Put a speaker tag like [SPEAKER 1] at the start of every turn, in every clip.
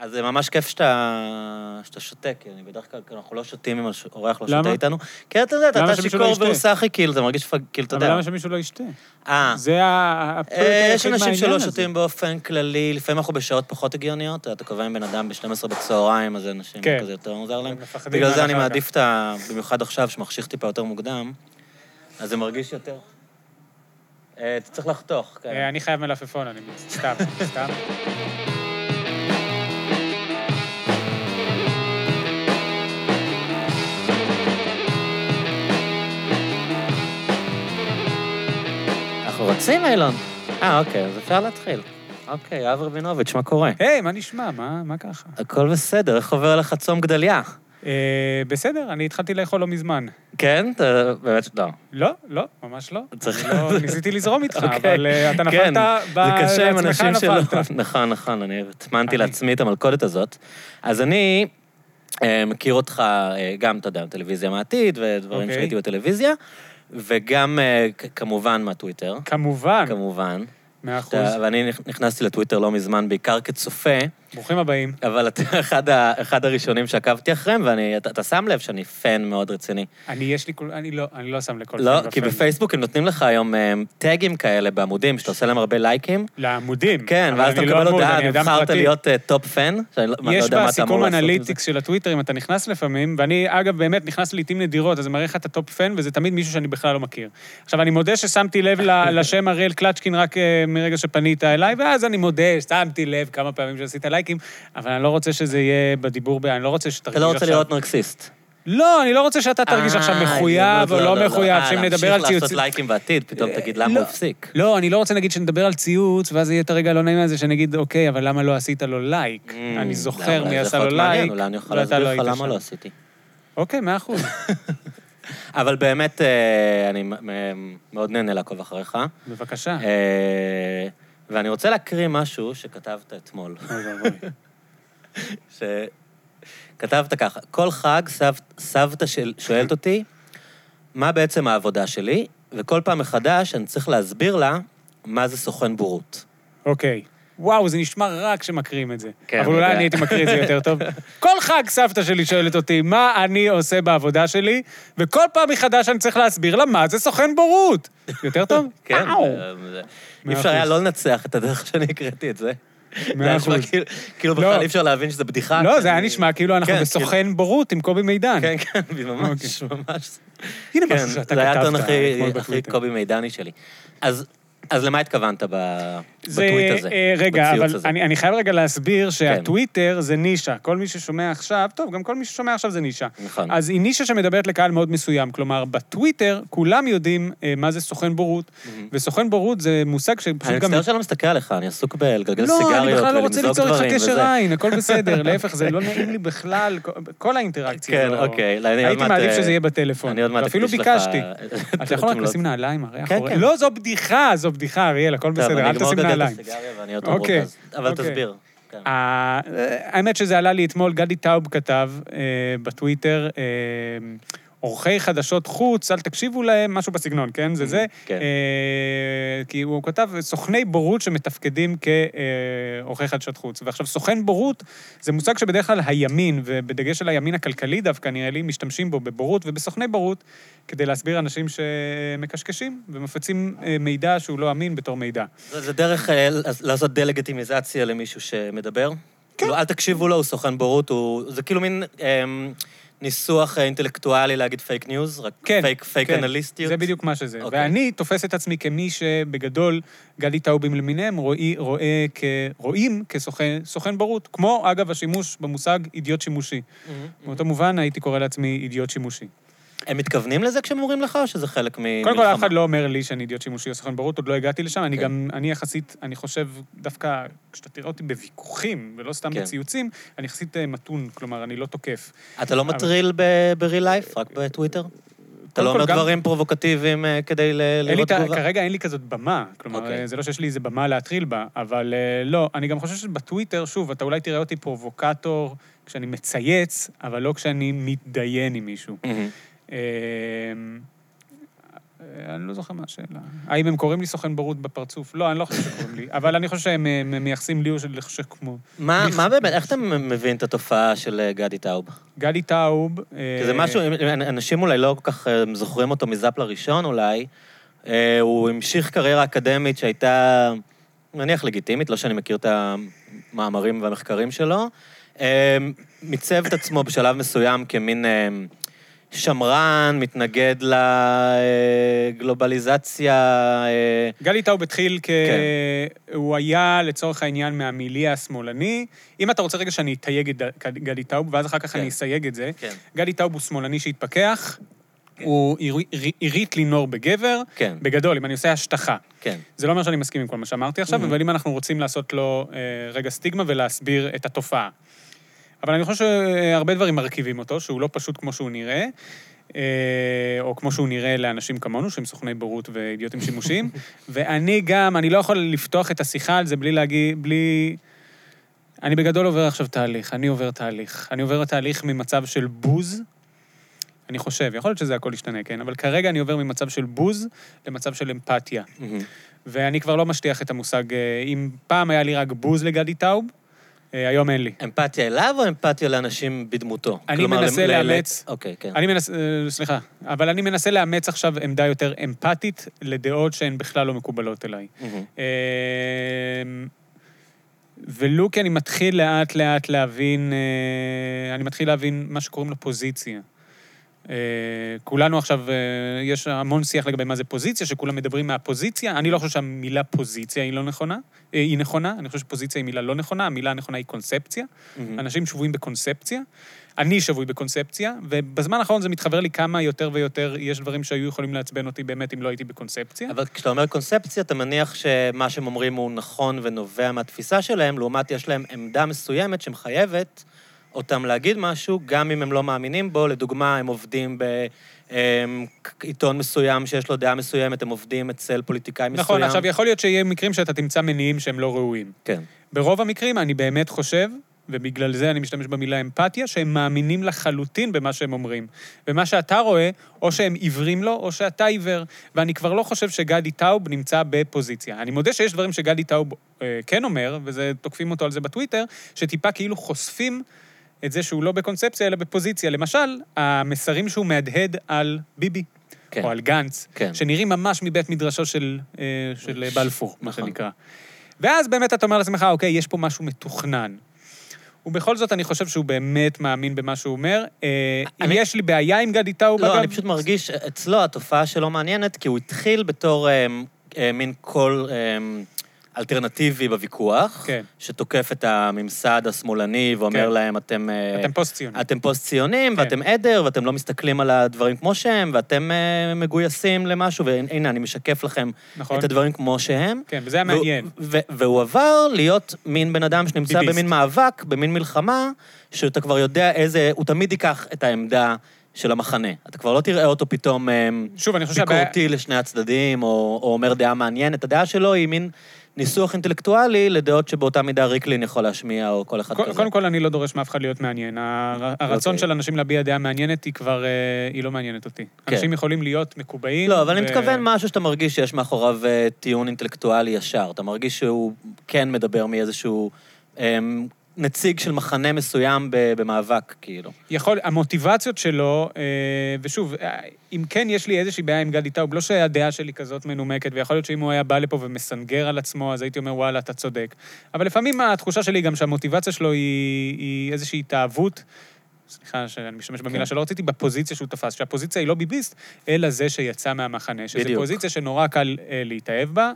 [SPEAKER 1] אז זה ממש כיף שאתה, שאתה שותה, כי אני בדרך כלל, אנחנו לא שותים אם האורח לא
[SPEAKER 2] למה?
[SPEAKER 1] שותה איתנו. כי אתה יודע, אתה
[SPEAKER 2] למה
[SPEAKER 1] אתה
[SPEAKER 2] שמישהו לא
[SPEAKER 1] שיכור
[SPEAKER 2] ישתה?
[SPEAKER 1] והוא סאחי, כאילו, זה מרגיש, פג- כאילו, אתה
[SPEAKER 2] אבל
[SPEAKER 1] יודע.
[SPEAKER 2] למה שמישהו לא ישתה?
[SPEAKER 1] אה,
[SPEAKER 2] זה ה- הפרק
[SPEAKER 1] אה, יש
[SPEAKER 2] היחיד
[SPEAKER 1] אנשים
[SPEAKER 2] מהעניין
[SPEAKER 1] שלא
[SPEAKER 2] הזה.
[SPEAKER 1] שותים באופן כללי, לפעמים אנחנו בשעות פחות הגיוניות, אתה קובע עם בן אדם ב-12 בצהריים, אז אנשים
[SPEAKER 2] כן.
[SPEAKER 1] כזה יותר מוזר להם.
[SPEAKER 2] הם מפחדים
[SPEAKER 1] בגלל זה
[SPEAKER 2] מהלך
[SPEAKER 1] אני
[SPEAKER 2] אחר כך.
[SPEAKER 1] מעדיף את ה... במיוחד עכשיו, שמחשיך טיפה יותר מוקדם, אז זה מרגיש יותר. אה, אתה צריך לחתוך, כן.
[SPEAKER 2] אה, אני חייב מלפפון, אני מצ- סתם, סתם.
[SPEAKER 1] אנחנו רוצים, אילון? אה, אוקיי, אז אפשר להתחיל. אוקיי, יואב רבינוביץ', מה קורה?
[SPEAKER 2] היי, מה נשמע? מה מה ככה?
[SPEAKER 1] הכל בסדר, איך עובר לך צום גדליה?
[SPEAKER 2] אה, בסדר, אני התחלתי לאכול לא מזמן.
[SPEAKER 1] כן? אתה באמת, לא.
[SPEAKER 2] לא, לא, ממש לא.
[SPEAKER 1] צריך-
[SPEAKER 2] אני לא- ניסיתי לזרום איתך,
[SPEAKER 1] אוקיי.
[SPEAKER 2] אבל אה, אתה
[SPEAKER 1] כן,
[SPEAKER 2] נפלת, ב-
[SPEAKER 1] זה קשה עם
[SPEAKER 2] בעצמך
[SPEAKER 1] אנשים שלא...
[SPEAKER 2] נפלת.
[SPEAKER 1] נכון, נכון, אני הטמנתי
[SPEAKER 2] אני.
[SPEAKER 1] לעצמי את המלכודת הזאת. אז אני אה, מכיר אותך אה, גם, אתה יודע, טלוויזיה מהעתיד, ודברים
[SPEAKER 2] אוקיי.
[SPEAKER 1] שהייתי בטלוויזיה, וגם אה, כ- כמובן מהטוויטר,
[SPEAKER 2] כמובן,
[SPEAKER 1] כמובן.
[SPEAKER 2] מאה כן. אחוז.
[SPEAKER 1] אתה- ואני נכ- נכנסתי לטוויטר לא מזמן, בעיקר כצופה,
[SPEAKER 2] ברוכים הבאים.
[SPEAKER 1] אבל אתה אחד ה- אחד הראשונים שעקבתי אחריהם, ואני- אתה אתה שם לב שאני פן מאוד רציני.
[SPEAKER 2] אני, יש לי כל... אני לא, אני לא שם לכל
[SPEAKER 1] לא,
[SPEAKER 2] פן
[SPEAKER 1] כי
[SPEAKER 2] ופן.
[SPEAKER 1] בפייסבוק הם נותנים לך היום אה, טאגים כאלה בעמודים, שאתה עושה להם הרבה לייקים.
[SPEAKER 2] לעמודים.
[SPEAKER 1] כן,
[SPEAKER 2] Mm. אבל
[SPEAKER 1] ואז אתה
[SPEAKER 2] אני לא
[SPEAKER 1] מקבל
[SPEAKER 2] עמוד,
[SPEAKER 1] הודעה,
[SPEAKER 2] אני אדם
[SPEAKER 1] נבחרת
[SPEAKER 2] פרטי.
[SPEAKER 1] להיות אה, טופ פן, שאני לא לא יודע
[SPEAKER 2] יש
[SPEAKER 1] מה אתה אמור
[SPEAKER 2] בסיכום
[SPEAKER 1] לעשות עם זה.
[SPEAKER 2] אנליטיקס של הטוויטר, אם אתה נכנס לפעמים, ואני, אגב, באמת נכנס לעיתים נדירות, אז זה מראה לך את הטופ פן, וזה תמיד מישהו שאני בכלל לא מכיר. עכשיו, אני מודה ששמתי לב ל- לשם אריאל קלצ'קין רק אה, מרגע שפנית אליי, ואז אני מודה, שמתי לב כמה פעמים שעשית לייקים, אבל אני לא רוצה שזה יהיה בדיבור, ב- אני לא רוצה שתרגיש
[SPEAKER 1] אתה
[SPEAKER 2] עכשיו...
[SPEAKER 1] לא רוצה להיות נרקסיסט.
[SPEAKER 2] לא, אני לא רוצה שאתה תרגיש עכשיו
[SPEAKER 1] אה,
[SPEAKER 2] מחויב או
[SPEAKER 1] לא,
[SPEAKER 2] לא
[SPEAKER 1] לא,
[SPEAKER 2] מחויב,
[SPEAKER 1] אה,
[SPEAKER 2] שאם נדבר
[SPEAKER 1] להמשיך
[SPEAKER 2] על
[SPEAKER 1] לעשות
[SPEAKER 2] ציוצים...
[SPEAKER 1] לייקים בעתיד, פתאום תגיד למה הוא
[SPEAKER 2] לא.
[SPEAKER 1] הפסיק.
[SPEAKER 2] לא, אני לא רוצה נגיד שנדבר על ציוץ, ואז יהיה את הרגע הלא נעים הזה שנגיד, אוקיי, אבל למה לא עשית לו לייק?
[SPEAKER 1] Mm,
[SPEAKER 2] אני
[SPEAKER 1] למה?
[SPEAKER 2] זוכר
[SPEAKER 1] אולי
[SPEAKER 2] מי
[SPEAKER 1] זה
[SPEAKER 2] עשה
[SPEAKER 1] יכול
[SPEAKER 2] לו
[SPEAKER 1] להיות מעניין,
[SPEAKER 2] לייק,
[SPEAKER 1] אולי אני יכול
[SPEAKER 2] ואתה
[SPEAKER 1] להסביר לך
[SPEAKER 2] היית
[SPEAKER 1] למה
[SPEAKER 2] שם.
[SPEAKER 1] לא עשיתי.
[SPEAKER 2] אוקיי, מאה אחוז.
[SPEAKER 1] אבל באמת, אה, אני מ- מ- מאוד נהנה לעקוב אחריך.
[SPEAKER 2] בבקשה.
[SPEAKER 1] כן. אה, ואני רוצה להקריא משהו שכתבת אתמול.
[SPEAKER 2] אוי ואבוי.
[SPEAKER 1] שכתבת ככה, כל חג סבת, סבתא של, שואלת אותי, מה בעצם העבודה שלי, וכל פעם מחדש אני צריך להסביר לה מה זה סוכן בורות.
[SPEAKER 2] אוקיי. וואו, זה נשמע רע כשמקריאים את זה.
[SPEAKER 1] כן,
[SPEAKER 2] אבל
[SPEAKER 1] אני
[SPEAKER 2] אולי
[SPEAKER 1] יודע.
[SPEAKER 2] אני הייתי מקריא את זה יותר טוב. כל חג סבתא שלי שואלת אותי מה אני עושה בעבודה שלי, וכל פעם מחדש אני צריך להסביר לה מה זה סוכן בורות. יותר טוב?
[SPEAKER 1] כן,
[SPEAKER 2] וואו.
[SPEAKER 1] אה, זה- אי
[SPEAKER 2] מאה
[SPEAKER 1] אפשר היה
[SPEAKER 2] אחוז.
[SPEAKER 1] לא לנצח את הדרך שאני הקראתי את זה. זה
[SPEAKER 2] מאה
[SPEAKER 1] היה נשמע
[SPEAKER 2] אחוז.
[SPEAKER 1] כאילו- כאילו
[SPEAKER 2] לא.
[SPEAKER 1] בכלל אי אפשר להבין שזה בדיחה.
[SPEAKER 2] לא,
[SPEAKER 1] כי
[SPEAKER 2] זה היה
[SPEAKER 1] אני-
[SPEAKER 2] נשמע כאילו אנחנו
[SPEAKER 1] כן,
[SPEAKER 2] בסוכן אוקיי. בורות עם קובי מידן.
[SPEAKER 1] כן, כן, ממש, ממש.
[SPEAKER 2] הנה
[SPEAKER 1] כן,
[SPEAKER 2] משהו שאתה
[SPEAKER 1] זה היה הטון
[SPEAKER 2] כתבת
[SPEAKER 1] הכי
[SPEAKER 2] אתמול
[SPEAKER 1] הכי
[SPEAKER 2] בטוויטר.
[SPEAKER 1] קובי מידני שלי. אז אז למה התכוונת ב-
[SPEAKER 2] זה,
[SPEAKER 1] בטוויט הזה?
[SPEAKER 2] אה, רגע,
[SPEAKER 1] בציוץ
[SPEAKER 2] אבל
[SPEAKER 1] הזה? כן.
[SPEAKER 2] אני, אני חייב רגע להסביר שהטוויטר זה נישה. כל מי ששומע עכשיו, טוב, גם כל מי ששומע עכשיו זה נישה.
[SPEAKER 1] נכון.
[SPEAKER 2] אז היא נישה שמדברת לקהל מאוד מסוים. כלומר, בטוויטר כולם יודעים אה, מה זה סוכן בורות, וסוכן בורות זה מושג שפשוט
[SPEAKER 1] אני
[SPEAKER 2] גם...
[SPEAKER 1] מצטער שאני לא מסתכל עליך, אני עסוק בלגלגל סיגריות ולמזוג דברים וזה.
[SPEAKER 2] לא, אני בכלל לא רוצה ליצור איתך קשר עין, הכל בסדר. להפך, זה לא נעים לי בכלל, כל- כל האינטראקציה.
[SPEAKER 1] כן,
[SPEAKER 2] לא-
[SPEAKER 1] אוקיי. לא, אני עוד
[SPEAKER 2] הייתי
[SPEAKER 1] מעט,
[SPEAKER 2] מעדיף
[SPEAKER 1] אה,
[SPEAKER 2] שזה יהיה בטלפון.
[SPEAKER 1] אני עוד מעט
[SPEAKER 2] ואפילו
[SPEAKER 1] אקדיש לך-
[SPEAKER 2] ביקשתי.
[SPEAKER 1] את
[SPEAKER 2] אתה יכול רק
[SPEAKER 1] התמונות.
[SPEAKER 2] לשים נעליים, הרי
[SPEAKER 1] כן,
[SPEAKER 2] אחורי.
[SPEAKER 1] כן.
[SPEAKER 2] לא, זו בדיחה, זו בדיחה, אריאל, הכל
[SPEAKER 1] טוב,
[SPEAKER 2] בסדר,
[SPEAKER 1] אני
[SPEAKER 2] אל
[SPEAKER 1] אגמור
[SPEAKER 2] תשים
[SPEAKER 1] לגלגל
[SPEAKER 2] נעליים.
[SPEAKER 1] סיגריה ואני עוד
[SPEAKER 2] אוקיי,
[SPEAKER 1] מרוכז. אבל
[SPEAKER 2] אוקיי.
[SPEAKER 1] תסביר. כן.
[SPEAKER 2] ה- האמת שזה עלה לי אתמול, גדי טאוב כתב אה, בטוויטר, אה, עורכי חדשות חוץ, אל תקשיבו להם, משהו בסגנון, כן? זה זה.
[SPEAKER 1] כן.
[SPEAKER 2] אה, כי הוא כתב, סוכני בורות שמתפקדים כעורכי חדשות חוץ. ועכשיו, סוכן בורות זה מושג שבדרך כלל הימין, ובדגש על הימין הכלכלי דווקא, נראה לי, משתמשים בו בבורות ובסוכני בורות, כדי להסביר אנשים שמקשקשים ומפצים אה, מידע שהוא לא אמין בתור מידע.
[SPEAKER 1] זה זה דרך אה, לעש- לעשות דה-לגיטימיזציה למישהו שמדבר?
[SPEAKER 2] כן.
[SPEAKER 1] כאילו, אל תקשיבו לו, הוא סוכן בורות, הוא... זה כאילו מין אמ, ניסוח אה, אינטלקטואלי להגיד פייק ניוז, רק
[SPEAKER 2] כן,
[SPEAKER 1] פייק- פייק
[SPEAKER 2] כן.
[SPEAKER 1] אנליסטיות.
[SPEAKER 2] זה בדיוק מה שזה.
[SPEAKER 1] אוקיי.
[SPEAKER 2] ואני תופס את עצמי כמי שבגדול, גלי טאובים למיניהם, רואי- רואה כ- רואים כסוכן סוכן בורות. כמו, אגב, השימוש במושג אידיוט שימושי.
[SPEAKER 1] Mm-hmm.
[SPEAKER 2] באותו מובן הייתי קורא לעצמי אידיוט שימושי.
[SPEAKER 1] הם מתכוונים לזה כשהם אומרים לך, או שזה חלק ממלחמה?
[SPEAKER 2] קודם כל, אף אחד לא אומר לי שאני אידיוט שימושי או סוכן בורות, עוד לא הגעתי לשם. אני
[SPEAKER 1] כן.
[SPEAKER 2] גם, אני יחסית, אני חושב, דווקא כשאתה תראה אותי בוויכוחים, ולא סתם
[SPEAKER 1] כן.
[SPEAKER 2] בציוצים, אני יחסית אה, מתון, כלומר, אני לא תוקף.
[SPEAKER 1] אתה לא מטריל ב- ב-real life, רק בטוויטר? אתה לא
[SPEAKER 2] כל,
[SPEAKER 1] אומר
[SPEAKER 2] גם-
[SPEAKER 1] דברים פרובוקטיביים אה, כדי ל-
[SPEAKER 2] אין לי
[SPEAKER 1] לראות
[SPEAKER 2] את ה-
[SPEAKER 1] תגובה?
[SPEAKER 2] כרגע אין לי כזאת במה, כלומר,
[SPEAKER 1] אוקיי.
[SPEAKER 2] okay. זה לא שיש לי איזה במה להטריל בה, אבל אה, לא, אני גם חושב שבטוויטר, שוב, אתה אולי תראה אותי פרובוקטור כשאני מצייץ, אבל לא כשאני מתדיין עם מישהו.
[SPEAKER 1] מהמם.
[SPEAKER 2] אה, אה, אני לא זוכר מה השאלה. האם הם קוראים לי סוכן בורות בפרצוף? לא, אני לא חושב שקוראים לי, אבל אני חושב שהם אה, מ- מייחסים לי או של לחשוב כמו...
[SPEAKER 1] מה
[SPEAKER 2] מיכ-
[SPEAKER 1] מה באמת, איך אתה מבין את התופעה של אה, גדי טאוב?
[SPEAKER 2] גלי טאוב...
[SPEAKER 1] כי זה
[SPEAKER 2] אה,
[SPEAKER 1] משהו, אנ- אנשים אולי לא כל כך אה, זוכרים אותו מזאפ לראשון אולי. אה, הוא המשיך קריירה אקדמית שהייתה, נניח לגיטימית, לא שאני מכיר את המאמרים והמחקרים שלו. אה, מיצב את עצמו בשלב מסוים כמין אה, שמרן, מתנגד לגלובליזציה. אה,
[SPEAKER 2] גלי טאוב התחיל כ...
[SPEAKER 1] כן.
[SPEAKER 2] הוא היה, לצורך העניין, מהמיליה השמאלני. אם אתה רוצה רגע שאני אתייג את ד- גלי טאוב, ואז אחר כך
[SPEAKER 1] כן.
[SPEAKER 2] אני אסייג את זה.
[SPEAKER 1] כן.
[SPEAKER 2] גלי טאוב הוא שמאלני שהתפכח, הוא הרי- הריט לינור בגבר,
[SPEAKER 1] כן,
[SPEAKER 2] בגדול, אם אני עושה השטחה.
[SPEAKER 1] כן.
[SPEAKER 2] זה לא אומר שאני מסכים עם כל מה שאמרתי עכשיו, אבל אם אנחנו רוצים לעשות לו אה, רגע סטיגמה ולהסביר את התופעה. אבל אני חושב שהרבה דברים מרכיבים אותו, שהוא לא פשוט כמו שהוא נראה, אה, או כמו שהוא נראה לאנשים כמונו, שהם סוכני בורות ואידיוטים שימושיים. ואני גם, אני לא יכול לפתוח את השיחה על זה בלי להגיד, בלי... אני בגדול עובר עכשיו תהליך, אני עובר תהליך. אני עובר תהליך ממצב של בוז, אני חושב, יכול להיות שזה הכל ישתנה, כן? אבל כרגע אני עובר ממצב של בוז למצב של אמפתיה.
[SPEAKER 1] מהמם.
[SPEAKER 2] ואני כבר לא משטיח את המושג, אה, אם פעם היה לי רק בוז לגדי טאוב, אה, היום אין לי.
[SPEAKER 1] אמפתיה אליו או אמפתיה לאנשים בדמותו?
[SPEAKER 2] אני
[SPEAKER 1] כלומר,
[SPEAKER 2] מנסה
[SPEAKER 1] ל- ל-
[SPEAKER 2] לאמץ-
[SPEAKER 1] אוקיי, כן.
[SPEAKER 2] אני מנסה, אה, סליחה, אבל אני מנסה לאמץ עכשיו עמדה יותר אמפתית לדעות שהן בכלל לא מקובלות אליי.
[SPEAKER 1] מהמם.
[SPEAKER 2] אה, ולו כי אמ, אני מתחיל לאט-לאט להבין, אה, אני מתחיל להבין מה שקוראים לו פוזיציה. אה, כולנו עכשיו, אה, יש המון שיח לגבי מה זה פוזיציה, שכולם מדברים מהפוזיציה. אני לא חושב שהמילה פוזיציה היא לא נכונה, אה, היא נכונה, אני חושב שפוזיציה היא מילה לא נכונה, המילה הנכונה היא קונספציה.
[SPEAKER 1] מהמם.
[SPEAKER 2] אנשים שבויים בקונספציה, אני שבוי בקונספציה, ובזמן האחרון זה מתחבר לי כמה יותר ויותר, יש דברים שהיו יכולים לעצבן אותי באמת אם לא הייתי בקונספציה.
[SPEAKER 1] כן. אבל כשאתה אומר קונספציה, אתה מניח שמה שהם אומרים הוא נכון ונובע מהתפיסה שלהם, לעומת יש להם עמדה מסוימת שמחייבת אותם להגיד משהו, גם אם הם לא מאמינים בו. לדוגמה, הם עובדים בעיתון מסוים שיש לו דעה מסוימת, הם עובדים אצל פוליטיקאי מסוים.
[SPEAKER 2] נכון, עכשיו יכול להיות שיהיה מקרים שאתה תמצא מניעים שהם לא ראויים.
[SPEAKER 1] כן.
[SPEAKER 2] ברוב המקרים אני באמת חושב, ובגלל זה אני משתמש במילה אמפתיה, שהם מאמינים לחלוטין במה שהם אומרים. ומה שאתה רואה, או שהם עיוורים לו, או שאתה עיוור. ואני כבר לא חושב שגדי טאוב נמצא בפוזיציה. אני מודה שיש דברים שגדי טאוב אה, כן אומר, וזה, תוקפים אותו על זה בטוויטר, שטיפה כאילו חושפים את זה שהוא לא בקונספציה, אלא בפוזיציה. למשל, המסרים שהוא מהדהד על ביבי.
[SPEAKER 1] כן.
[SPEAKER 2] או על גנץ,
[SPEAKER 1] כן.
[SPEAKER 2] שנראים ממש מבית מדרשו של, אה, של אה, בלפור, מה
[SPEAKER 1] נכון.
[SPEAKER 2] שנקרא. ואז באמת אתה אומר לעצמך, אוקיי, יש פה משהו מתוכנן. ובכל זאת, אני חושב שהוא באמת מאמין במה שהוא אומר. אה, אם
[SPEAKER 1] אני-
[SPEAKER 2] יש לי בעיה עם גדי טאוב,
[SPEAKER 1] לא,
[SPEAKER 2] אגב...
[SPEAKER 1] אני פשוט מרגיש אצלו התופעה שלא מעניינת, כי הוא התחיל בתור אמ, אה, מין קול אמ, אלטרנטיבי בוויכוח,
[SPEAKER 2] כן.
[SPEAKER 1] שתוקף את הממסד השמאלני ואומר
[SPEAKER 2] כן.
[SPEAKER 1] להם, אתם... אה,
[SPEAKER 2] אתם פוסט-ציונים.
[SPEAKER 1] אתם פוסט-ציונים,
[SPEAKER 2] כן.
[SPEAKER 1] ואתם עדר, ואתם לא מסתכלים על הדברים כמו שהם, ואתם אה, מגויסים למשהו, והנה, אני משקף לכם
[SPEAKER 2] נכון.
[SPEAKER 1] את הדברים כמו שהם.
[SPEAKER 2] כן, וזה היה מעניין.
[SPEAKER 1] והוא- ו- והוא עבר להיות מין בן אדם שנמצא
[SPEAKER 2] ביביסט.
[SPEAKER 1] במין מאבק, במין מלחמה, שאתה כבר יודע איזה... הוא תמיד ייקח את העמדה של המחנה. אתה כבר לא תראה אותו פתאום אה,
[SPEAKER 2] שוב, אני חושב שהבעיה...
[SPEAKER 1] ביקורתי לשני הצדדים, או, או אומר דעה מעניינת. הדעה שלו היא מין ניסוח אינטלקטואלי לדעות שבאותה מידה ריקלין יכול להשמיע, או כל אחד
[SPEAKER 2] קו-
[SPEAKER 1] כזה.
[SPEAKER 2] קודם כל, אני לא דורש מאף אחד להיות מעניין. הר- הרצון
[SPEAKER 1] אוקיי.
[SPEAKER 2] של אנשים להביע דעה מעניינת היא כבר... אה, היא לא מעניינת אותי.
[SPEAKER 1] כן.
[SPEAKER 2] אנשים יכולים להיות מקובעים.
[SPEAKER 1] לא, אבל אני
[SPEAKER 2] ו-
[SPEAKER 1] מתכוון משהו שאתה מרגיש שיש מאחוריו אה, טיעון אינטלקטואלי ישר. אתה מרגיש שהוא כן מדבר מאיזשהו אמ, נציג של מחנה מסוים ב- במאבק, כאילו.
[SPEAKER 2] יכול, המוטיבציות שלו, אה, ושוב, אה, אם כן יש לי איזושהי בעיה עם גדי טאוב, לא שהדעה שלי כזאת מנומקת, ויכול להיות שאם הוא היה בא לפה ומסנגר על עצמו, אז הייתי אומר, וואלה, אתה צודק. אבל לפעמים התחושה שלי היא גם שהמוטיבציה שלו היא, היא איזושהי התאהבות, סליחה שאני משתמש במילה
[SPEAKER 1] כן.
[SPEAKER 2] שלא רציתי, בפוזיציה שהוא תפס, שהפוזיציה היא לא ביביסט, אלא זה שיצא מהמחנה, שזו
[SPEAKER 1] בדיוק.
[SPEAKER 2] פוזיציה שנורא קל אה, להתאהב בה.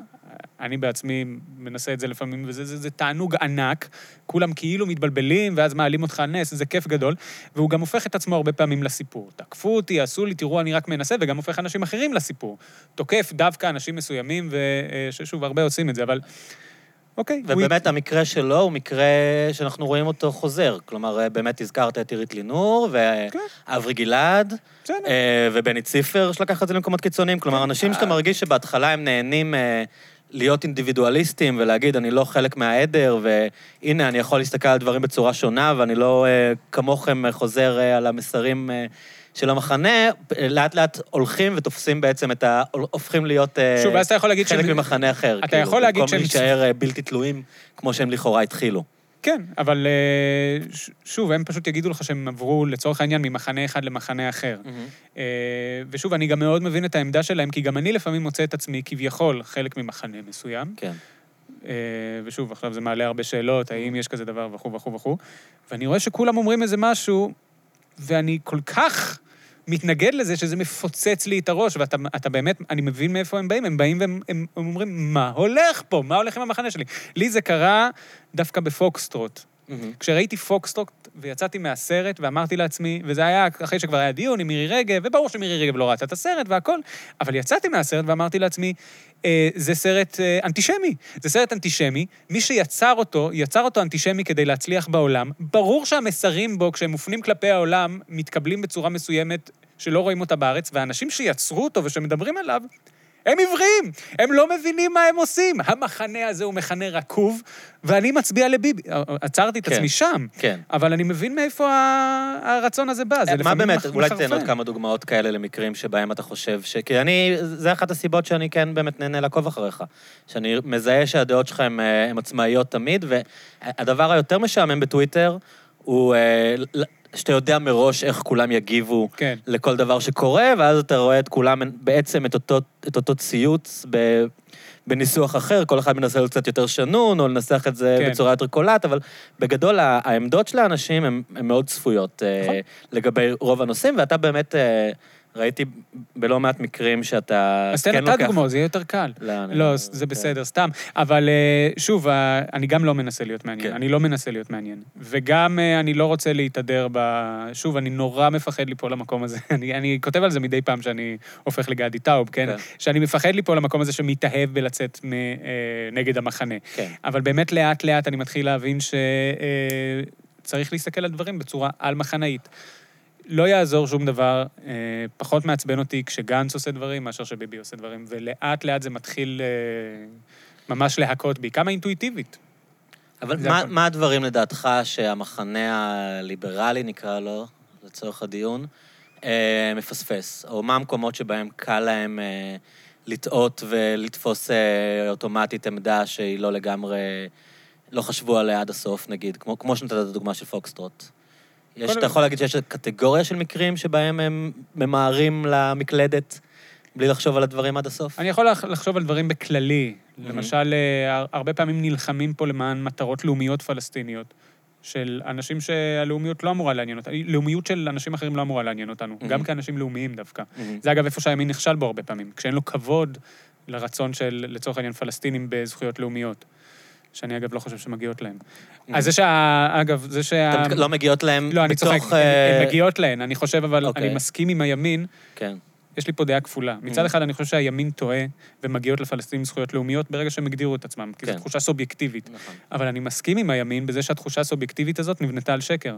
[SPEAKER 2] אני בעצמי מנסה את זה לפעמים, וזה זה, זה תענוג ענק. כולם כאילו מתבלבלים, ואז מעלים אותך על נס, זה כיף גדול. והוא גם הופך את עצמו הרבה פעמים לסיפור. תקפו אותי, עשו לי, תראו, אני רק מנסה, וגם הופך אנשים אחרים לסיפור. תוקף דווקא אנשים מסוימים, וששוב, הרבה עושים את זה, אבל... אוקיי, הוא-
[SPEAKER 1] כן, ובאמת, המקרה שלו הוא מקרה שאנחנו רואים אותו חוזר. כלומר, אה, באמת הזכרת את עירית לינור, ואברי גלעד,
[SPEAKER 2] כן. בסדר. כן.
[SPEAKER 1] אה, ובני ציפר, שלקח את זה למקומות קיצוניים. כלומר, אנשים
[SPEAKER 2] אה.
[SPEAKER 1] שאתה מרגיש שבהתחלה הם נהנים... אה, להיות אינדיבידואליסטים ולהגיד, אני לא חלק מהעדר, והנה, אני יכול להסתכל על דברים בצורה שונה, ואני לא אה, כמוכם אה, חוזר אה, על המסרים אה, של המחנה, לאט לאט הולכים ותופסים בעצם את ה... הופכים להיות אה,
[SPEAKER 2] שוב, ואז אתה יכול להגיד
[SPEAKER 1] חלק
[SPEAKER 2] שהם-
[SPEAKER 1] ממחנה אחר.
[SPEAKER 2] אתה
[SPEAKER 1] כאילו,
[SPEAKER 2] יכול להגיד
[SPEAKER 1] במקום
[SPEAKER 2] שהם-
[SPEAKER 1] להישאר אה, בלתי תלויים, כמו שהם לכאורה התחילו.
[SPEAKER 2] כן, אבל אה, ש- שוב, הם פשוט יגידו לך שהם עברו, לצורך העניין, ממחנה אחד למחנה אחר. אה, ושוב, אני גם מאוד מבין את העמדה שלהם, כי גם אני לפעמים מוצא את עצמי כביכול חלק ממחנה מסוים.
[SPEAKER 1] כן.
[SPEAKER 2] אה, ושוב, עכשיו זה מעלה הרבה שאלות, האם יש כזה דבר וכו' וכו' וכו'. ואני רואה שכולם אומרים איזה משהו, ואני כל כך מתנגד לזה שזה מפוצץ לי את הראש, ואתה אתה באמת, אני מבין מאיפה הם באים, הם באים והם הם, הם אומרים, מה הולך פה? מה הולך עם המחנה שלי? לי זה קרה דווקא בפוקסטרוט. כשראיתי פוקסטרוט ויצאתי מהסרט ואמרתי לעצמי, וזה היה אחרי שכבר היה דיון עם מירי רגב, וברור שמירי רגב לא ראתה את הסרט והכל, אבל יצאתי מהסרט ואמרתי לעצמי, אה, זה סרט אה, אנטישמי. זה סרט אנטישמי, מי שיצר אותו, יצר אותו אנטישמי כדי להצליח בעולם. ברור שהמסרים בו, כשהם מופנים כלפי העולם, מתקבלים בצורה מסוימת שלא רואים אותה בארץ, והאנשים שיצרו אותו ושמדברים עליו, הם עיוורים, הם לא מבינים מה הם עושים. המחנה הזה הוא מחנה רקוב, ואני מצביע לביבי. עצרתי את
[SPEAKER 1] כן.
[SPEAKER 2] עצמי שם,
[SPEAKER 1] כן.
[SPEAKER 2] אבל אני מבין מאיפה ה- הרצון הזה בא, זה
[SPEAKER 1] מה
[SPEAKER 2] לפעמים
[SPEAKER 1] באמת,
[SPEAKER 2] מח-
[SPEAKER 1] אולי תיתן עוד
[SPEAKER 2] מחרפן.
[SPEAKER 1] כמה דוגמאות כאלה למקרים שבהם אתה חושב ש... כי אני, זה אחת הסיבות שאני כן באמת נהנה לעקוב אחריך. שאני מזהה שהדעות שלך הן אה, הן עצמאיות תמיד, והדבר היותר משעמם בטוויטר הוא אה, ל- שאתה יודע מראש איך כולם יגיבו
[SPEAKER 2] כן.
[SPEAKER 1] לכל דבר שקורה, ואז אתה רואה את כולם בעצם את אותו, את אותו ציוץ ב, בניסוח אחר, כל אחד מנסה להיות קצת יותר שנון, או לנסח את זה
[SPEAKER 2] כן.
[SPEAKER 1] כן. בצורה יותר קולעת, אבל בגדול ה- העמדות של האנשים הן הן מאוד צפויות
[SPEAKER 2] נכון.
[SPEAKER 1] נכון. לגבי רוב הנושאים, ואתה באמת, אה, ראיתי בלא מעט מקרים שאתה כן
[SPEAKER 2] אז תן אתה דוגמאות, זה יהיה יותר קל.
[SPEAKER 1] אני-
[SPEAKER 2] לא, זה בסדר, סתם. אבל אה, שוב, אה, אני גם לא מנסה להיות מעניין.
[SPEAKER 1] כן.
[SPEAKER 2] אני לא מנסה להיות מעניין. וגם אה, אני לא רוצה להתהדר ב... שוב, אני נורא מפחד ליפול למקום הזה. אני- אני כותב על זה מדי פעם שאני הופך לגדי טאוב, כן?
[SPEAKER 1] כן.
[SPEAKER 2] שאני מפחד ליפול למקום הזה שמתאהב בלצאת מ- אה, נגד המחנה.
[SPEAKER 1] כן.
[SPEAKER 2] אבל באמת לאט-לאט אני מתחיל להבין שצריך להסתכל על דברים בצורה על-מחנאית. לא יעזור שום דבר, אה, פחות מעצבן אותי כשגנץ עושה דברים מאשר שביבי עושה דברים, ולאט-לאט זה מתחיל אה, ממש להכות בי, כמה אינטואיטיבית.
[SPEAKER 1] אבל
[SPEAKER 2] זה
[SPEAKER 1] מה,
[SPEAKER 2] הכל.
[SPEAKER 1] מה הדברים לדעתך שהמחנה הליברלי, נקרא לו, לצורך הדיון, אה, מפספס? או מה המקומות שבהם קל להם אה, לטעות ולתפוס אה, אוטומטית עמדה שהיא לא לגמרי, לא חשבו עליה עד הסוף, נגיד, כמו, כמו שנתת את הדוגמה של פוקסטרוט. יש,
[SPEAKER 2] קודם-
[SPEAKER 1] אתה יכול להגיד שיש קטגוריה של מקרים שבהם הם ממהרים למקלדת בלי לחשוב על הדברים עד הסוף?
[SPEAKER 2] אני יכול לח- לחשוב על דברים בכללי. למשל, אה, הר- הרבה פעמים נלחמים פה למען מטרות לאומיות פלסטיניות, של אנשים שהלאומיות לא אמורה לעניין אותנו, לאומיות של אנשים אחרים לא אמורה לעניין אותנו,
[SPEAKER 1] Mhm.
[SPEAKER 2] גם כאנשים לאומיים דווקא.
[SPEAKER 1] מהמם.
[SPEAKER 2] זה אגב איפה שהימין נכשל בו הרבה פעמים, כשאין לו כבוד לרצון של, לצורך העניין, פלסטינים בזכויות לאומיות, שאני אגב לא חושב שמגיעות להם. אז זה שה... אגב, זה שה...
[SPEAKER 1] אתה מת- Mm-hmm. לא מגיעות להם
[SPEAKER 2] לא, אני צוחק,
[SPEAKER 1] בתוך...
[SPEAKER 2] הן-
[SPEAKER 1] אה,
[SPEAKER 2] הן מגיעות להן, אני חושב, אבל
[SPEAKER 1] אוקיי.
[SPEAKER 2] אני מסכים עם הימין,
[SPEAKER 1] כן.
[SPEAKER 2] יש לי פה דעה כפולה. מצד
[SPEAKER 1] Mm.
[SPEAKER 2] אחד, אני חושב שהימין טועה ומגיעות לפלסטינים זכויות לאומיות ברגע שהם הגדירו את עצמם, כי זו
[SPEAKER 1] כן.
[SPEAKER 2] תחושה סובייקטיבית.
[SPEAKER 1] נכון.
[SPEAKER 2] אבל אני מסכים עם הימין בזה שהתחושה הסובייקטיבית הזאת נבנתה על שקר.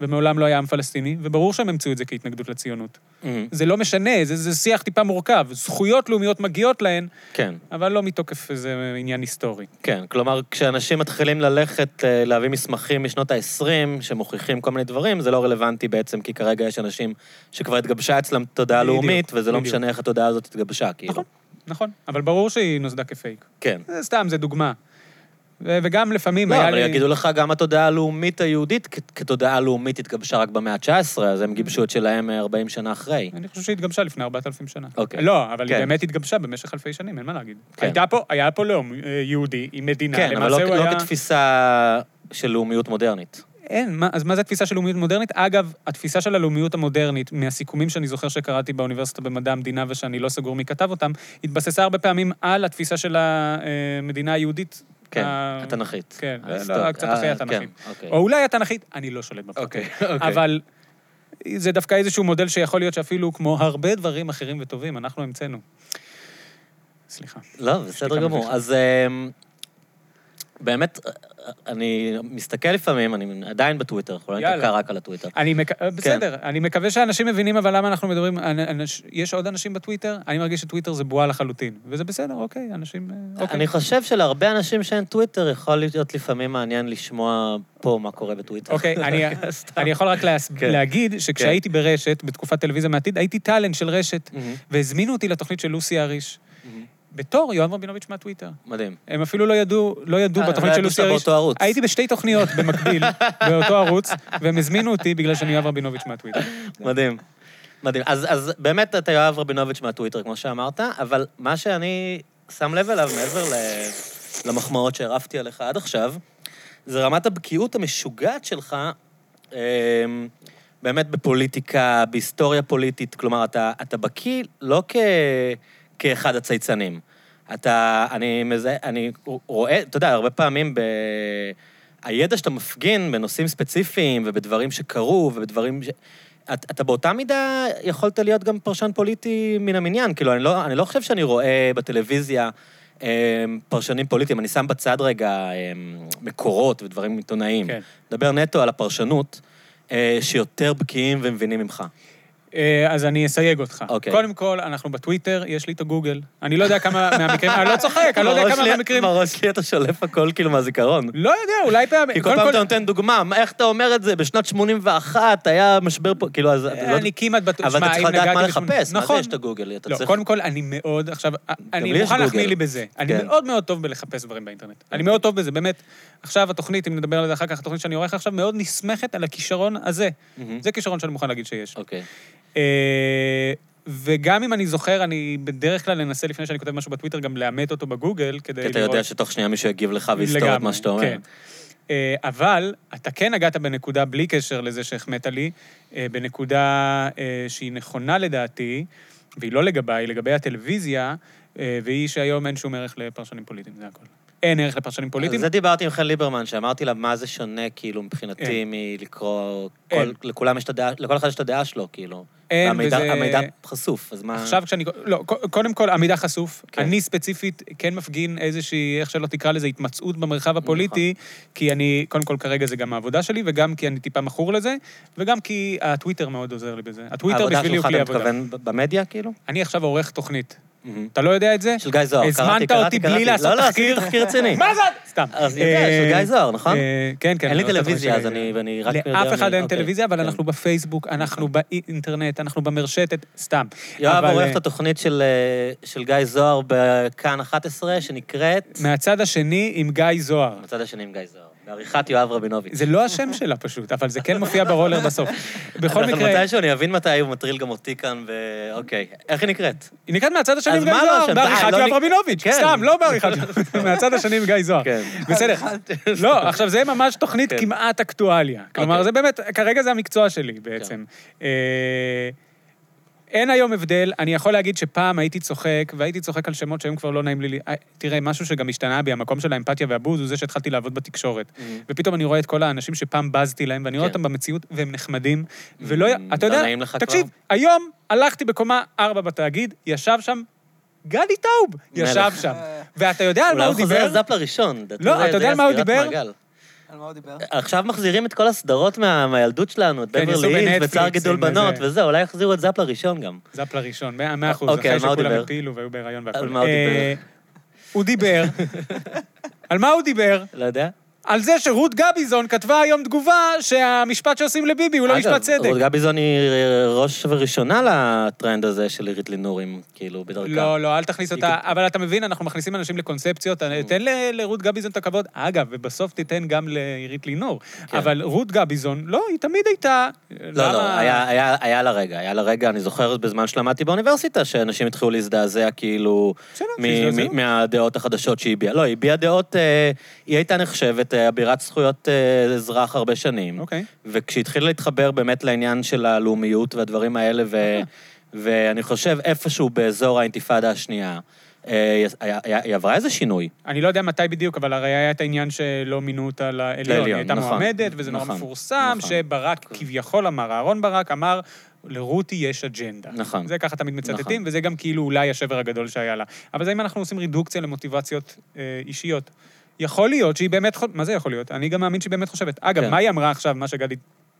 [SPEAKER 2] ומעולם לא היה עם פלסטיני, וברור שהם המציאו את זה כהתנגדות לציונות.
[SPEAKER 1] מהמם.
[SPEAKER 2] זה לא משנה, זה, זה שיח טיפה מורכב. זכויות לאומיות מגיעות להן,
[SPEAKER 1] כן.
[SPEAKER 2] אבל לא מתוקף איזה עניין היסטורי.
[SPEAKER 1] כן, כלומר, כשאנשים מתחילים ללכת אה, להביא מסמכים משנות ה-20 שמוכיחים כל מיני דברים, זה לא רלוונטי בעצם, כי כרגע יש אנשים שכבר התגבשה אצלם תודעה
[SPEAKER 2] בדיוק,
[SPEAKER 1] לאומית, וזה לא
[SPEAKER 2] בדיוק.
[SPEAKER 1] משנה איך התודעה הזאת התגבשה, כאילו.
[SPEAKER 2] נכון. נכון, אבל ברור שהיא נוסדה כפייק.
[SPEAKER 1] כן.
[SPEAKER 2] זה סתם, זה דוגמה. ו- וגם לפעמים
[SPEAKER 1] לא,
[SPEAKER 2] היה
[SPEAKER 1] אבל
[SPEAKER 2] לי...
[SPEAKER 1] יגידו לך, גם התודעה הלאומית היהודית כ- כתודעה לאומית התגבשה רק במאה ה-19, אז הם גיבשו את שלהם אה, 40 שנה אחרי.
[SPEAKER 2] אני חושב שהיא התגבשה לפני 4,000 שנה.
[SPEAKER 1] אוקיי.
[SPEAKER 2] לא, אבל היא
[SPEAKER 1] כן.
[SPEAKER 2] באמת התגבשה במשך אלפי שנים, אין מה להגיד.
[SPEAKER 1] כן.
[SPEAKER 2] הייתה פה, היה פה לאום אה, יהודי עם מדינה,
[SPEAKER 1] כן, אבל
[SPEAKER 2] למעשה
[SPEAKER 1] לא
[SPEAKER 2] הוא
[SPEAKER 1] לא
[SPEAKER 2] היה...
[SPEAKER 1] כתפיסה של לאומיות מודרנית.
[SPEAKER 2] אין, מה, אז מה זה התפיסה של לאומיות מודרנית? אגב, התפיסה של הלאומיות המודרנית, מהסיכומים שאני זוכר שקראתי באוניברסיטה במדע המדינה ושאני לא סגור מי כתב אותם, התבססה הרבה פעמים על התפיסה של המדינה היהודית.
[SPEAKER 1] כן,
[SPEAKER 2] ה-
[SPEAKER 1] התנ"כית.
[SPEAKER 2] כן, לא,
[SPEAKER 1] ההיסטוריה.
[SPEAKER 2] קצת אחרי
[SPEAKER 1] אה,
[SPEAKER 2] התנ"כית.
[SPEAKER 1] כן, אוקיי.
[SPEAKER 2] או אולי התנ"כית, אני לא שולט בפרטים.
[SPEAKER 1] אוקיי, אוקיי.
[SPEAKER 2] אבל זה דווקא איזשהו מודל שיכול להיות שאפילו כמו הרבה דברים אחרים וטובים, אנחנו המצאנו. סליחה.
[SPEAKER 1] לא,
[SPEAKER 2] כמה
[SPEAKER 1] בסדר גמור.
[SPEAKER 2] מביכים.
[SPEAKER 1] אז אמ, באמת, אני מסתכל לפעמים, אני עדיין בטוויטר, אנחנו לא
[SPEAKER 2] יאללה.
[SPEAKER 1] נתקע רק על הטוויטר.
[SPEAKER 2] אני מק... אה,
[SPEAKER 1] כן.
[SPEAKER 2] בסדר, אני מקווה שאנשים מבינים, אבל למה אנחנו מדברים... אנ- אנש... יש עוד אנשים בטוויטר? אני מרגיש שטוויטר זה בועה לחלוטין. וזה בסדר, אוקיי, אנשים... אה, אוקיי.
[SPEAKER 1] אני חושב שלהרבה אנשים שאין טוויטר, יכול להיות לפעמים מעניין לשמוע פה מה קורה בטוויטר.
[SPEAKER 2] אוקיי, אני,
[SPEAKER 1] סתם.
[SPEAKER 2] אני יכול רק להס...
[SPEAKER 1] כן.
[SPEAKER 2] להגיד שכשהייתי ברשת, בתקופת טלוויזיה מעתיד, הייתי טאלנט של רשת,
[SPEAKER 1] מהמם,
[SPEAKER 2] והזמינו אותי לתוכנית של לוסי אריש,
[SPEAKER 1] מהמם.
[SPEAKER 2] בתור יואב רבינוביץ' מהטוויטר.
[SPEAKER 1] מדהים.
[SPEAKER 2] הם אפילו לא ידעו, לא ידעו
[SPEAKER 1] אה,
[SPEAKER 2] בתוכנית
[SPEAKER 1] לא
[SPEAKER 2] של
[SPEAKER 1] ידעו
[SPEAKER 2] לוסי
[SPEAKER 1] שאתה
[SPEAKER 2] אריש.
[SPEAKER 1] באותו ערוץ.
[SPEAKER 2] הייתי בשתי תוכניות במקביל, באותו ערוץ, והם הזמינו אותי בגלל שאני יואב רבינוביץ' מהטוויטר.
[SPEAKER 1] מדהים. מדהים. אז, אז באמת אתה יואב רבינוביץ' מהטוויטר, כמו שאמרת, אבל מה שאני שם לב אליו מעבר ל- למחמאות שהרפתי עליך עד עכשיו, זה רמת הבקיאות המשוגעת שלך אמ, באמת בפוליטיקה, בהיסטוריה פוליטית. כלומר, אתה, אתה בקיא לא כ, כאחד הצייצנים. אתה, אני מזהה, אני רואה, אתה יודע, הרבה פעמים ב... הידע שאתה מפגין בנושאים ספציפיים ובדברים שקרו ובדברים ש... את, אתה באותה מידה יכולת להיות גם פרשן פוליטי מן המניין. כאילו, אני לא, אני לא חושב שאני רואה בטלוויזיה אמ, פרשנים פוליטיים, אני שם בצד רגע אמ, מקורות ודברים עיתונאיים.
[SPEAKER 2] כן.
[SPEAKER 1] מדבר נטו על הפרשנות, אה, שיותר בקיאים ומבינים ממך.
[SPEAKER 2] אה, אז אני אסייג אותך.
[SPEAKER 1] אוקיי.
[SPEAKER 2] קודם כל, אנחנו בטוויטר, יש לי את הגוגל. אני לא יודע כמה מהמקרים, אני לא צוחק, אני לא יודע
[SPEAKER 1] בראש
[SPEAKER 2] כמה
[SPEAKER 1] לי-
[SPEAKER 2] מהמקרים...
[SPEAKER 1] בראש שלי אתה שולף הכל כאילו מהזיכרון.
[SPEAKER 2] לא יודע, אולי פעם...
[SPEAKER 1] כי כל
[SPEAKER 2] קודם
[SPEAKER 1] פעם
[SPEAKER 2] כל,
[SPEAKER 1] אתה נותן דוגמה, מה- איך אתה אומר את זה? בשנת 81 היה משבר פה, כאילו, אז אתה לא...
[SPEAKER 2] אה, אני כמעט בטוח...
[SPEAKER 1] אבל אתה
[SPEAKER 2] שמע,
[SPEAKER 1] צריך
[SPEAKER 2] אם
[SPEAKER 1] לדעת מה
[SPEAKER 2] נגעתי בשמונה-
[SPEAKER 1] לחפש, מה זה
[SPEAKER 2] נכון.
[SPEAKER 1] יש את הגוגל? אתה
[SPEAKER 2] לא,
[SPEAKER 1] צריך...
[SPEAKER 2] קודם כל, אני מאוד, עכשיו, אה,
[SPEAKER 1] לי
[SPEAKER 2] אני
[SPEAKER 1] יש
[SPEAKER 2] מוכן להחמיא
[SPEAKER 1] גוגל.
[SPEAKER 2] לי בזה. אני
[SPEAKER 1] כן.
[SPEAKER 2] מאוד מאוד טוב בלחפש דברים באינטרנט. אני מאוד טוב בזה, באמת. עכשיו התוכנית, אם נדבר על זה אחר כך, התוכנית שאני עורך עכשיו, מאוד נסמכת על הכישרון הזה.
[SPEAKER 1] מהמם.
[SPEAKER 2] זה כישרון שאני מוכן להגיד שיש.
[SPEAKER 1] אוקיי.
[SPEAKER 2] אה, וגם אם אני זוכר, אני בדרך כלל אנסה לפני שאני כותב משהו בטוויטר, גם לאמת אותו בגוגל, כדי
[SPEAKER 1] כי
[SPEAKER 2] לראות...
[SPEAKER 1] אתה יודע שתוך שנייה מישהו יגיב לך ויסתור את
[SPEAKER 2] לגמרי,
[SPEAKER 1] מה שאתה אומר.
[SPEAKER 2] כן. אה, אבל אתה כן נגעת בנקודה, בלי קשר לזה שהחמאת לי, אה, בנקודה אה, שהיא נכונה לדעתי, והיא לא לגביי, לגבי הטלוויזיה, אה, והיא שהיום אין שום ערך לפרשנים פוליטיים, זה הכול. אין ערך לפרשנים פוליטיים.
[SPEAKER 1] על זה דיברתי עם חן ליברמן, שאמרתי לה, מה זה שונה, כאילו, מבחינתי,
[SPEAKER 2] אין.
[SPEAKER 1] מלקרוא...
[SPEAKER 2] אין.
[SPEAKER 1] כל- לכולם יש את הדעה, לכל אחד יש את הדעה שלו, כאילו.
[SPEAKER 2] אין,
[SPEAKER 1] והמידע-
[SPEAKER 2] וזה-
[SPEAKER 1] המידע חשוף, אז מה...
[SPEAKER 2] עכשיו כשאני... לא, ק- קודם כל, המידע חשוף.
[SPEAKER 1] כן.
[SPEAKER 2] אני ספציפית כן מפגין איזושהי, איך שלא תקרא לזה, התמצאות במרחב
[SPEAKER 1] נכון.
[SPEAKER 2] הפוליטי, כי אני, קודם כל, כרגע זה גם העבודה שלי, וגם כי אני טיפה מכור לזה, וגם כי הטוויטר מאוד עוזר לי בזה. הטוויטר בשבילי הוא כלי
[SPEAKER 1] העבודה שלך,
[SPEAKER 2] עבודה.
[SPEAKER 1] אתה מתכוון ב- במדיה, כאילו?
[SPEAKER 2] אני עכשיו עורך תוכנית. אתה לא יודע את זה?
[SPEAKER 1] של גיא זוהר, קראתי,
[SPEAKER 2] הזמנת
[SPEAKER 1] קראתי,
[SPEAKER 2] אותי
[SPEAKER 1] קראתי.
[SPEAKER 2] בלי לעשות
[SPEAKER 1] לא, לא,
[SPEAKER 2] תחקיר.
[SPEAKER 1] עשיתי תחקיר רציני.
[SPEAKER 2] מה זה? סתם.
[SPEAKER 1] אז יודע, של
[SPEAKER 2] אה,
[SPEAKER 1] גיא זוהר, נכון?
[SPEAKER 2] אה, כן, כן.
[SPEAKER 1] אין לי
[SPEAKER 2] אני עורך את
[SPEAKER 1] טלוויזיה, אז
[SPEAKER 2] התוכנית שלי.
[SPEAKER 1] אני ואני רק... יודע
[SPEAKER 2] לאף אחד
[SPEAKER 1] מי-
[SPEAKER 2] אין
[SPEAKER 1] אוקיי.
[SPEAKER 2] טלוויזיה, אבל
[SPEAKER 1] כן. נכון.
[SPEAKER 2] אנחנו בפייסבוק, אנחנו באינטרנט, אנחנו במרשתת, סתם.
[SPEAKER 1] יואב
[SPEAKER 2] אבל,
[SPEAKER 1] עורך
[SPEAKER 2] אה,
[SPEAKER 1] את התוכנית של, אה, של גיא זוהר בכאן 11, שנקראת...
[SPEAKER 2] מהצד השני עם גיא זוהר.
[SPEAKER 1] בצד השני עם גיא זוהר, בעריכת יואב רבינוביץ'.
[SPEAKER 2] זה לא השם שלה פשוט, אבל זה כן מופיע ברולר בסוף. בכל
[SPEAKER 1] אבל
[SPEAKER 2] מקרה,
[SPEAKER 1] מתישהו אני אבין מתי הוא מטריל גם אותי כאן, ואוקיי. איך היא נקראת?
[SPEAKER 2] היא נקראת מהצד השני
[SPEAKER 1] אז
[SPEAKER 2] עם גיא
[SPEAKER 1] מה לא
[SPEAKER 2] זוהר,
[SPEAKER 1] השם?
[SPEAKER 2] בעריכת
[SPEAKER 1] אה, לא
[SPEAKER 2] יואב
[SPEAKER 1] נק-
[SPEAKER 2] רבינוביץ',
[SPEAKER 1] כן.
[SPEAKER 2] סתם, לא בעריכת יואב, מהצד השני עם גיא זוהר.
[SPEAKER 1] כן.
[SPEAKER 2] בסדר. לא, עכשיו זה ממש תוכנית
[SPEAKER 1] כן.
[SPEAKER 2] כמעט אקטואליה. כלומר,
[SPEAKER 1] אוקיי. כן.
[SPEAKER 2] זה באמת, כרגע זה המקצוע שלי בעצם. אה, אין היום הבדל, אני יכול להגיד שפעם הייתי צוחק, והייתי צוחק על שמות שהיום כבר לא נעים לי... ל- אה, תראה, משהו שגם השתנה בי, המקום של האמפתיה והבוז, הוא זה שהתחלתי לעבוד בתקשורת. ופתאום אני רואה את כל האנשים שפעם בזתי להם, ואני רואה
[SPEAKER 1] Mm. כן.
[SPEAKER 2] אותם במציאות, והם נחמדים, ולא... י-
[SPEAKER 1] Mm,
[SPEAKER 2] אתה
[SPEAKER 1] לא
[SPEAKER 2] יודע,
[SPEAKER 1] נעים לך כבר?
[SPEAKER 2] תקשיב, היום הלכתי בקומה 4 בתאגיד, ישב שם גלי טאוב, ישב
[SPEAKER 1] מלך.
[SPEAKER 2] שם. ואתה יודע על מה
[SPEAKER 1] אולי
[SPEAKER 2] הוא
[SPEAKER 1] הוא חוזר
[SPEAKER 2] דיבר?
[SPEAKER 1] לזאפ לראשון.
[SPEAKER 2] לא,
[SPEAKER 1] זה-
[SPEAKER 2] אתה
[SPEAKER 1] זה
[SPEAKER 2] יודע על מה הוא
[SPEAKER 1] סגירת
[SPEAKER 2] דיבר?
[SPEAKER 1] מעגל.
[SPEAKER 3] על מה הוא דיבר?
[SPEAKER 1] עכשיו מחזירים את כל הסדרות מה- מהילדות שלנו, את
[SPEAKER 2] כן, יעשו
[SPEAKER 1] בברלי הילס,
[SPEAKER 2] בנטפליקס
[SPEAKER 1] בצער גידול
[SPEAKER 2] עם איזה-
[SPEAKER 1] בנות וזה, אולי יחזירו את זאפ לראשון גם.
[SPEAKER 2] זאפ לראשון, מאה מאה אחוז,
[SPEAKER 1] אוקיי,
[SPEAKER 2] אחרי
[SPEAKER 1] על מה הוא
[SPEAKER 2] שכולם
[SPEAKER 1] דיבר?
[SPEAKER 2] הפילו והיו בהיריון והכול.
[SPEAKER 1] על מה הוא
[SPEAKER 2] אה, הוא דיבר. על מה הוא דיבר?
[SPEAKER 1] לא יודע.
[SPEAKER 2] על זה שרות גביזון כתבה היום תגובה שהמשפט שעושים לביבי הוא לא משפט צדק.
[SPEAKER 1] אגב, רות גביזון היא ראש וראשונה לטרנד הזה של עירית לינורים, כאילו, בדרכה.
[SPEAKER 2] לא, לא, אל תכניס
[SPEAKER 1] היא
[SPEAKER 2] אותה, אבל אתה מבין, אנחנו מכניסים אנשים לקונספציות,
[SPEAKER 1] Mm.
[SPEAKER 2] תן ל- לרות גביזון את הכבוד. אגב, ובסוף תיתן גם לעירית לינור.
[SPEAKER 1] כן.
[SPEAKER 2] אבל רות גביזון, לא, היא תמיד הייתה...
[SPEAKER 1] לא, לא,
[SPEAKER 2] למה-
[SPEAKER 1] היה- היה היה לה רגע, היה לה רגע, אני זוכר בזמן שלמדתי באוניברסיטה, שאנשים התחילו להזדעזע, כאילו,
[SPEAKER 2] בסדר,
[SPEAKER 1] מ-
[SPEAKER 2] שהזדעזעו.
[SPEAKER 1] מ- מהדעות החדשות שהיא הביעה. לא, היא הביעה דעות, אה, היא הייתה נחשבת אה, אבירת זכויות אה, אזרח הרבה שנים.
[SPEAKER 2] אוקיי.
[SPEAKER 1] וכשהתחיל להתחבר באמת לעניין של הלאומיות והדברים האלה,
[SPEAKER 2] אוקיי.
[SPEAKER 1] ו... ואני חושב איפשהו באזור האינתיפאדה השנייה, אה, היה- היה- היא עברה איזה שינוי.
[SPEAKER 2] אני לא יודע מתי בדיוק, אבל הרי היה את העניין שלא מינו אותה לעליון. היא
[SPEAKER 1] לעליון,
[SPEAKER 2] הייתה
[SPEAKER 1] נכון,
[SPEAKER 2] מועמדת, וזה נורא
[SPEAKER 1] נכון,
[SPEAKER 2] מפורסם,
[SPEAKER 1] נכון.
[SPEAKER 2] שברק כביכול אמר, אהרן ברק אמר, לרותי יש אג'נדה.
[SPEAKER 1] נכון.
[SPEAKER 2] זה ככה תמיד מצטטים,
[SPEAKER 1] נכון.
[SPEAKER 2] וזה גם כאילו אולי השבר הגדול שהיה לה. אבל זה אם אנחנו עושים רדוקציה למוטיבציות אה, אישיות. יכול להיות שהיא באמת חושבת, מה זה יכול להיות? אני גם מאמין שהיא באמת חושבת. אגב,
[SPEAKER 1] כן.
[SPEAKER 2] מה היא אמרה עכשיו, מה שגדי...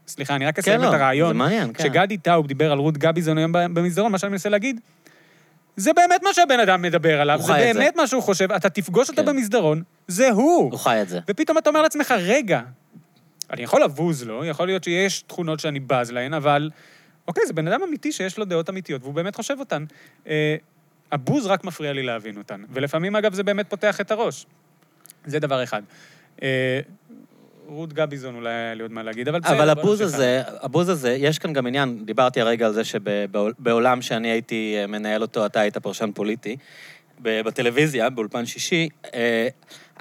[SPEAKER 2] סליחה, אני רק
[SPEAKER 1] כן,
[SPEAKER 2] אסיים
[SPEAKER 1] לא,
[SPEAKER 2] את הרעיון.
[SPEAKER 1] זה מעניין, כן.
[SPEAKER 2] כשגדי טאוב דיבר על רות גביזון היום במסדרון, מה שאני מנסה להגיד, זה באמת מה שהבן אדם מדבר עליו,
[SPEAKER 1] הוא
[SPEAKER 2] זה
[SPEAKER 1] חי את
[SPEAKER 2] באמת מה שהוא חושב, אתה תפגוש אותו
[SPEAKER 1] כן.
[SPEAKER 2] במסדרון, זה הוא.
[SPEAKER 1] הוא חי את זה.
[SPEAKER 2] ופתאום אתה אומר לעצמך, רגע, אני יכול לבוז לו, יכול להיות שיש תכונות שאני בז להן, אבל אוקיי, זה בן אדם אמיתי שיש לו דעות אמיתיות, והוא באמת חושב אותן. אה, הבוז רק מפריע לי להבין אותן. ולפעמים, אגב, זה באמת פותח את הראש. זה דבר אחד. אה, רות גביזון אולי היה לי עוד מה להגיד, אבל בסדר,
[SPEAKER 1] אבל
[SPEAKER 2] בוא
[SPEAKER 1] הבוז
[SPEAKER 2] נמשיך
[SPEAKER 1] הזה, הבוז הזה, יש כאן גם עניין, דיברתי הרגע על זה שבעולם שאני הייתי אה, מנהל אותו, אתה היית פרשן פוליטי, ב- בטלוויזיה, באולפן שישי, אה,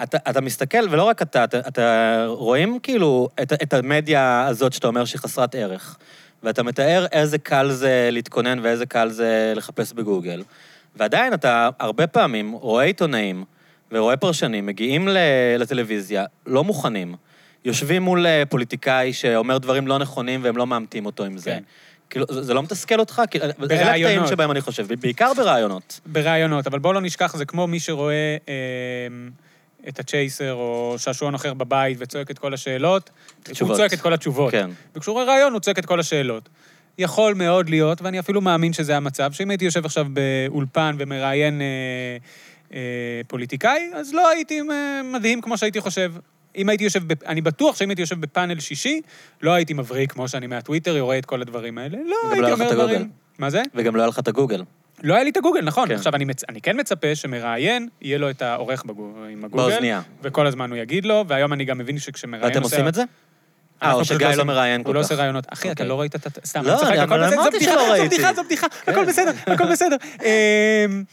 [SPEAKER 1] אתה, אתה מסתכל, ולא רק אתה, אתה, אתה רואים כאילו את, את המדיה הזאת שאתה אומר שהיא חסרת ערך, ואתה מתאר איזה קל זה להתכונן ואיזה קל זה לחפש בגוגל, ועדיין אתה הרבה פעמים רואה עיתונאים ורואה פרשנים מגיעים ל- לטלוויזיה לא מוכנים. יושבים מול אה, פוליטיקאי שאומר דברים לא נכונים והם לא מאמתים אותו עם זה.
[SPEAKER 2] כן.
[SPEAKER 1] כאילו, זה זה לא מתסכל אותך? כאילו, אלה הקטעים
[SPEAKER 2] בראיונות.
[SPEAKER 1] שבהם אני חושב, בעיקר ברעיונות.
[SPEAKER 2] בראיונות, אבל בואו לא נשכח, זה כמו מי שרואה אה, את הצ'ייסר או שעשועון אחר בבית וצועק את כל השאלות, הוא
[SPEAKER 1] תשובות.
[SPEAKER 2] צועק את כל התשובות.
[SPEAKER 1] כן.
[SPEAKER 2] וכשהוא רואה רעיון, הוא צועק את כל השאלות. יכול מאוד להיות, ואני אפילו מאמין שזה המצב, שאם הייתי יושב עכשיו באולפן ומראיין אה, אה, פוליטיקאי, אז לא הייתי אה, מדהים כמו שהייתי חושב. אם הייתי יושב, בפ... אני בטוח שאם הייתי יושב בפאנל שישי, לא הייתי מבריק כמו שאני מהטוויטר, רואה את כל הדברים האלה.
[SPEAKER 1] לא
[SPEAKER 2] לא
[SPEAKER 1] היה
[SPEAKER 2] הייתי
[SPEAKER 1] לך את
[SPEAKER 2] אומר
[SPEAKER 1] הגוגל.
[SPEAKER 2] דברים... מה זה?
[SPEAKER 1] וגם לא היה לך את הגוגל.
[SPEAKER 2] לא היה לי את הגוגל, נכון.
[SPEAKER 1] כן.
[SPEAKER 2] כן. עכשיו, אני, מצ... אני כן מצפה שמראיין, יהיה לו את העורך בגו... עם הגוגל.
[SPEAKER 1] באוזנייה.
[SPEAKER 2] וכל הזמן הוא יגיד לו, והיום אני גם מבין שכשמראיין...
[SPEAKER 1] ואתם עושים את זה? אה,
[SPEAKER 2] אנחנו
[SPEAKER 1] או
[SPEAKER 2] פשוט
[SPEAKER 1] שגיא לא
[SPEAKER 2] עושים-
[SPEAKER 1] מראיין כל
[SPEAKER 2] הוא לא
[SPEAKER 1] כך.
[SPEAKER 2] עושה רעיונות. אחי, אתה
[SPEAKER 1] אוקיי.
[SPEAKER 2] לא ראית את... הת- סתם,
[SPEAKER 1] לא,
[SPEAKER 2] אני צוחק,
[SPEAKER 1] אני-
[SPEAKER 2] הכל
[SPEAKER 1] אבל
[SPEAKER 2] בסדר, זו
[SPEAKER 1] אמרתי
[SPEAKER 2] בדיחה,
[SPEAKER 1] שלא
[SPEAKER 2] זו
[SPEAKER 1] ראיתי. כן.
[SPEAKER 2] בדיחה, זו בדיחה, הכל בסדר, הכל בסדר. אמ,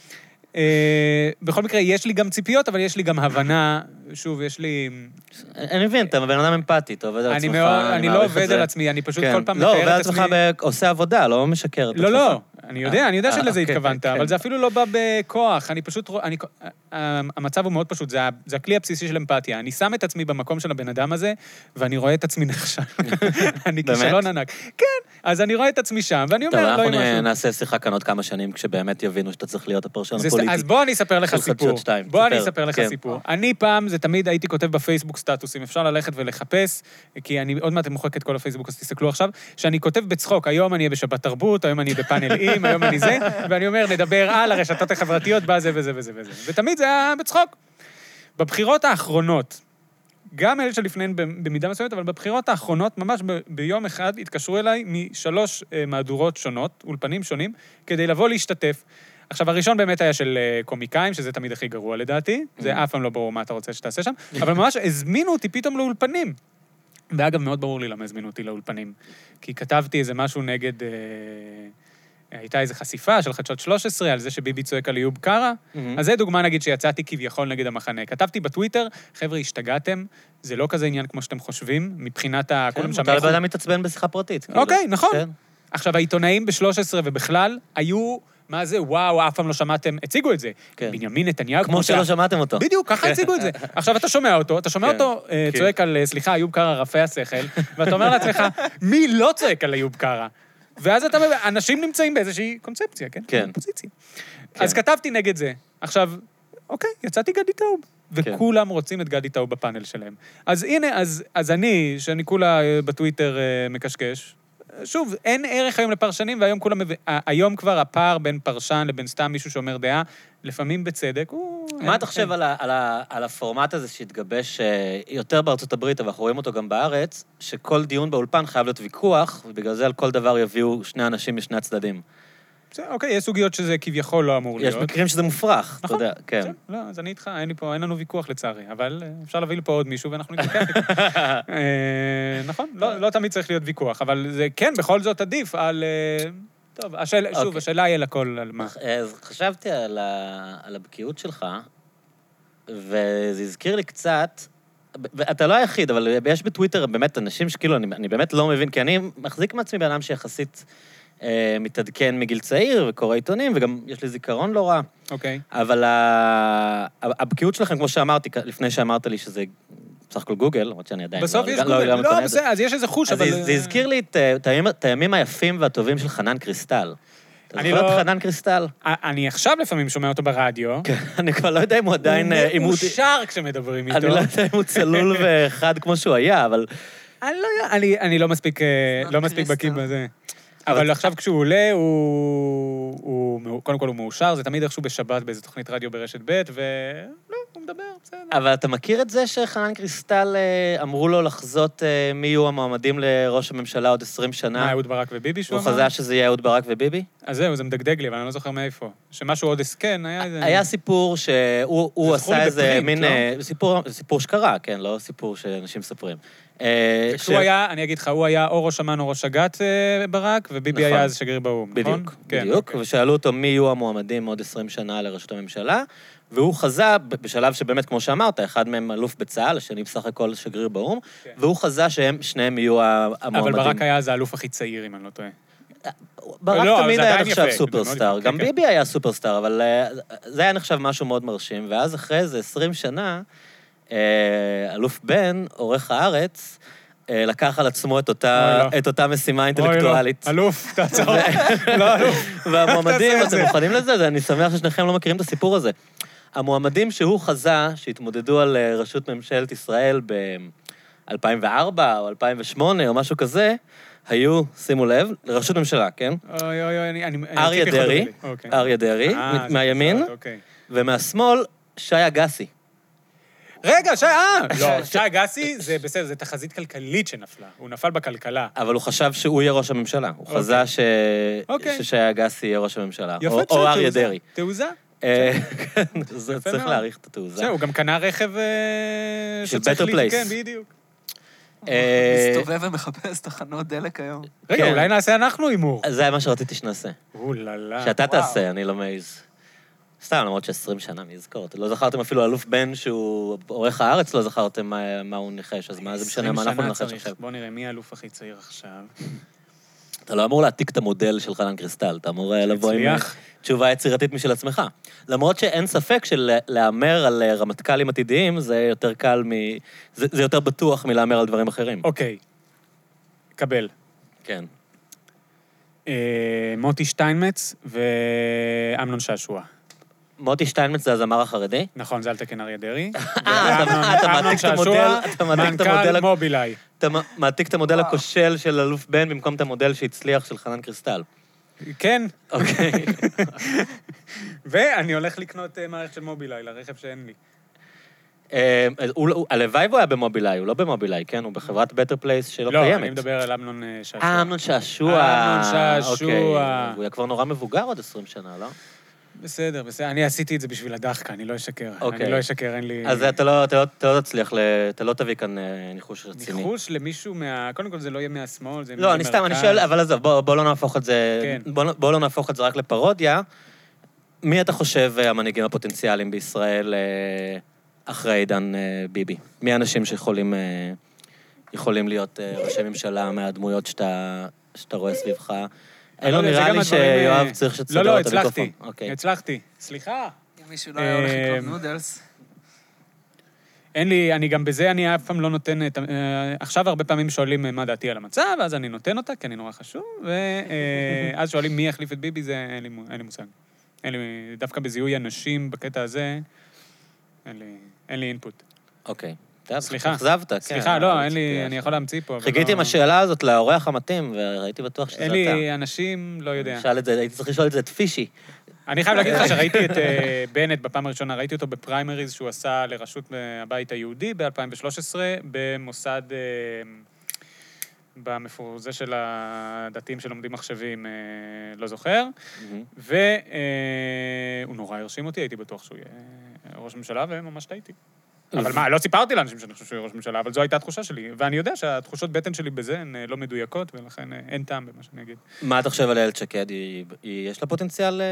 [SPEAKER 2] אה, בכל מקרה, יש לי גם ציפיות, אבל יש לי גם הבנה, שוב, יש לי...
[SPEAKER 1] אני מבין, אתה בן אדם אמפתי, אתה עובד על
[SPEAKER 2] אני
[SPEAKER 1] עצמך,
[SPEAKER 2] מאוד, אני לא
[SPEAKER 1] מעריך את
[SPEAKER 2] עובד
[SPEAKER 1] זה.
[SPEAKER 2] על עצמי, אני פשוט
[SPEAKER 1] כן.
[SPEAKER 2] כל פעם
[SPEAKER 1] לא, עובד
[SPEAKER 2] מתאר
[SPEAKER 1] על
[SPEAKER 2] את
[SPEAKER 1] עצמך,
[SPEAKER 2] עצמי...
[SPEAKER 1] ב- עושה עבודה, לא משקר. את
[SPEAKER 2] לא,
[SPEAKER 1] עצמך.
[SPEAKER 2] לא, אני יודע, אני יודע
[SPEAKER 1] אה,
[SPEAKER 2] שלזה
[SPEAKER 1] אוקיי,
[SPEAKER 2] התכוונת,
[SPEAKER 1] כן.
[SPEAKER 2] אבל זה אפילו לא בא בכוח, אני פשוט, רוא- אני, כ- ה- המצב הוא מאוד פשוט, זה, ה- זה הכלי הבסיסי של אמפתיה. אני שם את עצמי במקום של הבן אדם הזה, ואני רואה את עצמי נחשב. אני
[SPEAKER 1] באמת?
[SPEAKER 2] כישלון ענק. כן, אז אני רואה את עצמי שם, ואני
[SPEAKER 1] טוב,
[SPEAKER 2] אומר, לא
[SPEAKER 1] אנחנו
[SPEAKER 2] עם משהו.
[SPEAKER 1] נ- נעשה שיחה כאן עוד כמה שנים, כשבאמת יבינו שאתה צריך להיות הפרשן
[SPEAKER 2] זה
[SPEAKER 1] הפוליטי.
[SPEAKER 2] סת- אז בוא אני אספר לך
[SPEAKER 1] של חדשות
[SPEAKER 2] סיפור.
[SPEAKER 1] שתיים,
[SPEAKER 2] בוא אני
[SPEAKER 1] ספר,
[SPEAKER 2] אספר לך
[SPEAKER 1] כן.
[SPEAKER 2] סיפור. אני פעם, זה תמיד הייתי כותב בפייסבוק סטטוסים, אפשר ללכת ולחפש, כי אני עוד מעט מוחק את כל הפייסבוק, אז תסתכלו עכשיו, שאני כותב בצחוק, היום אני אהיה בשבת תרבות, היום אני בפאנל אים, היום אני זה, ואני אומר, נדבר על הרשתות החברתיות, בא זה וזה וזה וזה. ותמיד זה היה בצחוק. בבחירות האחרונות, גם אלה שלפניהן במידה מסוימת, אבל בבחירות האחרונות, ממש ב- ביום אחד, התקשרו אליי משלוש אה, מהדורות שונות, אולפנים שונים, כדי לבוא להשתתף. עכשיו, הראשון באמת היה של אה, קומיקאים, שזה תמיד הכי גרוע לדעתי, זה אף פעם לא ברור מה אתה רוצה שתעשה שם, אבל ממש הזמינו אותי פתאום לאולפנים. ואגב, מאוד ברור לי למה הזמינו אותי לאולפנים. כי כתבתי איזה משהו נגד... אה, הייתה איזו חשיפה של חדשות 13 על זה שביבי צועק על איוב קרא.
[SPEAKER 1] מהמם.
[SPEAKER 2] אז זה דוגמה, נגיד, שיצאתי כביכול נגד המחנה. כתבתי בטוויטר, חבר'ה, השתגעתם, זה לא כזה עניין כמו שאתם חושבים, מבחינת ה...
[SPEAKER 1] כן,
[SPEAKER 2] כולם שם
[SPEAKER 1] מותר לבן
[SPEAKER 2] איכות-
[SPEAKER 1] אדם להתעצבן בשיחה פרטית. כאילו.
[SPEAKER 2] אוקיי, נכון.
[SPEAKER 1] כן.
[SPEAKER 2] עכשיו, העיתונאים ב-13 ובכלל היו, מה זה, וואו, אף פעם לא שמעתם, הציגו את זה.
[SPEAKER 1] כן.
[SPEAKER 2] בנימין נתניהו,
[SPEAKER 1] כמו
[SPEAKER 2] שה-
[SPEAKER 1] שלא שמעתם אותו.
[SPEAKER 2] בדיוק, ככה הציגו את זה. עכשיו, אתה שומע אותו, אתה שומע
[SPEAKER 1] כן,
[SPEAKER 2] אותו אה,
[SPEAKER 1] כן.
[SPEAKER 2] צועק על, אה, סליחה, איוב קרא רפה השכל, ואתה אומר לעצמך, מי לא צועק על איוב קרא? ואז אתה מבין, אנשים נמצאים באיזושהי קונספציה, כן?
[SPEAKER 1] כן.
[SPEAKER 2] פוזיציה. אז כתבתי נגד זה. עכשיו, אוקיי, יצאתי גדי טאוב.
[SPEAKER 1] כן.
[SPEAKER 2] וכולם רוצים את גדי טאוב בפאנל שלהם. אז הנה, אז, אז אני, שאני כולה אה, בטוויטר אה, מקשקש, אה, שוב, אין ערך היום לפרשנים, והיום כולם... מב... ה- היום כבר הפער בין פרשן לבין סתם מישהו שאומר דעה, לפעמים בצדק, הוא...
[SPEAKER 1] מה
[SPEAKER 2] אין-
[SPEAKER 1] אתה חושב על ה- על ה- על הפורמט הזה שהתגבש אה, יותר בארצות הברית, אבל אנחנו רואים אותו גם בארץ, שכל דיון באולפן חייב להיות ויכוח, ובגלל זה על כל דבר יביאו שני אנשים משני הצדדים.
[SPEAKER 2] בסדר, אוקיי, יש סוגיות שזה כביכול לא אמור
[SPEAKER 1] יש
[SPEAKER 2] להיות.
[SPEAKER 1] מקרים שזה מופרך, אתה
[SPEAKER 2] נכון,
[SPEAKER 1] יודע, כן.
[SPEAKER 2] בסדר, לא, אז אני איתך, אין לי פה, אין לנו ויכוח לצערי, אבל אה, אפשר להביא לפה עוד מישהו ואנחנו נתווכח איתו. אה, נכון, לא לא תמיד צריך להיות ויכוח, אבל זה כן, בכל זאת עדיף על... אה, טוב, השאלה- שוב,
[SPEAKER 1] אוקיי.
[SPEAKER 2] השאלה היא על הכל, על מה.
[SPEAKER 1] אה, אז חשבתי על, ה... על הבקיאות שלך, וזה הזכיר לי קצת, אתה לא היחיד, אבל יש בטוויטר באמת אנשים שכאילו, אני, אני באמת לא מבין, כי אני מחזיק מעצמי בן אדם שיחסית אה, מתעדכן מגיל צעיר, וקורא עיתונים, וגם יש לי זיכרון לא רע.
[SPEAKER 2] אוקיי.
[SPEAKER 1] אבל ה- הבקיאות שלכם, כמו שאמרתי, כ- לפני שאמרת לי שזה בסך הכל גוגל, למרות שאני עדיין
[SPEAKER 2] בסוף יש
[SPEAKER 1] לא,
[SPEAKER 2] גוגל.
[SPEAKER 1] לגמרי קונה
[SPEAKER 2] לא,
[SPEAKER 1] את זה.
[SPEAKER 2] בסדר, אז יש איזה חוש,
[SPEAKER 1] אז
[SPEAKER 2] אבל...
[SPEAKER 1] אה, זה, זה הזכיר לי את, אה, את הימים- את הימים היפים והטובים של חנן קריסטל. אתה
[SPEAKER 2] אני
[SPEAKER 1] זוכר
[SPEAKER 2] לא-
[SPEAKER 1] את חנן קריסטל?
[SPEAKER 2] אני עכשיו לפעמים שומע אותו ברדיו.
[SPEAKER 1] אני כבר לא יודע אם הוא עדיין... אה, אם
[SPEAKER 2] הוא
[SPEAKER 1] הוא-
[SPEAKER 2] מאושר כשמדברים איתו.
[SPEAKER 1] אני לא יודע אם הוא צלול וחד כמו שהוא היה, אבל...
[SPEAKER 2] אני לא יודע, אני- אני לא מספיק, אה,
[SPEAKER 3] סתם
[SPEAKER 2] לא מספיק
[SPEAKER 3] קריסטל.
[SPEAKER 2] בקיא בזה. אבל עכשיו כשהוא עולה, הוא... הוא מאו- קודם כל הוא מאושר, זה תמיד איכשהו בשבת באיזה תוכנית רדיו ברשת ב', ולא, הוא מדבר, בסדר.
[SPEAKER 1] אבל אתה מכיר את זה שחנן קריסטל אה, אמרו לו לחזות אה, מי יהיו המועמדים לראש הממשלה עוד 20
[SPEAKER 2] מה,
[SPEAKER 1] שנה?
[SPEAKER 2] אהוד ברק וביבי שהוא
[SPEAKER 1] הוא
[SPEAKER 2] אמר?
[SPEAKER 1] חזה שזה יהיה אהוד ברק וביבי?
[SPEAKER 2] אז זהו, זה מדגדג לי, אבל אני לא זוכר מאיפה. שמשהו עוד הסכן, היה איזה...
[SPEAKER 1] היה סיפור שהוא הוא
[SPEAKER 2] זכור
[SPEAKER 1] עשה
[SPEAKER 2] לי
[SPEAKER 1] איזה
[SPEAKER 2] בפרינט,
[SPEAKER 1] מין...
[SPEAKER 2] לא?
[SPEAKER 1] אה, סיפור- סיפור שקרה, כן, לא סיפור שאנשים מספרים. אה,
[SPEAKER 2] כשהוא
[SPEAKER 1] ש-
[SPEAKER 2] היה, אני אגיד לך, הוא היה או ראש אמ"ן או ראש אג"ת אה, ברק, וביבי
[SPEAKER 1] נכון.
[SPEAKER 2] היה אז שגריר באו"ם, נכון?
[SPEAKER 1] בדיוק,
[SPEAKER 2] כן,
[SPEAKER 1] בדיוק.
[SPEAKER 2] אוקיי.
[SPEAKER 1] ושאלו אותו מי יהיו המועמדים עוד 20 שנה לראשות הממשלה, והוא חזה, ב- בשלב שבאמת, כמו שאמרת, אחד מהם אלוף בצה"ל, השני בסך הכל שגריר באו"ם,
[SPEAKER 2] כן.
[SPEAKER 1] והוא חזה שהם, שניהם יהיו ה-
[SPEAKER 2] אבל
[SPEAKER 1] המועמדים.
[SPEAKER 2] ברק היה אז האלוף הכי צעיר, אם אני לא טועה.
[SPEAKER 1] ברק
[SPEAKER 2] לא, אבל
[SPEAKER 1] תמיד
[SPEAKER 2] זה
[SPEAKER 1] היה
[SPEAKER 2] עדיין
[SPEAKER 1] נחשב
[SPEAKER 2] יפה, זה מאוד
[SPEAKER 1] סופרסטאר,
[SPEAKER 2] יפה,
[SPEAKER 1] גם
[SPEAKER 2] כן, כן.
[SPEAKER 1] ביבי היה סופרסטאר, אבל אה, זה היה נחשב משהו מאוד מרשים. ואז אחרי איזה 20 שנה, אה, אלוף בן, עורך הארץ, אה, לקח על עצמו את אותה-
[SPEAKER 2] אוי, לא.
[SPEAKER 1] את אותה משימה
[SPEAKER 2] אוי, לא.
[SPEAKER 1] אינטלקטואלית.
[SPEAKER 2] אלוף, תעצור. לא, אלוף.
[SPEAKER 1] והמועמדים,
[SPEAKER 2] תעשה את
[SPEAKER 1] אתם
[SPEAKER 2] זה.
[SPEAKER 1] מוכנים לזה? זה- אני שמח ששניכם לא מכירים את הסיפור הזה. המועמדים שהוא חזה, שהתמודדו על אה, ראשות ממשלת ישראל ב-2004 או 2008 או משהו כזה, היו, שימו לב, לראשות ממשלה, כן?
[SPEAKER 2] אוי, אוי, אוי, אני... אני- אני-
[SPEAKER 1] אריה
[SPEAKER 2] ציפי
[SPEAKER 1] דרעי,
[SPEAKER 2] חוטובלי. אה, אוקיי.
[SPEAKER 1] אריה דרעי,
[SPEAKER 2] אה,
[SPEAKER 1] מ-
[SPEAKER 2] זה
[SPEAKER 1] מהימין,
[SPEAKER 2] בסדר, אוקיי.
[SPEAKER 1] ומהשמאל, שי אגסי.
[SPEAKER 2] רגע, שי, אה! לא, שי אגסי, זה בסדר, זה תחזית כלכלית שנפלה. הוא נפל בכלכלה.
[SPEAKER 1] אבל הוא חשב שהוא יהיה ראש הממשלה. הוא
[SPEAKER 2] אוקיי.
[SPEAKER 1] חזה ש-
[SPEAKER 2] אוקיי.
[SPEAKER 1] ששי אגסי יהיה ראש הממשלה.
[SPEAKER 2] יפה,
[SPEAKER 1] או-
[SPEAKER 2] בסדר,
[SPEAKER 1] או אריה
[SPEAKER 2] תעוזה.
[SPEAKER 1] דרעי.
[SPEAKER 2] תעוזה?
[SPEAKER 1] אה, כן, זה-
[SPEAKER 2] יפה
[SPEAKER 1] צריך
[SPEAKER 2] מאוד.
[SPEAKER 1] להעריך את התעוזה.
[SPEAKER 2] זהו, הוא גם קנה רכב... אה,
[SPEAKER 1] של
[SPEAKER 2] שצריך
[SPEAKER 1] Better
[SPEAKER 2] לי-
[SPEAKER 1] Place.
[SPEAKER 2] כן, בדיוק.
[SPEAKER 1] אה,
[SPEAKER 3] מסתובב ומחפש תחנות דלק היום.
[SPEAKER 2] רגע,
[SPEAKER 1] כן.
[SPEAKER 2] אולי נעשה אנחנו הימור.
[SPEAKER 1] אז זה היה מה שרציתי שנעשה.
[SPEAKER 2] אוללה.
[SPEAKER 1] שאתה
[SPEAKER 3] וואו.
[SPEAKER 1] תעשה, אני לא מעז. סתם, למרות ש-20 שנה, מי יזכור? אתם לא זכרתם אפילו אלוף בן שהוא עורך הארץ, לא זכרתם מה- מה הוא ניחש, אז מה זה משנה מה אנחנו נחש עכשיו?
[SPEAKER 2] בוא נראה, מי האלוף הכי צעיר עכשיו?
[SPEAKER 1] אתה לא אמור להעתיק את המודל של חנן קריסטל, אתה אמור אה, לבוא עם אה,
[SPEAKER 2] הצליח.
[SPEAKER 1] תשובה יצירתית משל עצמך. למרות שאין ספק שלהמר על אה, רמטכ"לים עתידיים זה יותר קל מ... זה זה יותר בטוח מלהמר על דברים אחרים.
[SPEAKER 2] אוקיי, קבל.
[SPEAKER 1] כן.
[SPEAKER 2] אה, מוטי שטיינמץ ואמנון שעשוע.
[SPEAKER 1] מוטי שטיינמץ זה הזמר החרדי?
[SPEAKER 2] נכון, זה על תקן אריה דרעי.
[SPEAKER 1] אה, אתה-
[SPEAKER 2] ואמנון-
[SPEAKER 1] אתה
[SPEAKER 2] אמנון
[SPEAKER 1] מעתיק את
[SPEAKER 2] שעשוע,
[SPEAKER 1] המודל- אתה מעתיק את המודל
[SPEAKER 2] מנכ"ל
[SPEAKER 1] הק-
[SPEAKER 2] מובילאיי.
[SPEAKER 1] אתה מ- מעתיק את המודל
[SPEAKER 3] וואו.
[SPEAKER 1] הכושל של אלוף בן במקום את המודל שהצליח של חנן קריסטל.
[SPEAKER 2] כן,
[SPEAKER 1] אוקיי.
[SPEAKER 2] ואני הולך לקנות אה, מערכת של מובילאיי לרכב שאין לי.
[SPEAKER 1] אה, הוא לא- הוא- הלוואי והוא היה במובילאיי, הוא לא במובילאי, כן? הוא בחברת בטר פלייס שלא קיימת.
[SPEAKER 2] לא, אני מדבר על אמנון אה, שעשוע.
[SPEAKER 1] אה, אמנון שעשוע.
[SPEAKER 2] אמנון שעשוע.
[SPEAKER 1] אוקיי, הוא היה כבר נורא מבוגר עוד 20 שנה, לא?
[SPEAKER 2] בסדר, בסדר. אני עשיתי את זה בשביל הדחקה, אני לא אשקר.
[SPEAKER 1] אוקיי.
[SPEAKER 2] אני לא אשקר, אין לי...
[SPEAKER 1] אז אתה לא- אתה לא- אתה לא תצליח, ל- אתה לא תביא כאן אה, ניחוש רציני.
[SPEAKER 2] ניחוש למישהו מה... קודם כל זה לא יהיה מהשמאל, זה
[SPEAKER 1] לא, אני סתם, אני
[SPEAKER 2] מהמרכז.
[SPEAKER 1] שואל, אבל עזוב, בוא בוא לא נהפוך את זה,
[SPEAKER 2] כן.
[SPEAKER 1] בוא לא- בוא לא נהפוך את זה רק לפרודיה. מי אתה חושב אה, המנהיגים הפוטנציאליים בישראל אה, אחרי עידן אה, ביבי? מי האנשים שיכולים אה, יכולים להיות אה, ראשי ממשלה מהדמויות שאתה שאתה רואה סביבך?
[SPEAKER 2] אני לא
[SPEAKER 1] אין לו
[SPEAKER 2] יודע, זה
[SPEAKER 1] לא נראה
[SPEAKER 2] גם
[SPEAKER 1] לי
[SPEAKER 2] הדברים, אה,
[SPEAKER 1] שיואב צריך שתסדר
[SPEAKER 2] לא, לא,
[SPEAKER 1] את המיקרופון.
[SPEAKER 2] הצלחתי.
[SPEAKER 1] אוקיי.
[SPEAKER 2] הצלחתי. סליחה.
[SPEAKER 3] אם מישהו לא היה הולך
[SPEAKER 2] אה,
[SPEAKER 3] לקנות נודלס.
[SPEAKER 2] אין לי, אני גם בזה, אני אף פעם לא נותן את... ה- אה, עכשיו הרבה פעמים שואלים אה, מה דעתי על המצב, ואז אני נותן אותה, כי אני נורא חשוב, ואז שואלים מי יחליף את ביבי, זה אין לי, מו- אין לי מושג. אין לי, דווקא בזיהוי אנשים, בקטע הזה, אין לי, אין לי אינפוט.
[SPEAKER 1] אוקיי. אתה יודע,
[SPEAKER 2] סליחה.
[SPEAKER 1] אכזבת, כן. אוקיי,
[SPEAKER 2] סליחה, לא, אין לי,
[SPEAKER 1] ציפייה
[SPEAKER 2] אני
[SPEAKER 1] שלך.
[SPEAKER 2] יכול להמציא פה, אבל
[SPEAKER 1] חיכיתי
[SPEAKER 2] לא-
[SPEAKER 1] עם השאלה הזאת לאורח המתאים, והייתי בטוח שזה
[SPEAKER 2] אין
[SPEAKER 1] אתה.
[SPEAKER 2] לי אנשים, לא יודע.
[SPEAKER 1] שאל את זה, הייתי צריך לשאול את זה את פישי.
[SPEAKER 2] אני חייב להגיד לך שראיתי את אה, בנט בפעם הראשונה, ראיתי אותו בפריימריז שהוא עשה לראשות אה, הבית היהודי ב-2013, במוסד... אה, במפור... זה של הדתיים שלומדים מחשבים, אה, לא זוכר. והוא נורא הרשים אותי, הייתי בטוח שהוא יהיה ראש ממשלה, וממש טעיתי. אבל מה, לא סיפרתי לאנשים שאני חושב שהוא יהיה ראש ממשלה, אבל זו הייתה התחושה שלי. ואני יודע שהתחושות בטן שלי בזה הן אה, לא מדויקות, ולכן אה, אין טעם במה שאני אגיד.
[SPEAKER 1] מה אתה חושב על איילת שקד? היא- היא- יש לה פוטנציאל... אה,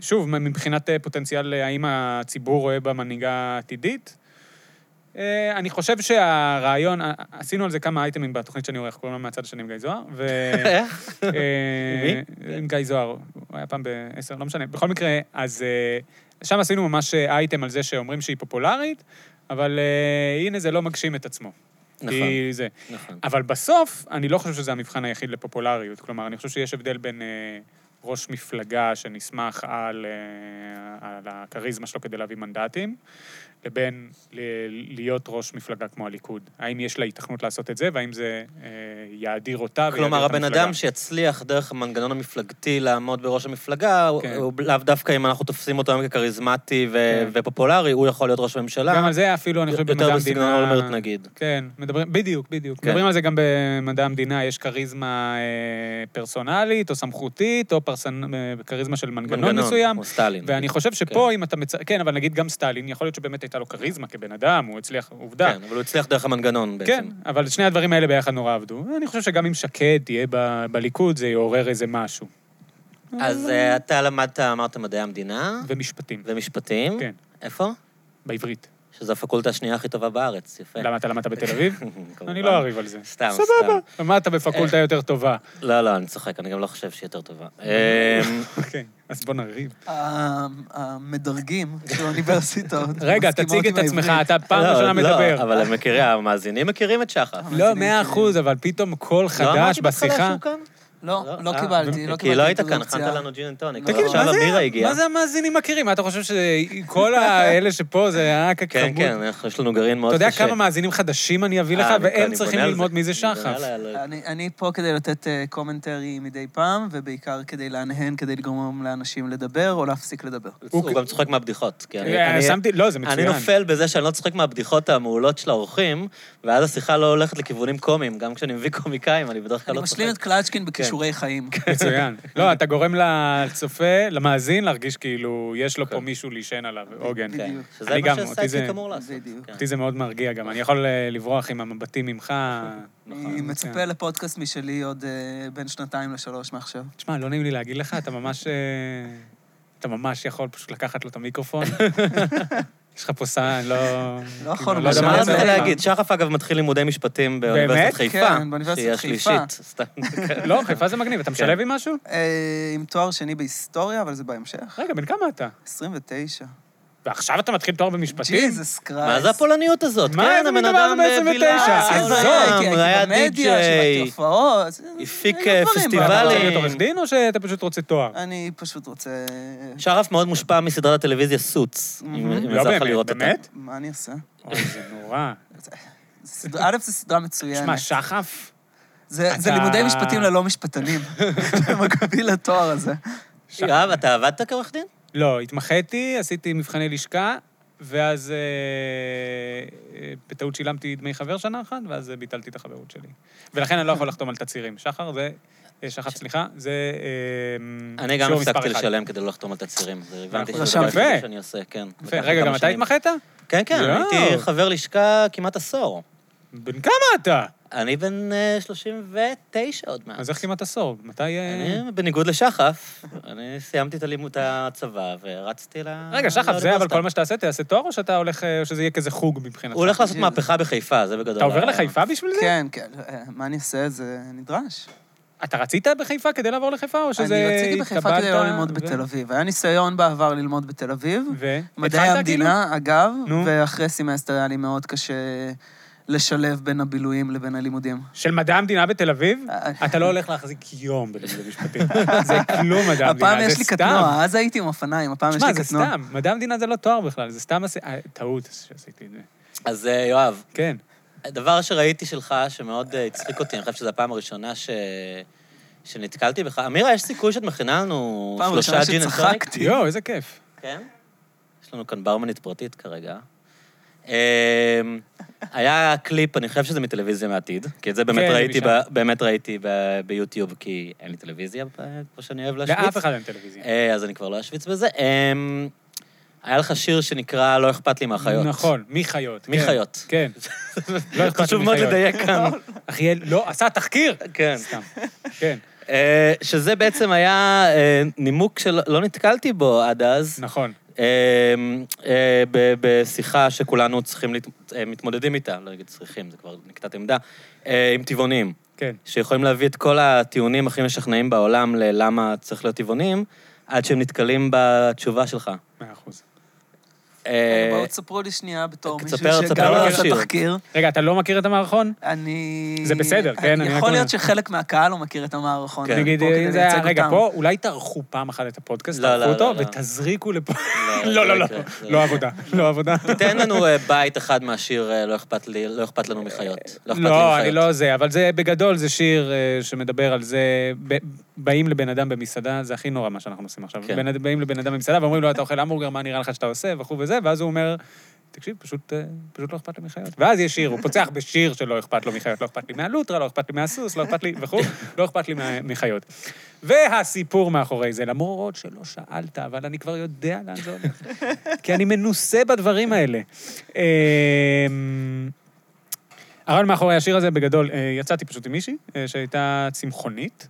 [SPEAKER 2] שוב, מבחינת אה, פוטנציאל, אה, האם הציבור רואה בה מנהיגה עתידית? אה, אני חושב שהרעיון, אה, עשינו על זה כמה אייטמים בתוכנית שאני עורך, קוראים לה מהצד השני עם גיא זוהר, ו...
[SPEAKER 1] איך?
[SPEAKER 2] אה, עם גיא זוהר, הוא היה פעם בעשר, לא משנה. בכל מקרה, אז אה, שם עשינו ממש אה, אייטם על זה שאומרים שהיא פופולרית, אבל אה, הנה זה לא מגשים את עצמו.
[SPEAKER 1] נכון.
[SPEAKER 2] כי זה.
[SPEAKER 1] נכון.
[SPEAKER 2] אבל בסוף, אני לא חושב שזה המבחן היחיד לפופולריות. כלומר, אני חושב שיש הבדל בין אה, ראש מפלגה שנסמך על, אה, על הכריזמה שלו כדי להביא מנדטים, לבין ל- להיות ראש מפלגה כמו הליכוד. האם יש לה היתכנות לעשות את זה, והאם זה אה, יאדיר אותה ויאדיר את
[SPEAKER 1] כלומר, הבן
[SPEAKER 2] אה, המפלגה?
[SPEAKER 1] אדם שיצליח דרך המנגנון המפלגתי לעמוד בראש המפלגה, הוא-
[SPEAKER 2] כן.
[SPEAKER 1] הוא לאו דווקא אם אנחנו תופסים אותו היום ככריזמטי ו-
[SPEAKER 2] כן.
[SPEAKER 1] ופופולרי, הוא יכול להיות ראש ממשלה.
[SPEAKER 2] גם על זה אפילו, אני חושב, במדע
[SPEAKER 1] יותר בסגנון
[SPEAKER 2] המדינה...
[SPEAKER 1] אולמרט נגיד.
[SPEAKER 2] כן, מדברים, בדיוק, בדיוק.
[SPEAKER 1] כן.
[SPEAKER 2] מדברים על זה גם במדע המדינה, יש כריזמה אה, פרסונלית או סמכותית, או פרסנ... אה, כריזמה של מנגנון, מסוים.
[SPEAKER 1] או סטלין.
[SPEAKER 2] ואני חושב שפה, אם אתה מצ... כן, אבל נגיד גם סטלין, יכול להיות שבאמת הייתה לו כריזמה כבן אדם, הוא הצליח, עובדה.
[SPEAKER 1] כן, אבל הוא הצליח דרך המנגנון בעצם.
[SPEAKER 2] כן, אבל שני הדברים האלה ביחד נורא עבדו. אני חושב שגם אם שקד תהיה ב... בליכוד, זה יעורר איזה משהו.
[SPEAKER 1] אז אה, אתה למדת, אמרת מדעי המדינה
[SPEAKER 2] ומשפטים,
[SPEAKER 1] ומשפטים.
[SPEAKER 2] כן.
[SPEAKER 1] איפה?
[SPEAKER 2] בעברית.
[SPEAKER 1] שזו הפקולטה השנייה הכי טובה בארץ, יפה.
[SPEAKER 2] למה אתה למדת בתל אביב?
[SPEAKER 1] כמובן.
[SPEAKER 2] אני לא אריב על זה.
[SPEAKER 1] סתם, סתם. אה.
[SPEAKER 2] למדת בפקולטה יותר טובה.
[SPEAKER 1] לא, לא, אני צוחק, אני גם לא חושב שהיא יותר טובה. אמ,
[SPEAKER 2] אוקיי, אז בוא נריב.
[SPEAKER 3] ה- אה, המדרגים של האוניברסיטאות.
[SPEAKER 2] רגע,
[SPEAKER 3] מסכימות
[SPEAKER 2] תציג
[SPEAKER 3] עם
[SPEAKER 2] את עצמך,
[SPEAKER 3] העברית.
[SPEAKER 2] אתה פעם
[SPEAKER 1] לא,
[SPEAKER 2] ראשונה
[SPEAKER 1] לא,
[SPEAKER 2] מדבר.
[SPEAKER 1] אבל הם מכירים, המאזינים מכירים את שחר.
[SPEAKER 2] לא,
[SPEAKER 3] המאזינים
[SPEAKER 2] מאה
[SPEAKER 3] שלי.
[SPEAKER 2] אחוז, אבל פתאום קול חדש
[SPEAKER 1] לא אמרתי בהתחלה
[SPEAKER 2] בשיחה.
[SPEAKER 1] שהוא כאן?
[SPEAKER 3] לא,
[SPEAKER 1] אה,
[SPEAKER 3] לא קיבלתי, לא קיבלתי.
[SPEAKER 1] כי לא היית
[SPEAKER 3] את
[SPEAKER 1] כאן,
[SPEAKER 3] האופציה.
[SPEAKER 1] הכנת לנו ג'ין אנד טוניק.
[SPEAKER 3] תגיד,
[SPEAKER 1] אבל עכשיו
[SPEAKER 2] מה זה-
[SPEAKER 1] אמירה הגיעה.
[SPEAKER 2] מה זה המאזינים מכירים? מה, אתה חושב שכל האלה שפה זה רק הכמות?
[SPEAKER 1] כן, כן, אנחנו- יש לנו גרעין מאוד
[SPEAKER 2] אתה
[SPEAKER 1] קשה.
[SPEAKER 2] יודע כמה מאזינים חדשים אני אביא לך,
[SPEAKER 1] אה, אני-
[SPEAKER 2] והם
[SPEAKER 1] אני
[SPEAKER 2] צריכים
[SPEAKER 1] בונה על
[SPEAKER 2] ללמוד מי זה
[SPEAKER 1] אני בונה
[SPEAKER 2] שחף.
[SPEAKER 1] על ה-
[SPEAKER 3] אני אני פה כדי לתת אה, קומנטרי מדי פעם, ובעיקר כדי להנהן, כדי לגרום לאנשים לדבר או להפסיק לדבר.
[SPEAKER 1] הוא גם צוחק מהבדיחות. כי אני-
[SPEAKER 2] אה,
[SPEAKER 1] אני-
[SPEAKER 2] שמתי, לא, זה מצוין.
[SPEAKER 1] אני נופל בזה שאני לא צוחק מהבדיחות המעולות של האורחים, ואז השיחה לא הולכת לכיוונים קומיים. גם כשאני מביא קומיקאים, אני בדרך כלל
[SPEAKER 3] אני
[SPEAKER 1] לא צוחק. כן.
[SPEAKER 3] משלים את קלצ'קין בכישורי חיים.
[SPEAKER 2] מצוין. לא, אתה גורם לצופה, למאזין, להרגיש כאילו יש לו פה מישהו להישען עליו, עוגן.
[SPEAKER 3] בדיוק.
[SPEAKER 1] כן, שזה
[SPEAKER 2] אני
[SPEAKER 1] מה
[SPEAKER 2] גם, אותי
[SPEAKER 1] שעשה
[SPEAKER 2] זה-
[SPEAKER 1] לי כאמור לעשות.
[SPEAKER 3] בדיוק.
[SPEAKER 1] כן.
[SPEAKER 2] אותי זה מאוד מרגיע גם, אני יכול אה, לברוח עם המבטים ממך.
[SPEAKER 1] נכון,
[SPEAKER 3] אני
[SPEAKER 1] כן.
[SPEAKER 2] מצוין.
[SPEAKER 3] מצפה לפודקאסט משלי עוד אה, בין שנתיים לשלוש מעכשיו.
[SPEAKER 2] תשמע, לא נעים לי להגיד לך, אתה ממש... אה, אתה ממש יכול פשוט לקחת לו את המיקרופון. יש לך פה סען, לא...
[SPEAKER 3] לא יכול,
[SPEAKER 2] לא יודע
[SPEAKER 1] אבל
[SPEAKER 2] מה
[SPEAKER 1] מה
[SPEAKER 2] לעשות.
[SPEAKER 1] רצית להגיד? שחף, אגב, מתחיל לימודי משפטים
[SPEAKER 2] באמת?
[SPEAKER 1] באוניברסיטת חיפה.
[SPEAKER 3] כן, באוניברסיטת
[SPEAKER 1] שהיא
[SPEAKER 3] חיפה.
[SPEAKER 1] השלישית, סתם.
[SPEAKER 2] לא, חיפה זה מגניב, אתה
[SPEAKER 1] כן.
[SPEAKER 2] משלב עם משהו?
[SPEAKER 3] אה, עם תואר שני בהיסטוריה, אבל זה בהמשך.
[SPEAKER 2] רגע, בן כמה אתה?
[SPEAKER 3] 29.
[SPEAKER 2] ועכשיו אתה מתחיל תואר במשפטים?
[SPEAKER 3] ג'יזוס קרייסט.
[SPEAKER 1] מה זה הפולניות הזאת?
[SPEAKER 2] מה,
[SPEAKER 1] כן,
[SPEAKER 2] איזה מין
[SPEAKER 1] הבן
[SPEAKER 2] דבר
[SPEAKER 1] אדם
[SPEAKER 2] זה בעצם
[SPEAKER 1] בילה,
[SPEAKER 2] בתשע?
[SPEAKER 1] אה,
[SPEAKER 2] איזה
[SPEAKER 3] אז
[SPEAKER 1] העולם,
[SPEAKER 3] הייתי- הייתי
[SPEAKER 1] היה
[SPEAKER 3] כן, במדיה,
[SPEAKER 1] די-ג'יי.
[SPEAKER 3] שיווקתי הופעות. זה-
[SPEAKER 1] הפיק, אה,
[SPEAKER 3] זה דברים,
[SPEAKER 1] פסטיבלים.
[SPEAKER 2] אתה
[SPEAKER 3] אבל- אה,
[SPEAKER 2] רוצה
[SPEAKER 1] וואלה.
[SPEAKER 2] להיות עורך דין או שאתה פשוט רוצה תואר?
[SPEAKER 3] אני פשוט רוצה...
[SPEAKER 1] שרף מאוד מושפע מסדרת הטלוויזיה סוץ, אם אם
[SPEAKER 2] לא
[SPEAKER 1] יצא לך
[SPEAKER 2] באמת,
[SPEAKER 1] לראות אותה.
[SPEAKER 2] באמת?
[SPEAKER 3] מה אני אעשה?
[SPEAKER 2] אוי, זה נורא.
[SPEAKER 3] זה סדרה- א', זו סדרה מצוינת.
[SPEAKER 2] תשמע, שחף,
[SPEAKER 3] זה זה
[SPEAKER 2] אתה-
[SPEAKER 3] לימודי משפטים ללא משפטנים. במקביל לתואר הזה.
[SPEAKER 1] יואב, אתה עבדת כעורך דין?
[SPEAKER 2] לא, התמחיתי, עשיתי מבחני לשכה, ואז אה, אה, בטעות שילמתי דמי חבר שנה אחת, ואז אה, ביטלתי את החברות שלי. ולכן אני לא יכול לחתום על תצהירים. שחר, זה... אה, שחר, סליחה, זה... אה,
[SPEAKER 1] אני גם
[SPEAKER 2] שיעור
[SPEAKER 1] הפסקתי
[SPEAKER 2] מספר אחד.
[SPEAKER 1] לשלם כדי לא לחתום על תצהירים. זה הבנתי
[SPEAKER 2] אנחנו
[SPEAKER 1] שזה דבר
[SPEAKER 2] יפה.
[SPEAKER 1] היחיד שאני עושה, כן.
[SPEAKER 2] יפה.
[SPEAKER 1] לקח לי
[SPEAKER 2] רגע,
[SPEAKER 1] כמה
[SPEAKER 2] גם אתה
[SPEAKER 1] שנים.
[SPEAKER 2] התמחית?
[SPEAKER 1] כן, כן,
[SPEAKER 2] יואו.
[SPEAKER 1] הייתי חבר לשכה כמעט עשור.
[SPEAKER 2] בן כמה אתה?
[SPEAKER 1] אני בן אה, 39 עוד מעט.
[SPEAKER 2] אז איך כמעט עשור? מתי... אה,
[SPEAKER 1] אני, בניגוד לשחף, אני סיימתי את הלימוד את הצבא ורצתי ל...
[SPEAKER 2] רגע,
[SPEAKER 3] לא
[SPEAKER 2] שחף, זה אבל
[SPEAKER 1] לאוניברסיטה.
[SPEAKER 2] כל מה שתעשה, תעשה תואר, או שאתה הולך... אה, או שזה יהיה כזה חוג מבחינתך?
[SPEAKER 1] הוא הולך לעשות
[SPEAKER 3] זה-
[SPEAKER 1] מהפכה בחיפה, זה בגדול.
[SPEAKER 2] אתה עובר
[SPEAKER 1] הרעיון.
[SPEAKER 2] לחיפה בשביל זה?
[SPEAKER 3] כן, כן, אה, מה אני אעשה? זה נדרש.
[SPEAKER 2] אתה רצית בחיפה כדי לעבור לחיפה, או שזה...
[SPEAKER 3] כן. אני רציתי בחיפה כדי
[SPEAKER 2] התקבלת
[SPEAKER 3] לא ללמוד
[SPEAKER 2] ו-
[SPEAKER 3] בתל אביב. היה ניסיון בעבר ללמוד בתל אביב.
[SPEAKER 2] ו...
[SPEAKER 3] מדעי
[SPEAKER 2] התחלת, כאילו?
[SPEAKER 3] המדינה, אגב,
[SPEAKER 2] נו.
[SPEAKER 3] ואחרי סמסטר היה לי מאוד קשה לשלב בין הבילויים לבין הלימודים.
[SPEAKER 2] של מדע המדינה בתל אביב?
[SPEAKER 3] אה,
[SPEAKER 2] אתה לא הולך להחזיק יום בלימודי משפטים. זה כלום מדע המדינה, זה סתם.
[SPEAKER 3] הפעם יש לי קטנוע, אז הייתי עם אופניים, הפעם יש
[SPEAKER 2] תשמע,
[SPEAKER 3] לי
[SPEAKER 2] זה
[SPEAKER 3] קטנוע.
[SPEAKER 2] סתם. מדע המדינה זה לא תואר בכלל, זה סתם... עשי- אה, טעות שעשיתי את זה.
[SPEAKER 1] אז אה, יואב,
[SPEAKER 2] כן.
[SPEAKER 1] דבר שראיתי שלך שמאוד אה, הצחיק אותי, אני חושב שזו הפעם הראשונה ש... שנתקלתי בך. אמירה, יש סיכוי שאת מכינה לנו
[SPEAKER 3] פעם
[SPEAKER 1] שלושה
[SPEAKER 3] ראשונה
[SPEAKER 1] ג'ין אנד טוניק?
[SPEAKER 3] שצחקתי.
[SPEAKER 2] יואו, איזה כיף.
[SPEAKER 1] כן. יש לנו כאן ברמנית פרטית כרגע. אמ, היה קליפ, אני חושב שזה מטלוויזיה מעתיד, כי את זה באמת
[SPEAKER 2] כן, זה
[SPEAKER 1] ראיתי,
[SPEAKER 2] משם.
[SPEAKER 1] ב- באמת ראיתי ב- ביוטיוב, כי אין לי טלוויזיה, אה, כמו שאני
[SPEAKER 3] לא,
[SPEAKER 1] אוהב להשוויץ.
[SPEAKER 2] לאף אחד אין טלוויזיה.
[SPEAKER 1] אה, אז אני כבר לא אשוויץ בזה. אמ, היה לך שיר שנקרא "לא אכפת לי מהחיות".
[SPEAKER 2] נכון, מי חיות.
[SPEAKER 1] מי
[SPEAKER 2] כן,
[SPEAKER 1] חיות.
[SPEAKER 2] כן. לא אכפת לי
[SPEAKER 1] חשוב מאוד
[SPEAKER 2] מחיות.
[SPEAKER 1] לדייק כאן.
[SPEAKER 2] אחי, לא, עשה תחקיר!
[SPEAKER 1] כן.
[SPEAKER 2] סתם. כן,
[SPEAKER 1] אה, שזה בעצם היה אה, נימוק שלא לא נתקלתי בו עד אז.
[SPEAKER 2] נכון.
[SPEAKER 1] אה, אה, ב- בשיחה שכולנו צריכים, להת- אה, מתמודדים איתה, לא נגיד צריכים, זה כבר נקטעת עמדה, אה, עם טבעונים,
[SPEAKER 2] כן.
[SPEAKER 1] שיכולים להביא את כל הטיעונים הכי משכנעים בעולם ללמה צריך להיות טבעונים, עד שהם נתקלים בתשובה שלך.
[SPEAKER 2] מאה אחוז.
[SPEAKER 1] אה,
[SPEAKER 3] בואו תספרו לי שנייה בתור
[SPEAKER 1] תספר-
[SPEAKER 3] מישהו
[SPEAKER 1] תספר
[SPEAKER 2] על
[SPEAKER 3] שגר
[SPEAKER 1] השיר.
[SPEAKER 3] את התחקיר.
[SPEAKER 2] רגע, אתה לא מכיר את המערכון?
[SPEAKER 3] אני...
[SPEAKER 2] זה בסדר, כן, אני רק
[SPEAKER 3] יכול
[SPEAKER 2] אומר.
[SPEAKER 3] להיות שחלק מהקהל לא מכיר את המערכון.
[SPEAKER 1] כן.
[SPEAKER 3] אני
[SPEAKER 2] נגיד,
[SPEAKER 3] פה כדי
[SPEAKER 2] אם זה היה,
[SPEAKER 3] לייצג
[SPEAKER 2] רגע,
[SPEAKER 3] אותם.
[SPEAKER 2] פה, אולי תערכו פעם אחת את הפודקאסט,
[SPEAKER 1] לא, לא,
[SPEAKER 2] תערכו
[SPEAKER 1] לא,
[SPEAKER 2] אותו,
[SPEAKER 1] לא.
[SPEAKER 2] ותזריקו לפה.
[SPEAKER 1] לא,
[SPEAKER 2] לא, לא,
[SPEAKER 1] לא
[SPEAKER 2] לא,
[SPEAKER 1] יקרה, זה
[SPEAKER 2] לא עבודה, לא עבודה.
[SPEAKER 1] תן לנו אה, בית אחד מהשיר אה, לא אכפת לי, לא אכפת לנו מחיות. לא אכפת לי
[SPEAKER 2] לא, אני
[SPEAKER 1] מחיות.
[SPEAKER 2] לא זה, אבל זה בגדול, זה שיר אה, שמדבר על זה, ב- באים לבן אדם במסעדה, זה הכי נורא מה שאנחנו עושים עכשיו.
[SPEAKER 1] כן.
[SPEAKER 2] בן אד- באים לבן אדם במסעדה ואומרים לו, אתה אוכל המבורגר, מה נראה לך שאתה עושה, וכו' וזה, ואז הוא אומר, תקשיב, פשוט, אה, פשוט לא אכפת לי מחיות. ואז יש שיר, הוא פוצח בשיר שלא אכפת לו מחיות, לא אכפת לי מהלוטרה, לא אכפת לי מהסוס, לא אכפת לי וכו', לא אכפת לי מה- מחיות. והסיפור מאחורי זה, למרות שלא שאלת, אבל אני כבר יודע לאן זה הולך. כי אני מנוסה בדברים האלה. אמ, אבל מאחורי השיר הזה, בגדול, אה, יצאתי פשוט עם מישהי אה, שהייתה צמחונית,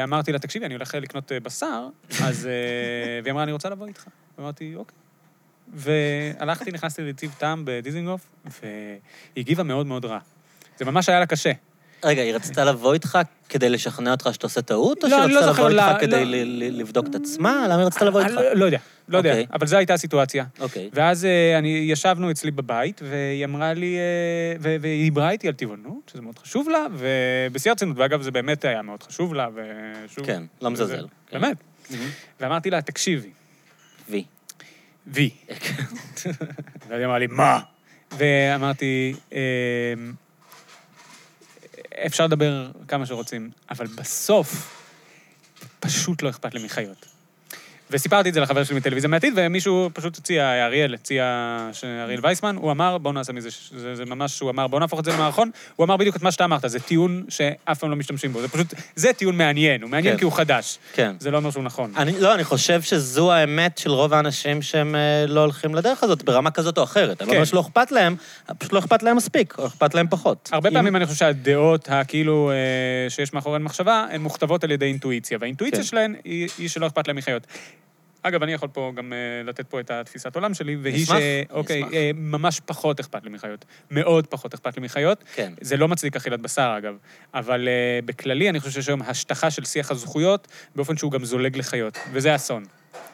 [SPEAKER 2] ואמרתי לה, תקשיבי, אני הולך לקנות אה, בשר, אז... אה, והיא אמרה, אני רוצה לבוא איתך. אמרתי, אוקיי. והלכתי, נכנסתי לנתיב טעם בדיזינגוף, והיא הגיבה מאוד מאוד רע. זה ממש היה לה קשה.
[SPEAKER 1] רגע, היא רצתה לבוא איתך כדי לשכנע אותך שאתה עושה טעות, או
[SPEAKER 2] לא,
[SPEAKER 1] שהיא
[SPEAKER 2] אני לא
[SPEAKER 1] רצתה לבוא
[SPEAKER 2] זוכר,
[SPEAKER 1] איתך
[SPEAKER 2] לא,
[SPEAKER 1] כדי
[SPEAKER 2] לא.
[SPEAKER 1] ל- ל- לבדוק את עצמה? למה היא רצתה לבוא איתך?
[SPEAKER 2] לא- לא יודע, לא יודע,
[SPEAKER 1] אוקיי.
[SPEAKER 2] אבל זו הייתה הסיטואציה.
[SPEAKER 1] אוקיי.
[SPEAKER 2] ואז אה, אני, ישבנו אצלי בבית, והיא אמרה לי, אה, ו- והיא דיברה איתי על טבעונות, שזה מאוד חשוב לה, ובשיא הרצינות, ואגב, זה באמת היה מאוד חשוב לה, ושוב...
[SPEAKER 1] כן, לא
[SPEAKER 2] וזה-
[SPEAKER 1] מזלזל. כן.
[SPEAKER 2] באמת. ואמרתי לה, תקשיבי,
[SPEAKER 1] וי.
[SPEAKER 2] וי. והיא אמרה לי, מה? ואמרתי, "אמ, אפשר לדבר כמה שרוצים, אבל בסוף פשוט לא אכפת לי מחיות. וסיפרתי את זה לחבר שלי מטלוויזיה מעתיד, ומישהו פשוט הציע, אריאל, הציע, ש- אריאל וייסמן, הוא אמר, בואו נעשה מזה, ש- זה, זה ממש, הוא אמר, בואו נהפוך את זה למערכון, הוא אמר בדיוק את מה שאתה אמרת, זה טיעון שאף פעם לא משתמשים בו, זה פשוט, זה טיעון מעניין, הוא מעניין
[SPEAKER 1] כן.
[SPEAKER 2] כי הוא חדש.
[SPEAKER 1] כן.
[SPEAKER 2] זה לא אומר שהוא נכון.
[SPEAKER 1] אני, לא, אני חושב שזו האמת של רוב האנשים שהם אה, לא הולכים לדרך הזאת, ברמה כזאת או אחרת. אני לא
[SPEAKER 2] כן.
[SPEAKER 1] אומר שלא אכפת להם, פשוט לא אכפת להם מספיק, או אכפת להם פחות.
[SPEAKER 2] הרבה
[SPEAKER 1] אם-
[SPEAKER 2] פעמים אני חושב שהדעות הכאילו אה, שיש מאחוריהן מחשבה, הן מוכתבות על ידי אינטואיציה, והאינטואיציה
[SPEAKER 1] כן.
[SPEAKER 2] שלהן היא היא שלא אכפת להן מחיות. אגב, אני יכול פה גם אה, לתת פה את התפיסת עולם שלי, והיא ש...
[SPEAKER 1] אשמח,
[SPEAKER 2] אוקיי,
[SPEAKER 1] אשמח.
[SPEAKER 2] אה, ממש פחות אכפת לי מחיות. מאוד פחות אכפת לי מחיות.
[SPEAKER 1] כן.
[SPEAKER 2] זה לא מצדיק אכילת בשר, אגב. אבל אה, בכללי, אני חושב שיש היום השטחה של שיח הזכויות באופן שהוא גם זולג לחיות, וזה אסון.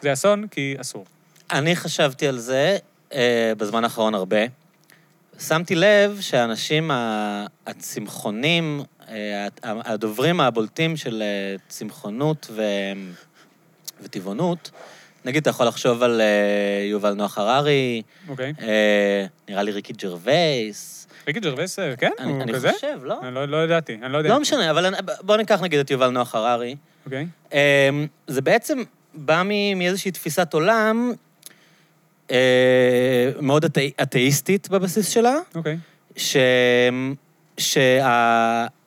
[SPEAKER 2] זה אסון כי אסור.
[SPEAKER 1] אני חשבתי על זה אה, בזמן האחרון הרבה. שמתי לב שהאנשים ה- הצמחונים, אה, ה- הדוברים הבולטים של אה, צמחונות ו... וטבעונות, נגיד, אתה יכול לחשוב על אה, יובל נוח הררי,
[SPEAKER 2] אוקיי?
[SPEAKER 1] אה, נראה לי ריקי ג'רווייס.
[SPEAKER 2] ריקי ג'רוויס, אה, כן?
[SPEAKER 1] אני,
[SPEAKER 2] הוא
[SPEAKER 1] אני
[SPEAKER 2] כזה?
[SPEAKER 1] חושב, לא?
[SPEAKER 2] אני לא לא ידעתי, אני לא יודע.
[SPEAKER 1] לא משנה, אבל אני, בואו ניקח נגיד את יובל נוח הררי.
[SPEAKER 2] אוקיי.
[SPEAKER 1] אמ, זה בעצם בא מ- מאיזושהי תפיסת עולם אה, מאוד אתי- אתאיסטית בבסיס שלה,
[SPEAKER 2] אוקיי.
[SPEAKER 1] ש... שההשוואה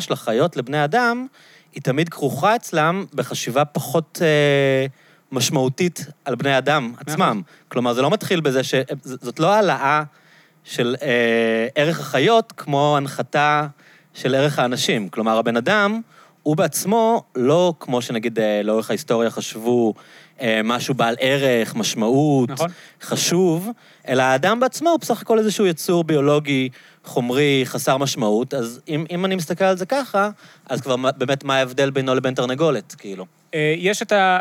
[SPEAKER 1] של החיות לבני אדם היא תמיד כרוכה אצלם בחשיבה פחות אה, משמעותית על בני אדם עצמם. כלומר, זה לא מתחיל בזה ש... ז- זאת לא העלאה של אה, ערך החיות כמו הנחתה של ערך האנשים. כלומר, הבן אדם, הוא בעצמו לא כמו שנגיד אה, לאורך ההיסטוריה חשבו אה, משהו בעל ערך, משמעות,
[SPEAKER 2] נכון.
[SPEAKER 1] חשוב, אלא האדם בעצמו הוא בסך הכל איזשהו יצור ביולוגי, חומרי, חסר משמעות. אז אם, אם אני מסתכל על זה ככה, אז כבר מה- באמת מה ההבדל בינו לבין תרנגולת, כאילו.
[SPEAKER 2] אה, יש את ה...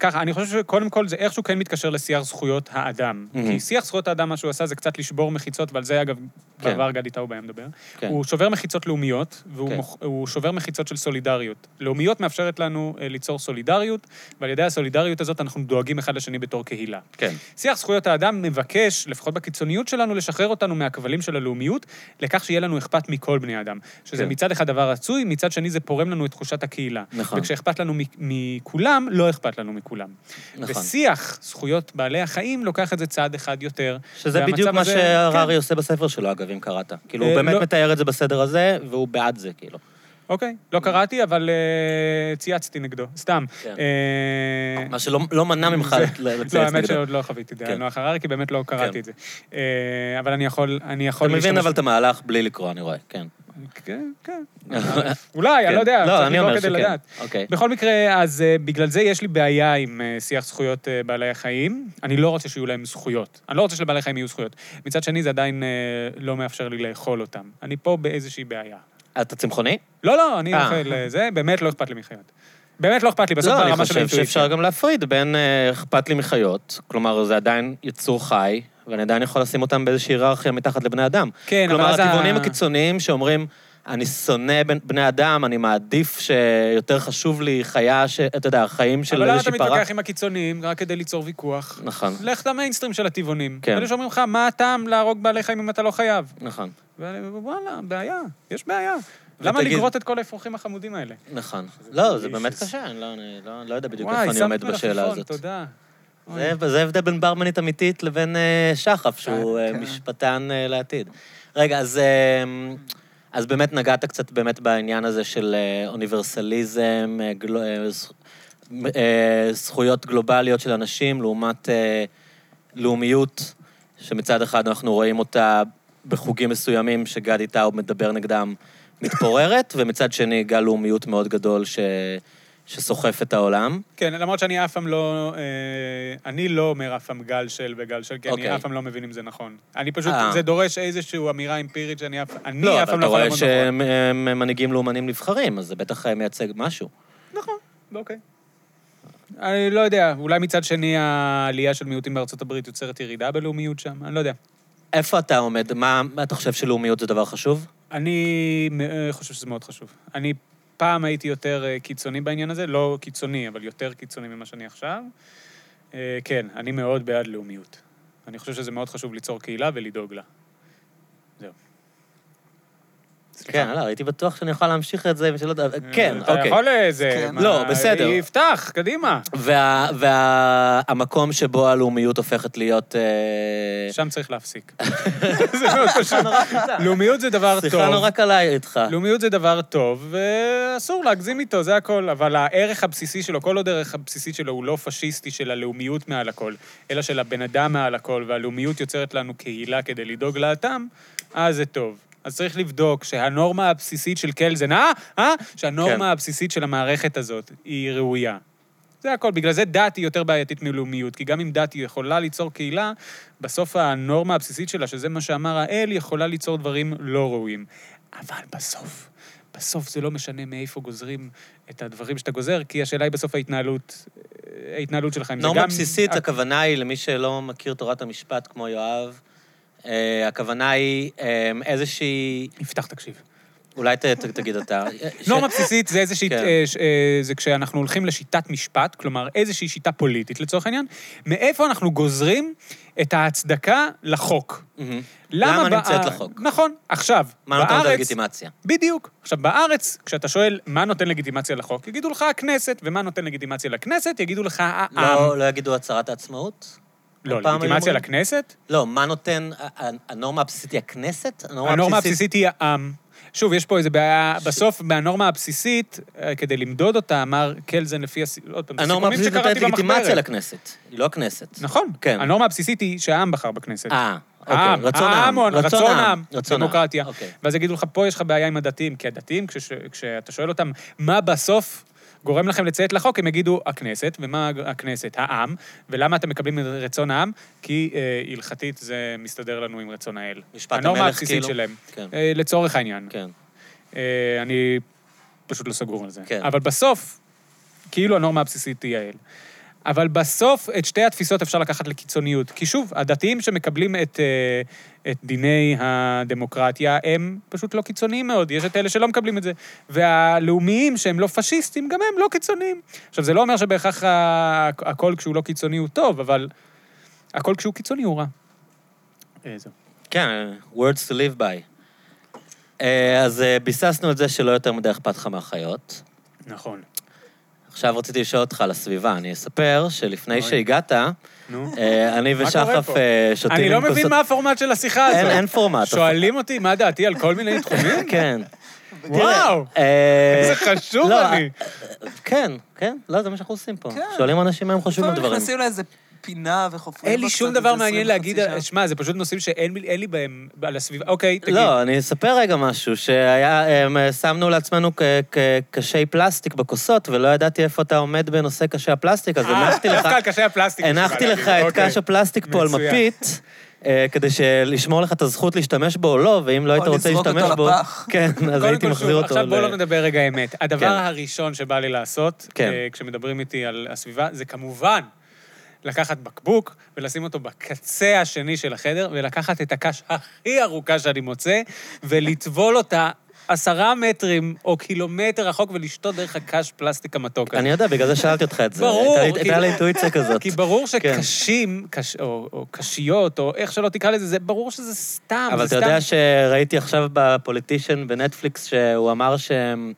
[SPEAKER 2] ככה, אני חושב שקודם כל זה איכשהו כן מתקשר לשיח זכויות האדם.
[SPEAKER 1] Mhm.
[SPEAKER 2] כי שיח זכויות האדם, מה שהוא עשה זה קצת לשבור מחיצות, ועל זה אגב,
[SPEAKER 1] כן.
[SPEAKER 2] בעבר גדי טאוב היה מדבר.
[SPEAKER 1] כן.
[SPEAKER 2] הוא שובר מחיצות לאומיות, והוא
[SPEAKER 1] כן.
[SPEAKER 2] מוכ- הוא שובר מחיצות של סולידריות. לאומיות מאפשרת לנו אה, ליצור סולידריות, ועל ידי הסולידריות הזאת אנחנו דואגים אחד לשני בתור קהילה.
[SPEAKER 1] כן.
[SPEAKER 2] שיח זכויות האדם מבקש, לפחות בקיצוניות שלנו, לשחרר אותנו מהכבלים של הלאומיות, לכך שיהיה לנו אכפת מכל בני אדם. שזה
[SPEAKER 1] כן.
[SPEAKER 2] מצד אחד דבר רצוי, מצד שני זה פורם לנו את תחושת הקהילה.
[SPEAKER 1] נכון.
[SPEAKER 2] וכשאכפת לנו מ- מכולם, לא אכפת לנו מכולם.
[SPEAKER 1] נכון.
[SPEAKER 2] ושיח זכויות בעלי החיים לוקח את זה צעד אחד יותר.
[SPEAKER 1] שזה
[SPEAKER 2] והמצב
[SPEAKER 1] בדיוק מה
[SPEAKER 2] הזה-
[SPEAKER 1] שהררי
[SPEAKER 2] כן,
[SPEAKER 1] עושה בספר שלו, אגב, אם קראת. כאילו, הוא
[SPEAKER 2] אה,
[SPEAKER 1] באמת
[SPEAKER 2] לא.
[SPEAKER 1] מתאר את זה בסדר הזה, והוא בעד זה, כאילו.
[SPEAKER 2] אוקיי, לא קראתי, אבל אה, צייצתי נגדו, סתם.
[SPEAKER 1] כן.
[SPEAKER 2] אה,
[SPEAKER 1] מה שלא לא מנע ממך ל-
[SPEAKER 2] לא,
[SPEAKER 1] לצייץ
[SPEAKER 2] האמת
[SPEAKER 1] נגדו.
[SPEAKER 2] שעוד לא חוויתי דעה
[SPEAKER 1] כן.
[SPEAKER 2] נוח הררי, כי באמת לא קראתי את זה. אה, אבל אני יכול, אני
[SPEAKER 1] אתה
[SPEAKER 2] יכול...
[SPEAKER 1] מבין
[SPEAKER 2] להשתמש-
[SPEAKER 1] אבל את המהלך בלי לקרוא, אני רואה, כן.
[SPEAKER 2] כן, כן. אולי, אני
[SPEAKER 1] כן.
[SPEAKER 2] לא
[SPEAKER 1] לא,
[SPEAKER 2] יודע, צריך
[SPEAKER 1] אני
[SPEAKER 2] לבדוק
[SPEAKER 1] אומר
[SPEAKER 2] כדי
[SPEAKER 1] שכן.
[SPEAKER 2] לדעת.
[SPEAKER 1] אוקיי.
[SPEAKER 2] בכל מקרה, אז אה, בגלל זה יש לי בעיה עם אה, שיח זכויות אה, בעלי החיים. אני לא רוצה שיהיו להם זכויות. אני לא רוצה שלבעלי חיים יהיו זכויות. מצד שני, זה עדיין אה, לא מאפשר לי לאכול אותם. אני פה באיזושהי בעיה.
[SPEAKER 1] אתה צמחוני?
[SPEAKER 2] לא, לא, אני
[SPEAKER 1] אה.
[SPEAKER 2] אוכל אה, זה, באמת לא אכפת לי מחיות. באמת לא אכפת לי, בסוף
[SPEAKER 1] לא, אני
[SPEAKER 2] ברמה של
[SPEAKER 1] חושב שאפשר
[SPEAKER 2] האינטואיציה.
[SPEAKER 1] גם להפריד בין אה, אכפת לי מחיות, כלומר, זה עדיין יצור חי, ואני עדיין יכול לשים אותם באיזושהי היררכיה מתחת לבני אדם.
[SPEAKER 2] כן, אבל
[SPEAKER 1] כלומר,
[SPEAKER 2] אז ה-
[SPEAKER 1] הטבעונים הקיצוניים שאומרים, אני שונא בן- בני אדם, אני מעדיף שיותר חשוב לי חיה, ש... אתה יודע, חיים של
[SPEAKER 2] אבל למה אתה
[SPEAKER 1] איזושהי פרה.
[SPEAKER 2] מתווכח עם הקיצוניים רק כדי ליצור ויכוח?
[SPEAKER 1] נכון,
[SPEAKER 2] לך למיינסטרים של הטבעונים.
[SPEAKER 1] כן.
[SPEAKER 2] אלה שאומרים לך, מה הטעם להרוג בעלי חיים אם אתה לא חייב?
[SPEAKER 1] נכון,
[SPEAKER 2] ואני, וואלה, בעיה, יש בעיה. למה
[SPEAKER 1] ותגיד-
[SPEAKER 2] לגרוט את כל האפרוחים החמודים האלה?
[SPEAKER 1] נכון. לא, זה
[SPEAKER 2] מביש,
[SPEAKER 1] באמת
[SPEAKER 2] זה-
[SPEAKER 1] קשה, אני לא- אני לא- לא יודע בדיוק
[SPEAKER 2] וואי,
[SPEAKER 1] איפה אני
[SPEAKER 2] שמת
[SPEAKER 1] עומד בשאלה
[SPEAKER 2] מלפפון,
[SPEAKER 1] הזאת.
[SPEAKER 2] תודה.
[SPEAKER 1] זה- זה ההבדל בין ברמנית אמיתית לבין אה, שחף, שהוא אה,
[SPEAKER 3] כן.
[SPEAKER 1] משפטן אה, לעתיד. רגע, אז, אה, אז באמת נגעת קצת באמת בעניין הזה של אה, אוניברסליזם, אה, גלו- אה, זכ- אה, זכויות גלובליות של אנשים לעומת אה, לאומיות, שמצד אחד אנחנו רואים אותה בחוגים מסוימים שגדי טאוב מדבר נגדם מתפוררת, ומצד שני גל לאומיות מאוד גדול ש... שסוחף את העולם.
[SPEAKER 2] כן, למרות שאני אף פעם לא... אה, אני לא אומר אף פעם גל של וגל של, כי אני
[SPEAKER 1] אוקיי.
[SPEAKER 2] אף פעם לא מבין אם זה נכון. אני פשוט,
[SPEAKER 1] אה.
[SPEAKER 2] זה דורש איזושהי אמירה אמפירית שאני אף אני
[SPEAKER 1] לא,
[SPEAKER 2] אף
[SPEAKER 1] אבל
[SPEAKER 2] פעם
[SPEAKER 1] אתה
[SPEAKER 2] לא יכול
[SPEAKER 1] רואה
[SPEAKER 2] לעמוד מאחורי.
[SPEAKER 1] שהם הם מנהיגים לאומנים נבחרים, אז זה בטח אה, מייצג משהו.
[SPEAKER 2] נכון,
[SPEAKER 1] אה,
[SPEAKER 2] אוקיי. אני לא יודע, אולי מצד שני העלייה של מיעוטים בארצות הברית יוצרת ירידה בלאומיות שם, אני לא יודע.
[SPEAKER 1] איפה אתה עומד? מה מה אתה חושב שלאומיות זה דבר חשוב?
[SPEAKER 2] אני אה, חושב שזה מאוד חשוב. אני פעם הייתי יותר אה, קיצוני בעניין הזה, לא קיצוני, אבל יותר קיצוני ממה שאני עכשיו. אה, כן, אני מאוד בעד לאומיות. אני חושב שזה מאוד חשוב ליצור קהילה ולדאוג לה. זהו. סליחה. אה,
[SPEAKER 1] כן, לא, הייתי בטוח שאני אוכל להמשיך את זה, אם שלא... כן,
[SPEAKER 2] אתה
[SPEAKER 1] אוקיי.
[SPEAKER 2] יכול איזה...
[SPEAKER 3] כן.
[SPEAKER 2] מה,
[SPEAKER 1] לא, בסדר.
[SPEAKER 2] יפתח, קדימה.
[SPEAKER 1] והמקום וה, המקום שבו הלאומיות הופכת להיות... אה,
[SPEAKER 2] שם צריך להפסיק. זה מאוד פשוט. לאומיות זה דבר טוב.
[SPEAKER 1] שיחה נורא קלה לא איתך.
[SPEAKER 2] לאומיות זה דבר טוב, ואסור להגזים איתו, זה הכל. אבל הערך הבסיסי שלו, כל עוד הערך הבסיסי שלו הוא לא פשיסטי של הלאומיות מעל הכל, אלא של הבן אדם מעל הכל, והלאומיות יוצרת לנו קהילה כדי לדאוג לאתם, אז זה טוב. אז צריך לבדוק שהנורמה הבסיסית של קלזן, אה? אה? שהנורמה
[SPEAKER 1] כן.
[SPEAKER 2] הבסיסית של המערכת הזאת היא ראויה. זה הכל. בגלל זה דת היא יותר בעייתית מלאומיות, כי גם אם דת היא יכולה ליצור קהילה, בסוף הנורמה הבסיסית שלה, שזה מה שאמר האל, יכולה ליצור דברים לא ראויים. אבל בסוף, בסוף זה לא משנה מאיפה גוזרים את הדברים שאתה גוזר, כי השאלה היא בסוף ההתנהלות, אה, ההתנהלות שלך. אם זה
[SPEAKER 1] נורמה
[SPEAKER 2] גם- אה,
[SPEAKER 1] בסיסית, הכוונה היא, למי שלא מכיר תורת המשפט כמו יואב, אה, הכוונה היא אה, איזושהי...
[SPEAKER 2] יפתח, תקשיב.
[SPEAKER 1] אולי ת- ת- תגיד אתה. ש-
[SPEAKER 2] נורמה בסיסית זה איזושהי,
[SPEAKER 1] כן.
[SPEAKER 2] אה, ש- אה, זה כשאנחנו הולכים לשיטת משפט, כלומר איזושהי שיטה פוליטית לצורך העניין, מאיפה אנחנו גוזרים את ההצדקה לחוק.
[SPEAKER 1] מהמם. למה
[SPEAKER 2] בא-
[SPEAKER 1] נמצאת לחוק?
[SPEAKER 2] נכון, עכשיו.
[SPEAKER 1] מה נותן את
[SPEAKER 2] בארץ-
[SPEAKER 1] הלגיטימציה?
[SPEAKER 2] בדיוק. עכשיו, בארץ, כשאתה שואל מה נותן לגיטימציה לחוק, יגידו לך הכנסת, ומה נותן לגיטימציה לכנסת, יגידו לך העם.
[SPEAKER 1] לא, לא יגידו הצהרת העצמאות?
[SPEAKER 2] לא,
[SPEAKER 1] פעם היו
[SPEAKER 2] לגיטימציה
[SPEAKER 1] אומרים-
[SPEAKER 2] לכנסת?
[SPEAKER 1] לא, מה נותן, ה- ה- הנורמה הבסיסית היא הכנסת?
[SPEAKER 2] הנורמה הבסיסית היא העם. שוב, יש פה איזה בעיה, בסוף, מהנורמה הבסיסית, אה, כדי למדוד אותה, אמר קלזן לפי הס... עוד פעם, זה
[SPEAKER 1] הנורמה
[SPEAKER 2] סיכומים
[SPEAKER 1] הבסיסית נותנת
[SPEAKER 2] שקראתי
[SPEAKER 1] לגיטימציה
[SPEAKER 2] במחברת.
[SPEAKER 1] לכנסת, היא לא הכנסת.
[SPEAKER 2] נכון.
[SPEAKER 1] כן.
[SPEAKER 2] הנורמה הבסיסית היא שהעם בחר בכנסת.
[SPEAKER 1] אה, אוקיי,
[SPEAKER 2] העם,
[SPEAKER 1] רצון
[SPEAKER 2] העם,
[SPEAKER 1] העם.
[SPEAKER 2] הוא- רצון העם,
[SPEAKER 1] רצון העם.
[SPEAKER 2] דמוקרטיה.
[SPEAKER 1] אוקיי.
[SPEAKER 2] ואז יגידו לך, פה יש לך בעיה עם הדתיים, כי הדתיים, כשש- כשאתה שואל אותם, מה בסוף גורם לכם לציית לחוק, הם יגידו, הכנסת, ומה הכנסת? העם, ולמה אתם מקבלים את רצון העם? כי אה, הלכתית זה מסתדר לנו עם רצון האל.
[SPEAKER 1] משפט
[SPEAKER 2] הנורמה
[SPEAKER 1] המלך,
[SPEAKER 2] הבסיסית
[SPEAKER 1] כאילו.
[SPEAKER 2] שלהם.
[SPEAKER 1] כן.
[SPEAKER 2] אה, לצורך העניין.
[SPEAKER 1] כן.
[SPEAKER 2] אה, אני פשוט לא סגור על זה.
[SPEAKER 1] כן.
[SPEAKER 2] אבל בסוף, כאילו הנורמה הבסיסית היא האל. אבל בסוף את שתי התפיסות אפשר לקחת לקיצוניות. כי שוב, הדתיים שמקבלים את, אה, את דיני הדמוקרטיה הם פשוט לא קיצוניים מאוד, יש את אלה שלא מקבלים את זה. והלאומיים שהם לא פשיסטים, גם הם לא קיצוניים. עכשיו, זה לא אומר שבהכרח ה- הכל כשהוא לא קיצוני הוא טוב, אבל הכל כשהוא קיצוני הוא רע. אה, זהו.
[SPEAKER 1] כן, words to live by. אה, אז אה, ביססנו את זה שלא יותר מדי אכפת לך מהחיות.
[SPEAKER 2] נכון.
[SPEAKER 1] עכשיו רציתי לשאול אותך על הסביבה. אני אספר שלפני
[SPEAKER 2] אוי.
[SPEAKER 1] שהגעת,
[SPEAKER 2] נו.
[SPEAKER 1] אה, אני
[SPEAKER 2] מה קורה
[SPEAKER 1] ושחף
[SPEAKER 2] פה?
[SPEAKER 1] אה, שותים...
[SPEAKER 2] אני לא
[SPEAKER 1] עם
[SPEAKER 2] מבין
[SPEAKER 1] כוסות-
[SPEAKER 2] מה הפורמט של השיחה הזאת.
[SPEAKER 1] אין- אין פורמט.
[SPEAKER 2] שואלים אותי מה דעתי על כל מיני תחומים?
[SPEAKER 1] כן.
[SPEAKER 2] וואו,
[SPEAKER 1] אה,
[SPEAKER 2] איזה חשוב
[SPEAKER 1] לא,
[SPEAKER 2] אני.
[SPEAKER 1] כן, כן, לא, זה מה שאנחנו עושים פה.
[SPEAKER 3] כן.
[SPEAKER 1] שואלים אנשים מה הם חושבים על
[SPEAKER 3] לפעמים
[SPEAKER 1] דברים.
[SPEAKER 3] לא, נכנסים לאיזה פינה וחופרים
[SPEAKER 2] אין לי
[SPEAKER 3] בה קצת
[SPEAKER 2] שום
[SPEAKER 3] איזה
[SPEAKER 2] דבר מעניין
[SPEAKER 3] 20
[SPEAKER 2] להגיד, אה,
[SPEAKER 3] וחצי שעה.
[SPEAKER 2] שמע, זה פשוט נושאים שאין לי- אין לי בהם, על הסביבה. אוקיי, תגיד.
[SPEAKER 1] לא, אני אספר רגע משהו, שהיה, הם, אה, שמנו לעצמנו כ- כ- קשי פלסטיק בכוסות, ולא ידעתי איפה אתה עומד בנושא קשי הפלסטיק, אז
[SPEAKER 2] אה,
[SPEAKER 1] הנחתי לך,
[SPEAKER 2] דווקא על קשי הפלסטיק. יש לי מה
[SPEAKER 1] הנחתי לך
[SPEAKER 2] להגיד.
[SPEAKER 1] את
[SPEAKER 2] אוקיי.
[SPEAKER 1] קש הפלסטיק פה על
[SPEAKER 2] מצוין.
[SPEAKER 1] מפית. אה, כדי של- לשמור לך את הזכות להשתמש בו או לא, ואם לא היית
[SPEAKER 3] או
[SPEAKER 1] רוצה
[SPEAKER 3] לזרוק
[SPEAKER 1] להשתמש
[SPEAKER 3] אותו
[SPEAKER 1] בו...
[SPEAKER 3] לפח.
[SPEAKER 1] כן, אז
[SPEAKER 2] קודם
[SPEAKER 1] הייתי
[SPEAKER 2] כל,
[SPEAKER 1] מחזיר
[SPEAKER 2] שוב,
[SPEAKER 1] אותו
[SPEAKER 2] עכשיו בואו לא
[SPEAKER 1] ל...
[SPEAKER 2] נדבר רגע האמת. הדבר
[SPEAKER 1] כן.
[SPEAKER 2] הראשון שבא לי לעשות,
[SPEAKER 1] כן.
[SPEAKER 2] אה, כשמדברים איתי על הסביבה, זה כמובן לקחת בקבוק ולשים אותו בקצה השני של החדר, ולקחת את הקש הכי ארוכה שאני מוצא, ולטבול אותה עשרה מטרים או קילומטר רחוק ולשתות דרך הקש פלסטיק המתוק הזה.
[SPEAKER 1] אני יודע, בגלל זה שאלתי אותך את זה.
[SPEAKER 2] ברור,
[SPEAKER 1] הייתה לי-
[SPEAKER 2] כאילו-
[SPEAKER 1] הייתה לי אינטואיציה כזאת.
[SPEAKER 2] כי
[SPEAKER 1] כן.
[SPEAKER 2] ברור שקשים, קש, או, או קשיות, או איך שלא תקרא לזה, זה ברור שזה סתם,
[SPEAKER 1] אבל
[SPEAKER 2] אה, זה
[SPEAKER 1] אתה
[SPEAKER 2] סתם.
[SPEAKER 1] יודע שראיתי עכשיו בפוליטישן בנטפליקס, שהוא אמר שהם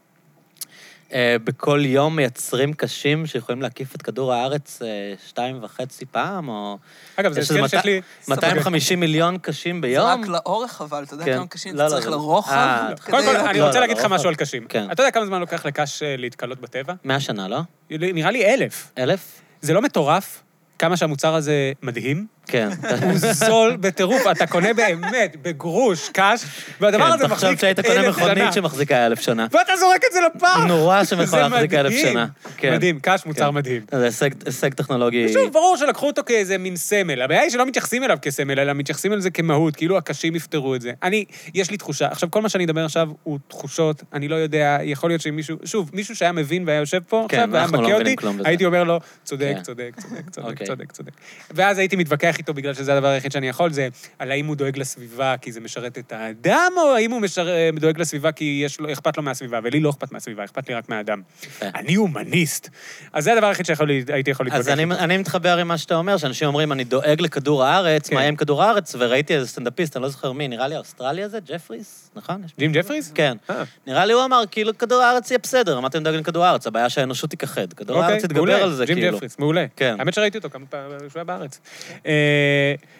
[SPEAKER 1] אה, בכל יום מייצרים קשים שיכולים להקיף את כדור הארץ אה, שתיים וחצי פעם, או
[SPEAKER 2] אגב, זה
[SPEAKER 1] יש איזה
[SPEAKER 2] הסכם שיש
[SPEAKER 1] מאתיים-
[SPEAKER 2] לי...
[SPEAKER 1] 250 מיליון קשים
[SPEAKER 3] זה
[SPEAKER 1] ביום.
[SPEAKER 3] רק
[SPEAKER 2] לא-
[SPEAKER 3] לאורך, אבל אתה יודע
[SPEAKER 1] כן.
[SPEAKER 3] כמה קשים
[SPEAKER 1] לא,
[SPEAKER 3] אתה
[SPEAKER 1] לא,
[SPEAKER 3] צריך
[SPEAKER 1] זה-
[SPEAKER 3] לרוחב?
[SPEAKER 1] אה,
[SPEAKER 3] כדי
[SPEAKER 2] קודם כל,
[SPEAKER 3] לה-
[SPEAKER 2] אני
[SPEAKER 1] לא,
[SPEAKER 2] רוצה
[SPEAKER 1] לא,
[SPEAKER 2] להגיד לך
[SPEAKER 1] לא,
[SPEAKER 2] משהו
[SPEAKER 1] לא.
[SPEAKER 2] על קשים.
[SPEAKER 1] כן.
[SPEAKER 2] אתה יודע כמה זמן לוקח לקש אה, להתקלות בטבע?
[SPEAKER 1] 100 שנה, לא?
[SPEAKER 2] נראה לי אלף.
[SPEAKER 1] אלף?
[SPEAKER 2] זה לא מטורף? כמה שהמוצר הזה מדהים?
[SPEAKER 1] כן.
[SPEAKER 2] הוא זול בטירוף, אתה קונה באמת בגרוש קש, והדבר
[SPEAKER 1] כן,
[SPEAKER 2] הזה
[SPEAKER 1] תחשוב
[SPEAKER 2] מחזיק
[SPEAKER 1] שהיית קונה
[SPEAKER 2] אלף שנה.
[SPEAKER 1] מכונית שמחזיקה אלף שנה.
[SPEAKER 2] ואתה זורק את זה לפח!
[SPEAKER 1] נורא שמכונה
[SPEAKER 2] זה
[SPEAKER 1] מחזיקה אלף
[SPEAKER 2] מדהים.
[SPEAKER 1] שנה. כן.
[SPEAKER 2] מדהים, קש מוצר
[SPEAKER 1] כן.
[SPEAKER 2] מדהים.
[SPEAKER 1] זה הישג- הישג טכנולוגי...
[SPEAKER 2] שוב, ברור שלקחו אותו כאיזה מין סמל. הבעיה היא שלא מתייחסים אליו כסמל, אלא מתייחסים אל זה כמהות, כאילו הקשים יפתרו את זה. אני, יש לי תחושה, עכשיו, כל מה שאני אדבר עכשיו הוא תחושות, אני לא יודע, יכול להיות שמישהו, שוב, מישהו שהיה מבין והיה יושב פה
[SPEAKER 1] כן,
[SPEAKER 2] עכשיו, והיה
[SPEAKER 1] אנחנו לא
[SPEAKER 2] מכה
[SPEAKER 1] מבינים
[SPEAKER 2] אותי,
[SPEAKER 1] כלום בזה.
[SPEAKER 2] הייתי אומר לו, צודק,
[SPEAKER 1] כן.
[SPEAKER 2] צודק, צודק, צודק,
[SPEAKER 1] אוקיי.
[SPEAKER 2] צודק, צודק. ואז הייתי מתווכח איתו בגלל שזה הדבר היחיד שאני יכול, זה על האם הוא דואג לסביבה כי זה משרת את האדם, או האם הוא משר- אה, דואג לסביבה כי יש לו, אכפת לו מהסביבה, ולי לא אכפת מהסביבה, אכפת לי רק מהאדם.
[SPEAKER 1] יפה.
[SPEAKER 2] אני הומניסט. אז זה הדבר היחיד שהייתי יכול להתווכח
[SPEAKER 1] אז אני, אני מתחבר עם מה שאתה אומר, שאנשים אומרים, אני דואג לכדור הארץ,
[SPEAKER 2] כן.
[SPEAKER 1] מה יהיה עם כדור הארץ? וראיתי איזה סטנדאפיסט, אני לא זוכר מי, נראה לי האוסטרלי הזה, ג'פריס, נכון? יש-
[SPEAKER 2] ג'ים ג'פריס?
[SPEAKER 1] כן.
[SPEAKER 2] אה.
[SPEAKER 1] נראה לי הוא אמר, כאילו, כדור הארץ יהיה בסדר, אמרתם דואגים לכדור הארץ, הבעיה שהאנושות תיכחד. כדור הארץ יתגבר לא, על זה,
[SPEAKER 2] אוקיי, ג'ים
[SPEAKER 1] כאילו.
[SPEAKER 2] ג'פריס, מעולה.
[SPEAKER 1] כן.
[SPEAKER 2] האמת שראיתי אותו כמה פעמים כשהוא היה בארץ. אה,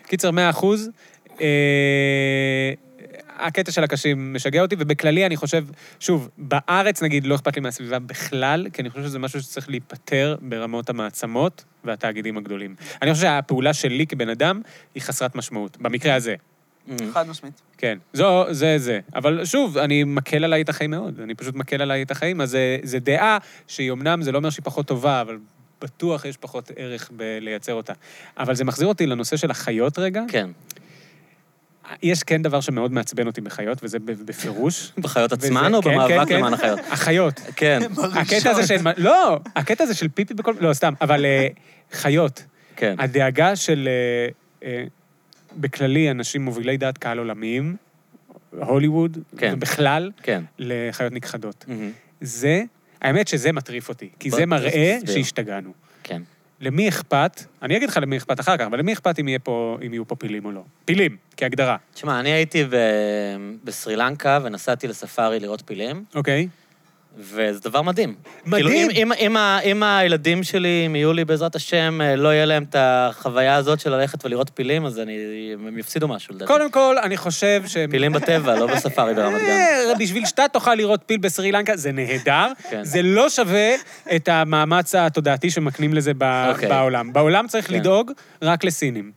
[SPEAKER 2] קיצר, 100 אחוז. אה, הקטע של הקשים משגע אותי, ובכללי אני חושב, שוב, בארץ נגיד לא אכפת לי מהסביבה בכלל, כי אני חושב שזה משהו שצריך להיפתר ברמות המעצמות והתאגידים הגדולים. אני חושב שהפעולה שלי כבן אדם היא חסרת משמעות, במקרה הזה.
[SPEAKER 1] Mm.
[SPEAKER 3] חד משמעית.
[SPEAKER 2] כן, זו, זה זה. אבל שוב, אני מקל עליי את החיים מאוד. אני פשוט מקל עליי את החיים, אז זה, זה דעה שהיא אמנם, זה לא אומר שהיא פחות טובה, אבל בטוח יש פחות ערך בלייצר אותה. אבל זה מחזיר אותי לנושא של החיות רגע.
[SPEAKER 1] כן,
[SPEAKER 2] יש כן דבר שמאוד מעצבן אותי בחיות, וזה ב- בפירוש.
[SPEAKER 1] בחיות
[SPEAKER 2] וזה-
[SPEAKER 1] עצמן או
[SPEAKER 2] כן, כן,
[SPEAKER 1] במאבק
[SPEAKER 2] כן.
[SPEAKER 1] למען החיות?
[SPEAKER 2] החיות.
[SPEAKER 1] כן,
[SPEAKER 2] הקטע הזה של... לא, הקטע הזה של פיפי בכל... לא, סתם, אבל אה, חיות.
[SPEAKER 1] כן.
[SPEAKER 2] הדאגה של, אה, אה, בכללי, אנשים מובילי דעת קהל עולמיים, הוליווד,
[SPEAKER 1] כן.
[SPEAKER 2] ובכלל,
[SPEAKER 1] כן.
[SPEAKER 2] לחיות נכחדות.
[SPEAKER 1] מהמם.
[SPEAKER 2] זה, האמת שזה מטריף אותי, כי
[SPEAKER 1] בוא,
[SPEAKER 2] זה
[SPEAKER 1] תסביר.
[SPEAKER 2] מראה שהשתגענו.
[SPEAKER 1] כן.
[SPEAKER 2] למי אכפת, אני אגיד לך למי אכפת אחר כך, אבל למי אכפת אם, יהיה פה, אם יהיו פה פילים או לא? פילים, כהגדרה,
[SPEAKER 1] תשמע, אני הייתי ב... בסרי לנקה ונסעתי לספארי לראות פילים,
[SPEAKER 2] אוקיי?
[SPEAKER 1] וזה דבר מדהים.
[SPEAKER 2] מדהים.
[SPEAKER 1] כאילו, אם, אם, אם, ה- אם הילדים שלי, אם יהיו לי בעזרת השם, אה, לא יהיה להם את החוויה הזאת של ללכת ולראות פילים, אז אני, הם יפסידו משהו, לדעתי.
[SPEAKER 2] קודם כל, אני חושב ש...
[SPEAKER 1] פילים בטבע, לא בספארי ברמת גן.
[SPEAKER 2] אה, בשביל שאתה תוכל לראות פיל בסרי לנקה, זה נהדר.
[SPEAKER 1] כן.
[SPEAKER 2] זה לא שווה את המאמץ התודעתי שמקנים לזה ב-
[SPEAKER 1] אוקיי.
[SPEAKER 2] בעולם. בעולם צריך
[SPEAKER 1] כן.
[SPEAKER 2] לדאוג רק לסינים.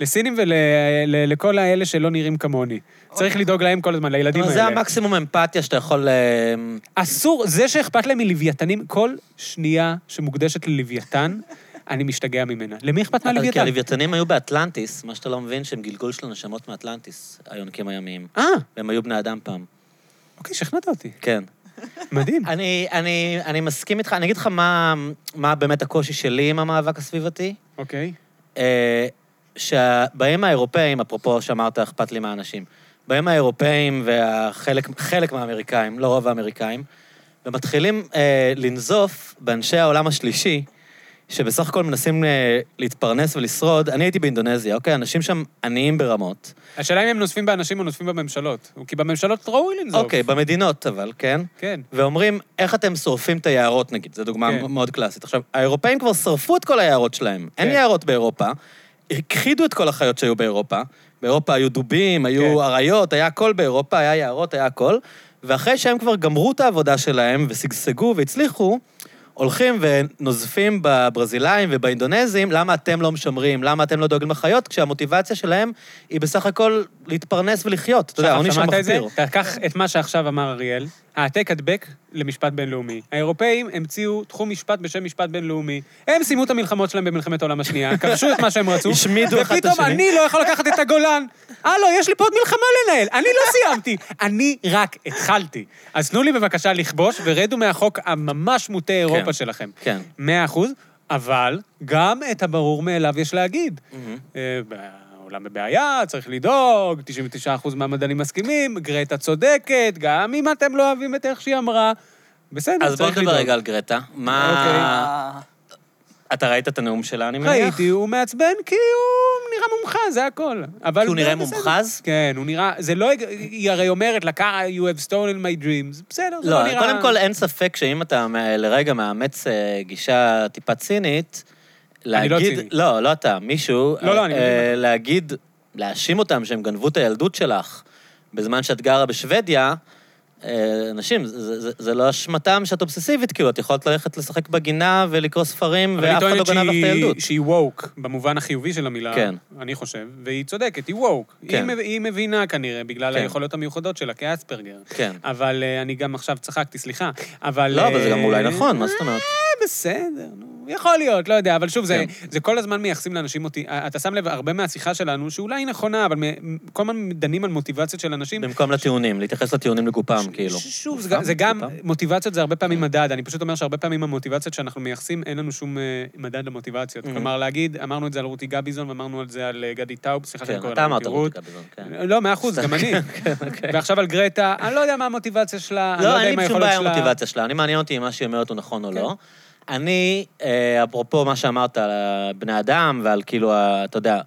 [SPEAKER 2] לסינים ולכל האלה שלא נראים כמוני. צריך לדאוג להם כל הזמן, לילדים
[SPEAKER 1] אוקיי. אבל זה
[SPEAKER 2] האלה.
[SPEAKER 1] המקסימום אמפתיה שאתה יכול... אה,
[SPEAKER 2] אסור, זה שאכפת להם מלוויתנים, כל שנייה שמוקדשת ללוויתן, אני משתגע ממנה. למי אכפת
[SPEAKER 1] כי
[SPEAKER 2] מהלוויתן?
[SPEAKER 1] הלוויתנים היו באטלנטיס, מה שאתה לא מבין, שהם גלגול של הנשמות מאטלנטיס, היונקים הימיים.
[SPEAKER 2] אה,
[SPEAKER 1] והם היו בני אדם פעם,
[SPEAKER 2] אוקיי, שכנעת אותי.
[SPEAKER 1] כן.
[SPEAKER 2] מדהים.
[SPEAKER 1] אני, אני, אני מסכים איתך, אני אגיד לך מה, מה באמת הקושי שלי עם המאבק הסביבתי.
[SPEAKER 2] אוקיי.
[SPEAKER 1] אה, שבאים האירופאים, אפרופו שאמרת, אכפת לי מהאנשים, באים האירופאים וחלק חלק מהאמריקאים, לא רוב האמריקאים, ומתחילים אה, לנזוף באנשי העולם השלישי, שבסך הכל מנסים אה, להתפרנס ולשרוד. אני הייתי באינדונזיה, אוקיי? אנשים שם עניים ברמות.
[SPEAKER 2] השאלה אם הם נוזפים באנשים או נוזפים בממשלות. כי בממשלות ראוי לנזוף.
[SPEAKER 1] אוקיי, במדינות אבל, כן?
[SPEAKER 2] כן.
[SPEAKER 1] ואומרים, איך אתם שורפים את היערות, נגיד, זו דוגמה
[SPEAKER 2] כן.
[SPEAKER 1] כן. מאוד קלאסית. עכשיו, האירופאים כבר שרפו את כל היערות שלהם. כן.
[SPEAKER 2] כן.
[SPEAKER 1] אין יערות באירופה, הכחידו את כל החיות שהיו באירופה. באירופה היו דובים,
[SPEAKER 2] כן.
[SPEAKER 1] היו אריות, היה הכל באירופה, היה יערות, היה הכל. ואחרי שהם כבר גמרו את העבודה שלהם ושגשגו והצליחו, הולכים ונוזפים בברזילאים ובאינדונזים, למה אתם לא משמרים, למה אתם לא דואגים לחיות, כשהמוטיבציה שלהם היא בסך הכל להתפרנס ולחיות. אתה יודע, העוני שם
[SPEAKER 2] שמעת את זה?
[SPEAKER 1] מחפיר.
[SPEAKER 2] קח את מה שעכשיו אמר אריאל, אה, העתק הדבק למשפט בינלאומי. האירופאים המציאו תחום משפט בשם משפט בינלאומי. הם סיימו את המלחמות שלהם במלחמת העולם השנייה, כבשו את מה שהם רצו,
[SPEAKER 1] השמידו אחד את
[SPEAKER 2] ופתאום
[SPEAKER 1] השני.
[SPEAKER 2] אני לא יכול לקחת את הגולן. הלו, יש לי פה עוד מלחמה לנהל, אני לא סיימתי, אני רק התחלתי. אז תנו לי בבקשה לכבוש ורדו מהחוק הממש מוטה אירופה
[SPEAKER 1] כן.
[SPEAKER 2] שלכם.
[SPEAKER 1] כן.
[SPEAKER 2] מאה אחוז, אבל גם את הברור מאליו יש להגיד.
[SPEAKER 1] Mm-hmm.
[SPEAKER 2] אה, העולם בבעיה, צריך לדאוג, 99% מהמדענים מסכימים, גרטה צודקת, גם אם אתם לא אוהבים את איך שהיא אמרה, בסדר,
[SPEAKER 1] אז בוא
[SPEAKER 2] צריך לדאוג. אוקיי.
[SPEAKER 1] נדבר רגע על גרטה. מה...
[SPEAKER 3] אה,
[SPEAKER 1] אתה ראית את הנאום שלה, אני מניח?
[SPEAKER 2] ראיתי, הוא מעצבן כי הוא נראה מומחז, זה הכל. אבל
[SPEAKER 1] כי הוא נראה
[SPEAKER 2] בסדר.
[SPEAKER 1] מומחז?
[SPEAKER 2] כן, הוא נראה... זה לא... הג- היא הרי אומרת לה, "Cara, you have stolen my dreams. בסדר, זה לא
[SPEAKER 1] לא,
[SPEAKER 2] נראה...
[SPEAKER 1] קודם כל אין ספק שאם אתה מ- לרגע מאמץ אה, גישה טיפה צינית,
[SPEAKER 2] אני לא
[SPEAKER 1] להגיד...
[SPEAKER 2] ציני.
[SPEAKER 1] לא, לא אתה, מישהו...
[SPEAKER 2] לא, לא, אני
[SPEAKER 1] אה,
[SPEAKER 2] מבין.
[SPEAKER 1] להגיד, להאשים אותם שהם גנבו את הילדות שלך בזמן שאת גרה בשוודיה, אה, אנשים, זה- זה- זה לא אשמתם שאת אובססיבית, כאילו, את יכולת ללכת לשחק בגינה ולקרוא ספרים,
[SPEAKER 2] אבל היא
[SPEAKER 1] ואף אחד לא
[SPEAKER 2] טוענת
[SPEAKER 1] גנב לך את
[SPEAKER 2] שהיא-
[SPEAKER 1] הילדות.
[SPEAKER 2] שהיא ווק, במובן החיובי של המילה,
[SPEAKER 1] כן.
[SPEAKER 2] אני חושב, והיא צודקת, היא ווק.
[SPEAKER 1] כן.
[SPEAKER 2] היא מבינה כנראה, בגלל
[SPEAKER 1] כן.
[SPEAKER 2] היכולות המיוחדות שלה, כאספרגר.
[SPEAKER 1] כן.
[SPEAKER 2] אבל אה, אני גם עכשיו צחקתי, סליחה. אבל...
[SPEAKER 1] לא, אבל זה
[SPEAKER 2] אה,
[SPEAKER 1] גם אולי נכון, מה זאת אומרת?
[SPEAKER 2] אה, בסדר, נו, יכול להיות, לא יודע, אבל שוב, זה,
[SPEAKER 1] כן.
[SPEAKER 2] זה כל הזמן מייחסים לאנשים אותי. אתה שם לב, הרבה מהשיחה שלנו, שאולי היא נכונה, אבל מ- כל הזמן דנים על מוטיבציות של אנשים.
[SPEAKER 1] במקום לטיעונים, להתייחס לטיעונים לגופם, כאילו.
[SPEAKER 2] ש- שוב, זה גם- זה גם,
[SPEAKER 1] גופם?
[SPEAKER 2] מוטיבציות זה הרבה פעמים מדד. אני פשוט אומר שהרבה פעמים המוטיבציות שאנחנו מייחסים, אין לנו שום אה, מדד למוטיבציות.
[SPEAKER 1] Mhm.
[SPEAKER 2] כלומר, להגיד, אמרנו את זה על רותי גביזון, ואמרנו על זה על אה, גדי טאוב, סליחה שאני
[SPEAKER 1] כן,
[SPEAKER 2] קורא
[SPEAKER 1] אתה
[SPEAKER 2] לה
[SPEAKER 1] אמרת
[SPEAKER 2] רותי רות.
[SPEAKER 1] רותי גביזון, כן. אוקיי.
[SPEAKER 2] לא, מאה אחוז, גם אני. ועכשיו על גרטה, אני לא יודע מה המוטיבציה שלה, אני לא
[SPEAKER 1] לא,
[SPEAKER 2] יודע
[SPEAKER 1] אין
[SPEAKER 2] אם
[SPEAKER 1] לי שום
[SPEAKER 2] היכולת
[SPEAKER 1] בעיה עם
[SPEAKER 2] שלה...
[SPEAKER 1] המוטיבציה שלה. אני מעניין אותי אם מה שהיא אומרת הוא נכון או
[SPEAKER 2] כן.
[SPEAKER 1] לא. אני, אה, אפרופו מה שאמרת על בני אדם ועל כאילו, ה- אתה יודע,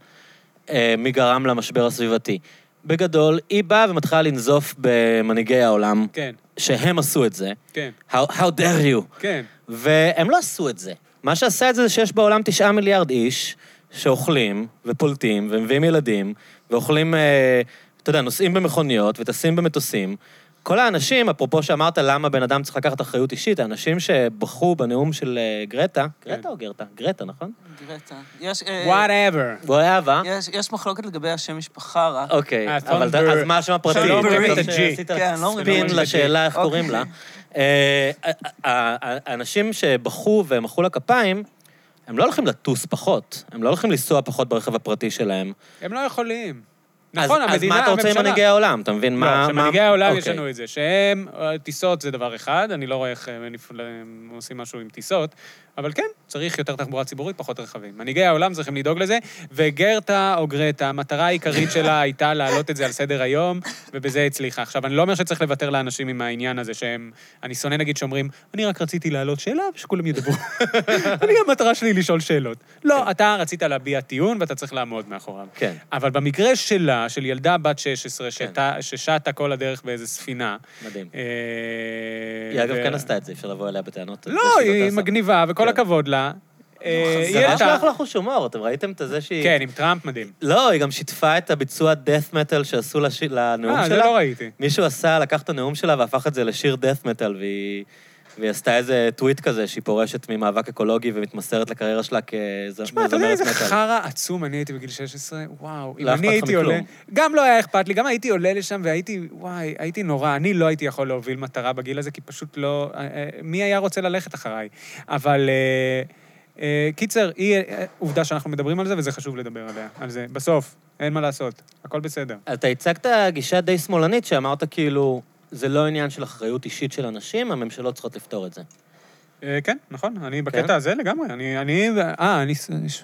[SPEAKER 1] אה, מי גרם למשבר הסביבתי. בגדול, היא באה ומתחילה לנזוף במנהיגי העולם,
[SPEAKER 2] כן,
[SPEAKER 1] שהם עשו את זה.
[SPEAKER 2] כן,
[SPEAKER 1] How how dare you?
[SPEAKER 2] כן.
[SPEAKER 1] והם לא עשו את זה. מה שעשה את זה זה שיש בעולם תשעה מיליארד איש שאוכלים ופולטים ומביאים ילדים ואוכלים, אה, אתה יודע, נוסעים במכוניות וטסים במטוסים. כל האנשים, אפרופו שאמרת למה בן אדם צריך לקחת אחריות אישית, האנשים שבחרו בנאום של אה, גרטה, גרטה או גרטה? גרטה, נכון?
[SPEAKER 3] גרטה. יש, אה,
[SPEAKER 2] whatever.
[SPEAKER 1] הוא היה אהבה.
[SPEAKER 3] יש- יש מחלוקת לגבי השם משפחה רק.
[SPEAKER 1] אוקיי,
[SPEAKER 2] אה,
[SPEAKER 1] אבל אתה-
[SPEAKER 2] תומבר-
[SPEAKER 1] אז מה השם הפרטי?
[SPEAKER 2] שלום,
[SPEAKER 1] אתה
[SPEAKER 2] ברית.
[SPEAKER 1] פתאום שעשית
[SPEAKER 3] כן, לא אומרים
[SPEAKER 1] ספין
[SPEAKER 2] ברית.
[SPEAKER 1] לשאלה איך
[SPEAKER 3] אוקיי.
[SPEAKER 1] קוראים לה. אה, ה- ה- ה- האנשים שבכו ומחאו לה כפיים, הם לא הולכים לטוס פחות, הם לא הולכים לנסוע פחות ברכב הפרטי שלהם.
[SPEAKER 2] הם לא יכולים.
[SPEAKER 1] אז-
[SPEAKER 2] נכון, המדינה,
[SPEAKER 1] אז מה אתה רוצה עם
[SPEAKER 2] הממשלה-
[SPEAKER 1] מנהיגי העולם? אתה מבין
[SPEAKER 2] לא,
[SPEAKER 1] מה...
[SPEAKER 2] עכשיו,
[SPEAKER 1] מה-
[SPEAKER 2] מנהיגי העולם
[SPEAKER 1] אוקיי.
[SPEAKER 2] ישנו את זה, שהם, אה, טיסות זה דבר אחד, אני לא רואה איך הם נפ- הם עושים משהו עם טיסות, אבל כן, צריך יותר תחבורה ציבורית, פחות רכבים. מנהיגי העולם צריכים לדאוג לזה, וגרטה או גרטה, המטרה העיקרית שלה הייתה להעלות את זה על סדר היום, ובזה הצליחה. עכשיו, אני לא אומר שצריך לוותר לאנשים עם העניין הזה שהם... אני שונא נגיד שאומרים, אני רק רציתי להעלות שאלה ושכולם ידברו. אני, המטרה שלי היא לשאול שאלות. לא, אתה רצית להביע טיעון ואתה צריך לעמוד מאחוריו.
[SPEAKER 1] כן.
[SPEAKER 2] אבל במקרה שלה, של ילדה בת 16, שתה, ששטה כל הדרך באיזה ספינה...
[SPEAKER 1] מדהים.
[SPEAKER 2] אה,
[SPEAKER 1] היא אגב
[SPEAKER 2] ו-
[SPEAKER 1] כן עשתה את זה, אפשר לבוא אליה בטענות. על זה
[SPEAKER 2] לא,
[SPEAKER 1] שהיא
[SPEAKER 2] היא
[SPEAKER 1] טסה.
[SPEAKER 2] מגניבה, וכל
[SPEAKER 1] כן.
[SPEAKER 2] הכבוד לה. אה,
[SPEAKER 1] זה
[SPEAKER 2] היא
[SPEAKER 1] ממש לא
[SPEAKER 2] העלתה...
[SPEAKER 1] אחלה חוש הומור, אתם ראיתם את זה שהיא...
[SPEAKER 2] כן, עם טראמפ מדהים.
[SPEAKER 1] לא, היא גם שיתפה את הביצוע death metal שעשו לש- לנאום
[SPEAKER 2] אה, זה
[SPEAKER 1] שלה.
[SPEAKER 2] לא ראיתי.
[SPEAKER 1] מישהו עשה, לקח את הנאום שלה והפך את זה לשיר death metal, והיא, והיא עשתה איזה טוויט כזה שהיא פורשת ממאבק אקולוגי ומתמסרת לקריירה שלה כזמרת
[SPEAKER 2] תשמע, אתה יודע איזה
[SPEAKER 1] מטאל.
[SPEAKER 2] חרא עצום אני הייתי בגיל 16? וואו, אם
[SPEAKER 1] לא
[SPEAKER 2] אני
[SPEAKER 1] אכפת לך
[SPEAKER 2] הייתי עולה...
[SPEAKER 1] מכלום.
[SPEAKER 2] גם לא היה אכפת לי, גם הייתי עולה לשם והייתי, וואי, הייתי נורא. אני לא הייתי יכול להוביל מטרה בגיל הזה, כי פשוט לא... אה, אה, מי היה רוצה ללכת אחריי? אבל... אה, אה, קיצר, היא אה, עובדה שאנחנו מדברים על זה, וזה חשוב לדבר עליה, על זה. בסוף, אין מה לעשות, הכל בסדר.
[SPEAKER 1] אתה הצגת גישה די שמאלנית שאמרת כאילו, זה לא עניין של אחריות אישית של אנשים, הממשלות צריכות לפתור את זה.
[SPEAKER 2] אה, כן, נכון, אני בקטע הזה לגמרי. אני... אני... אה, אני... ס- ש- שמאלני.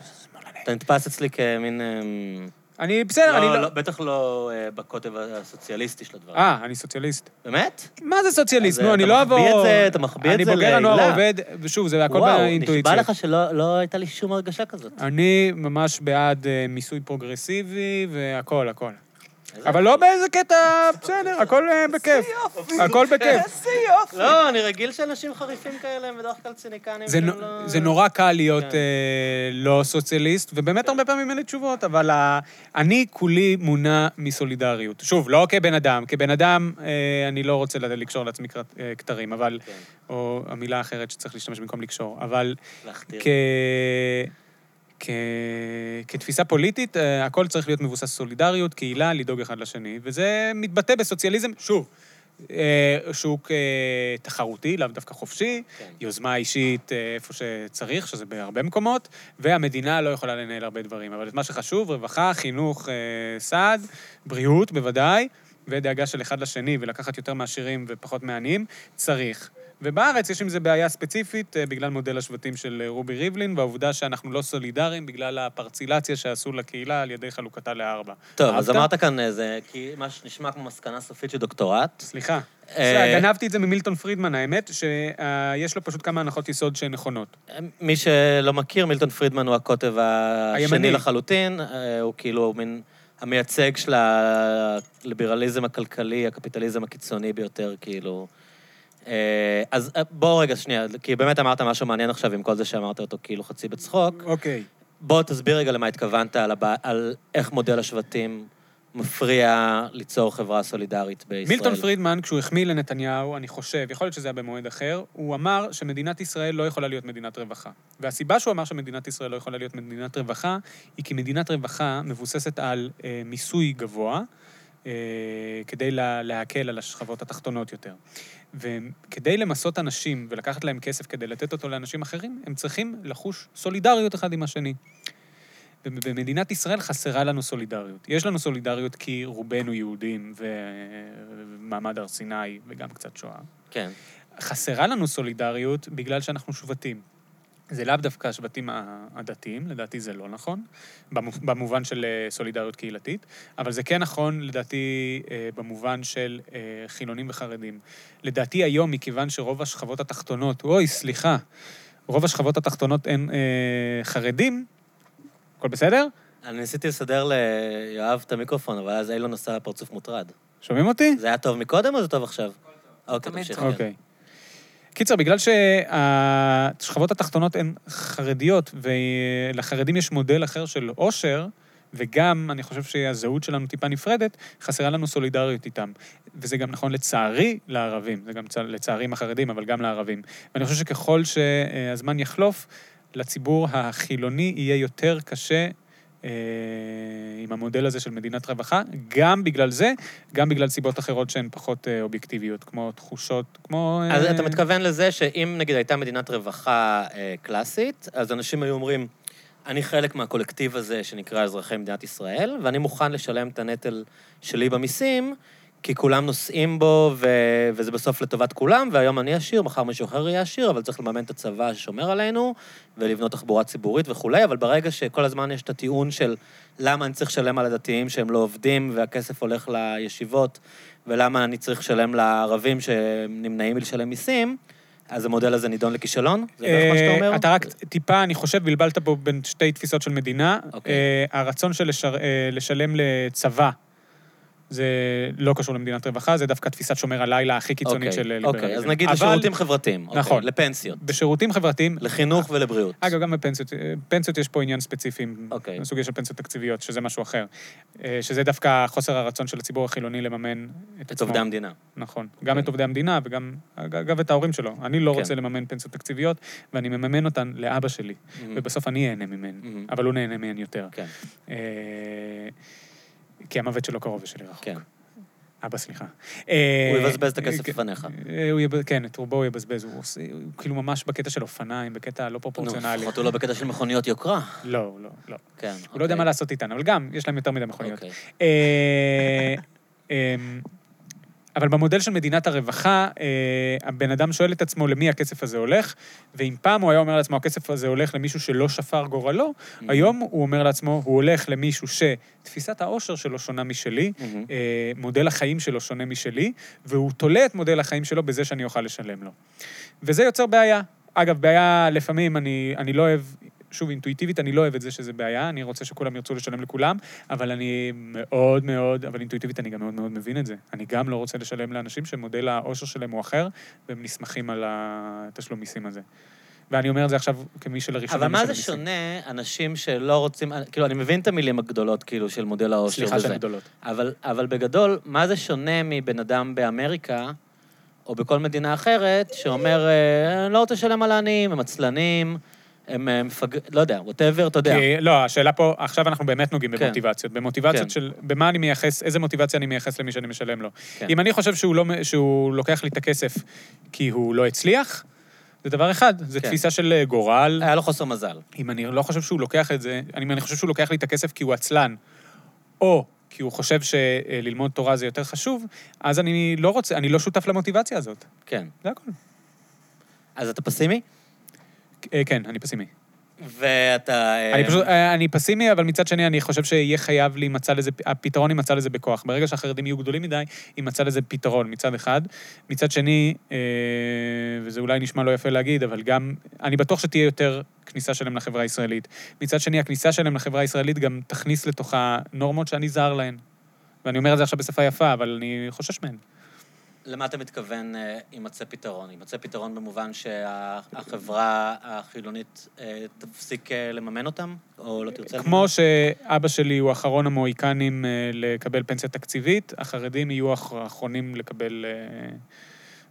[SPEAKER 1] אתה נתפס אצלי כמין... אמ,
[SPEAKER 2] אני... בסדר, אני
[SPEAKER 1] לא,
[SPEAKER 2] לא...
[SPEAKER 1] לא, בטח לא אה, בקוטב הסוציאליסטי של הדברים.
[SPEAKER 2] אה, אני סוציאליסט.
[SPEAKER 1] באמת?
[SPEAKER 2] מה זה סוציאליסט?
[SPEAKER 1] אז אה,
[SPEAKER 2] נו,
[SPEAKER 1] אתה
[SPEAKER 2] אני לא
[SPEAKER 1] מחביא
[SPEAKER 2] אעבור...
[SPEAKER 1] את זה, אתה מחביא את זה
[SPEAKER 2] אני בוגר
[SPEAKER 1] לעילה.
[SPEAKER 2] הנוער העובד, ושוב, זה הכל
[SPEAKER 1] וואו, נשבע
[SPEAKER 2] באינטואיציה.
[SPEAKER 1] לך שלא לא הייתה לי שום הרגשה כזאת.
[SPEAKER 2] אני ממש בעד אה, מיסוי פרוגרסיבי והכל, הכל.
[SPEAKER 1] איזה-
[SPEAKER 2] אבל לא באיזה קטע, בסדר, הכל אה, בכיף.
[SPEAKER 3] יופי.
[SPEAKER 2] הכל בכיף.
[SPEAKER 3] איזה יופי.
[SPEAKER 1] לא, אני רגיל שאנשים חריפים כאלה הם בדרך כלל ציניקנים.
[SPEAKER 2] זה
[SPEAKER 1] שהם
[SPEAKER 2] נו-
[SPEAKER 1] לא-
[SPEAKER 2] זה נורא קל להיות
[SPEAKER 1] כן.
[SPEAKER 2] אה, לא סוציאליסט, ובאמת הרבה פעמים אין לי תשובות, אבל ה- אני כולי מונע מסולידריות. שוב, לא כבן אדם, כבן אדם אה, אני לא רוצה ל- לקשור לעצמי קרט- אה, כתרים, אבל...
[SPEAKER 1] כן,
[SPEAKER 2] או המילה האחרת שצריך להשתמש במקום לקשור, אבל...
[SPEAKER 1] להכתיר.
[SPEAKER 2] כ... כ... כתפיסה פוליטית, אה, הכל צריך להיות מבוסס סולידריות, קהילה, לדאוג אחד לשני, וזה מתבטא בסוציאליזם, שוב, אה, שוק אה, תחרותי, לאו דווקא חופשי,
[SPEAKER 1] כן.
[SPEAKER 2] יוזמה אישית אה, איפה שצריך, שזה בהרבה מקומות, והמדינה לא יכולה לנהל הרבה דברים. אבל את מה שחשוב, רווחה, חינוך, אה, סעד, בריאות בוודאי, ודאגה של אחד לשני, ולקחת יותר מהעשירים ופחות מהעניים, צריך. ובארץ יש עם זה בעיה ספציפית, אה, בגלל מודל השבטים של אה, רובי ריבלין, והעובדה שאנחנו לא סולידריים בגלל הפרצילציה שעשו לקהילה על ידי חלוקתה לארבע.
[SPEAKER 1] טוב, אז
[SPEAKER 2] אהבת?
[SPEAKER 1] אמרת כאן איזה, כי מה שנשמע כמו מסקנה סופית של דוקטורט.
[SPEAKER 2] סליחה.
[SPEAKER 1] אה,
[SPEAKER 2] גנבתי את זה ממילטון פרידמן, האמת, שיש לו פשוט כמה הנחות יסוד שהן נכונות.
[SPEAKER 1] אה, מי שלא מכיר, מילטון פרידמן הוא הקוטב
[SPEAKER 2] הימני.
[SPEAKER 1] השני לחלוטין. אה, הוא כאילו מין המייצג של הליברליזם הכלכלי, הקפיטליזם הקיצוני ביותר, כאילו. אה, אז אה, בואו רגע, שנייה, כי באמת אמרת משהו מעניין עכשיו עם כל זה שאמרת אותו כאילו חצי בצחוק.
[SPEAKER 2] אוקיי.
[SPEAKER 1] בוא תסביר רגע למה התכוונת, על, הבע... על איך מודל השבטים מפריע ליצור חברה סולידרית בישראל.
[SPEAKER 2] מילטון פרידמן, כשהוא החמיא לנתניהו, אני חושב, יכול להיות שזה היה במועד אחר, הוא אמר שמדינת ישראל לא יכולה להיות מדינת רווחה. והסיבה שהוא אמר שמדינת ישראל לא יכולה להיות מדינת רווחה, היא כי מדינת רווחה מבוססת על אה, מיסוי גבוה, אה, כדי לה, להקל על השכבות התחתונות יותר. וכדי למסות אנשים ולקחת להם כסף כדי לתת אותו לאנשים אחרים, הם צריכים לחוש סולידריות אחד עם השני. במדינת ישראל חסרה לנו סולידריות. יש לנו סולידריות כי רובנו יהודים ומעמד הר סיני וגם קצת שואה.
[SPEAKER 1] כן.
[SPEAKER 2] חסרה לנו סולידריות בגלל שאנחנו שבטים. זה לאו דווקא השבטים ה- הדתיים, לדעתי זה לא נכון, במו- במובן של אה, סולידריות קהילתית, אבל זה כן נכון לדעתי אה, במובן של אה, חילונים וחרדים. לדעתי היום, מכיוון שרוב השכבות התחתונות, אוי, סליחה, רוב השכבות התחתונות הן אה, חרדים, הכל בסדר?
[SPEAKER 1] אני ניסיתי לסדר ליואב את המיקרופון, אבל אז אילון עשה פרצוף מוטרד.
[SPEAKER 2] שומעים אותי?
[SPEAKER 1] זה היה טוב מקודם או זה טוב עכשיו? אוקיי,
[SPEAKER 3] תמיד
[SPEAKER 1] תמשיך.
[SPEAKER 3] טוב.
[SPEAKER 1] כן.
[SPEAKER 2] אוקיי. קיצר, בגלל שהשכבות התחתונות הן חרדיות, ולחרדים יש מודל אחר של עושר, וגם, אני חושב שהזהות שלנו טיפה נפרדת, חסרה לנו סולידריות איתם. וזה גם נכון לצערי לערבים, זה גם צ- לצערי עם החרדים, אבל גם לערבים. ואני חושב שככל שהזמן יחלוף, לציבור החילוני יהיה יותר קשה אה, עם המודל הזה של מדינת רווחה, גם בגלל זה, גם בגלל סיבות אחרות שהן פחות אה, אובייקטיביות, כמו תחושות, כמו...
[SPEAKER 1] אז
[SPEAKER 2] אה,
[SPEAKER 1] אתה מתכוון לזה שאם נגיד הייתה מדינת רווחה אה, קלאסית, אז אנשים היו אומרים, אני חלק מהקולקטיב הזה שנקרא אזרחי מדינת ישראל, ואני מוכן לשלם את הנטל שלי במיסים, כי כולם נוסעים בו, ו... וזה בסוף לטובת כולם, והיום אני עשיר, מחר מישהו אחר יהיה עשיר, אבל צריך לממן את הצבא ששומר עלינו, ולבנות תחבורה ציבורית וכולי, אבל ברגע שכל הזמן יש את הטיעון של למה אני צריך לשלם על הדתיים שהם לא עובדים, והכסף הולך לישיבות, ולמה אני צריך לשלם לערבים שנמנעים מלשלם מיסים, אז המודל הזה נידון לכישלון? זה בערך מה שאתה אומר?
[SPEAKER 2] אה, אתה רק טיפה, אני חושב, בלבלת פה בין שתי תפיסות של מדינה.
[SPEAKER 1] אוקיי.
[SPEAKER 2] אה, הרצון של לשר- אה, לשלם לצבא, זה לא קשור למדינת רווחה, זה דווקא תפיסת שומר הלילה הכי קיצונית
[SPEAKER 1] אוקיי,
[SPEAKER 2] של אה, ליברליזם.
[SPEAKER 1] אוקיי, אז נגיד
[SPEAKER 2] אבל
[SPEAKER 1] לשירותים חברתיים. אוקיי,
[SPEAKER 2] נכון.
[SPEAKER 1] לפנסיות.
[SPEAKER 2] בשירותים חברתיים,
[SPEAKER 1] לחינוך ולבריאות.
[SPEAKER 2] אגב, גם בפנסיות, אה, פנסיות יש פה עניין ספציפי,
[SPEAKER 1] אוקיי.
[SPEAKER 2] okay. סוגיה של פנסיות תקציביות, שזה משהו אחר. אה, שזה דווקא חוסר הרצון של הציבור החילוני לממן את,
[SPEAKER 1] את
[SPEAKER 2] עצמו.
[SPEAKER 1] עובדי המדינה.
[SPEAKER 2] נכון. גם את עובדי המדינה וגם, אגב, את ההורים שלו. אני לא
[SPEAKER 1] כן.
[SPEAKER 2] רוצה לממן פנסיות תקציביות, ואני מממן אותן לאבא שלי, ובסוף אני אהנה ממנו,
[SPEAKER 1] Mhm.
[SPEAKER 2] אבל הוא נהנה מהן יותר.
[SPEAKER 1] Mm-hmm. כן,
[SPEAKER 2] אה, כי המוות שלו קרוב ושלי רחוק.
[SPEAKER 1] כן.
[SPEAKER 2] אבא, סליחה. אה,
[SPEAKER 1] הוא יבזבז את הכסף
[SPEAKER 2] כן.
[SPEAKER 1] לפניך.
[SPEAKER 2] אה, הוא יבז... כן, את רובו הוא יבזבז, הוא עושה, הוא כאילו ממש בקטע של אופניים, בקטע לא
[SPEAKER 1] נו,
[SPEAKER 2] פרופורציונלי.
[SPEAKER 1] לפחות הוא לא בקטע של מכוניות יוקרה.
[SPEAKER 2] לא, לא, לא.
[SPEAKER 1] כן.
[SPEAKER 2] הוא לא יודע מה לעשות איתן, אבל גם, יש להם יותר מדי מכוניות.
[SPEAKER 1] אוקיי.
[SPEAKER 2] אה, אמ, אבל במודל של מדינת הרווחה, אה, הבן אדם שואל את עצמו למי הכסף הזה הולך, ואם פעם הוא היה אומר לעצמו, הכסף הזה הולך למישהו שלא שפר גורלו, היום הוא אומר לעצמו, הוא הולך למישהו שתפיסת העושר שלו שונה משלי,
[SPEAKER 1] מהמם.
[SPEAKER 2] אה, מודל החיים שלו שונה משלי, והוא תולה את מודל החיים שלו בזה שאני אוכל לשלם לו. וזה יוצר בעיה. אגב, בעיה לפעמים, אני, אני לא אוהב, שוב, אינטואיטיבית, אני לא אוהב את זה שזה בעיה, אני רוצה שכולם ירצו לשלם לכולם, אבל אני מאוד מאוד, אבל אינטואיטיבית אני גם מאוד מאוד מבין את זה. אני גם לא רוצה לשלם לאנשים שמודל העושר שלהם הוא אחר, והם נסמכים על התשלום מיסים הזה. ואני אומר את זה עכשיו כמי שלראשונה
[SPEAKER 1] אבל מה זה
[SPEAKER 2] משלם מיסים.
[SPEAKER 1] שונה, אנשים שלא רוצים... כאילו, אני מבין את המילים הגדולות, כאילו, של מודל העושר וזה.
[SPEAKER 2] סליחה של גדולות.
[SPEAKER 1] אבל, אבל בגדול, מה זה שונה מבן אדם באמריקה, או בכל מדינה אחרת, שאומר, "אה, אני לא רוצה לשלם על העניים, הם עצלנים, הם אה, מפג... לא יודע, ווטאבר, אתה יודע.
[SPEAKER 2] כי- לא, השאלה פה, עכשיו אנחנו באמת נוגעים
[SPEAKER 1] כן.
[SPEAKER 2] במוטיבציות. במוטיבציות
[SPEAKER 1] כן.
[SPEAKER 2] של, במה אני מייחס, איזה מוטיבציה אני מייחס למי שאני משלם לו.
[SPEAKER 1] כן.
[SPEAKER 2] אם אני חושב שהוא לא מ- שהוא לוקח לי את הכסף כי הוא לא הצליח, זה דבר אחד, זה
[SPEAKER 1] כן.
[SPEAKER 2] תפיסה של אה, גורל.
[SPEAKER 1] היה לו חוסר מזל.
[SPEAKER 2] אם אני לא חושב שהוא לוקח את זה, אם אני חושב שהוא לוקח לי את הכסף כי הוא עצלן, או כי הוא חושב שללמוד תורה זה יותר חשוב, אז אני לא רוצה, אני לא שותף למוטיבציה הזאת.
[SPEAKER 1] כן.
[SPEAKER 2] זה הכול.
[SPEAKER 1] אז אתה פסימי?
[SPEAKER 2] אה, כן, אני פסימי.
[SPEAKER 1] ואתה... אה,
[SPEAKER 2] אני פשוט, אה, אני פסימי, אבל מצד שני, אני חושב שיהיה חייב להימצא לזה, הפתרון יימצא לזה בכוח. ברגע שהחרדים יהיו גדולים מדי, יימצא לזה פתרון מצד אחד. מצד שני, אה, וזה אולי נשמע לא יפה להגיד, אבל גם, אני בטוח שתהיה יותר כניסה שלהם לחברה הישראלית. מצד שני, הכניסה שלהם לחברה הישראלית גם תכניס לתוכה נורמות שאני זר להן. ואני אומר את זה עכשיו בשפה יפה, אבל אני חושש מהן.
[SPEAKER 1] למה אתה מתכוון אה, יימצא פתרון? יימצא פתרון במובן שהחברה החילונית אה, תפסיק אה, לממן אותם? או לא תרצה לממן?
[SPEAKER 2] כמו שאבא שלי הוא אחרון המוהיקנים אה, לקבל פנסיה תקציבית, החרדים יהיו האח- האחרונים לקבל אה,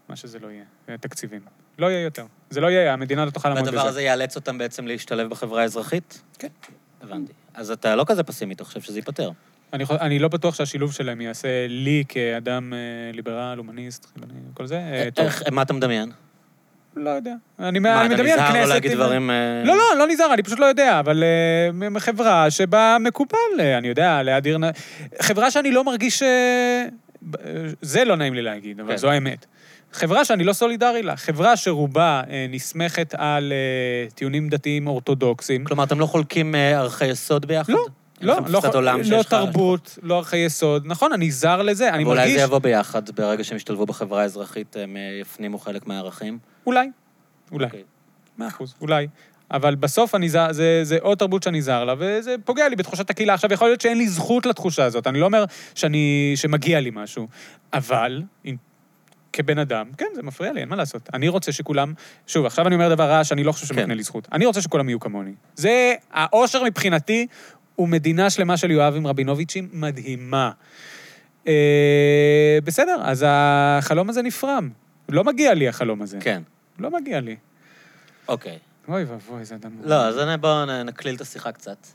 [SPEAKER 2] מה שזה לא יהיה, אה, תקציבים. לא יהיה יותר. זה לא יהיה, המדינה לא תוכל לעמוד בזה.
[SPEAKER 1] והדבר הזה יאלץ אותם בעצם להשתלב בחברה האזרחית?
[SPEAKER 2] כן.
[SPEAKER 1] הבנתי. אז אתה לא כזה פסימי, אתה חושב שזה ייפתר.
[SPEAKER 2] אני, חו- אני לא בטוח שהשילוב שלהם יעשה לי כאדם אה, ליברל, הומניסט, חילוני, כל זה. אה, טוב,
[SPEAKER 1] איך, מה אתה מדמיין?
[SPEAKER 2] לא יודע. אני,
[SPEAKER 1] מה, אתה
[SPEAKER 2] אני מדמיין כנסת...
[SPEAKER 1] נזהר לא להגיד
[SPEAKER 2] עם-
[SPEAKER 1] דברים... אה,
[SPEAKER 2] לא, לא, לא נזהר, אני פשוט לא יודע, אבל אה, מ- חברה שבה מקופל, אה, אני יודע, להדיר... נ- חברה שאני לא מרגיש... אה, ב- אה, זה לא נעים לי להגיד, אבל
[SPEAKER 1] כן.
[SPEAKER 2] זו האמת. חברה שאני לא סולידרי לה, חברה שרובה אה, נסמכת על אה, טיעונים דתיים אורתודוקסיים.
[SPEAKER 1] כלומר, אתם לא חולקים אה, ערכי יסוד ביחד?
[SPEAKER 2] לא,
[SPEAKER 1] אין
[SPEAKER 2] לא,
[SPEAKER 1] לכם
[SPEAKER 2] לא,
[SPEAKER 1] תפיסת עולם
[SPEAKER 2] לא
[SPEAKER 1] שיש לך?
[SPEAKER 2] תרבות, לא ערכי יסוד. נכון, אני זר לזה, אני
[SPEAKER 1] ואולי
[SPEAKER 2] מרגיש...
[SPEAKER 1] זה יבוא ביחד, ברגע שהם ישתלבו בחברה האזרחית, הם אה, יפנימו חלק מהערכים.
[SPEAKER 2] אולי, אולי.
[SPEAKER 1] אוקיי.
[SPEAKER 2] מאה אחוז, אולי. אבל בסוף אני זר, זה, זה עוד תרבות שאני זר לה, וזה פוגע לי בתחושת הקהילה. עכשיו, יכול להיות שאין לי זכות לתחושה הזאת, אני לא אומר שאני, שמגיע לי משהו, אבל אם- כבן אדם, כן, זה מפריע לי, אין מה לעשות. אני רוצה שכולם, שוב, עכשיו אני אומר דבר רע שאני לא חושב שמקנה
[SPEAKER 1] כן.
[SPEAKER 2] לי זכות. אני רוצה שכולם יהיו כמוני. זה, האושר מבחינתי הוא מדינה שלמה של יואבים רבינוביצ'ים מדהימה. אה, בסדר, אז החלום הזה נפרם. לא מגיע לי החלום הזה.
[SPEAKER 1] כן,
[SPEAKER 2] לא מגיע לי.
[SPEAKER 1] אוקיי.
[SPEAKER 2] אוי ואבוי, זה אדם...
[SPEAKER 1] לא, אז הנה, בואו נ- נקליל את השיחה קצת.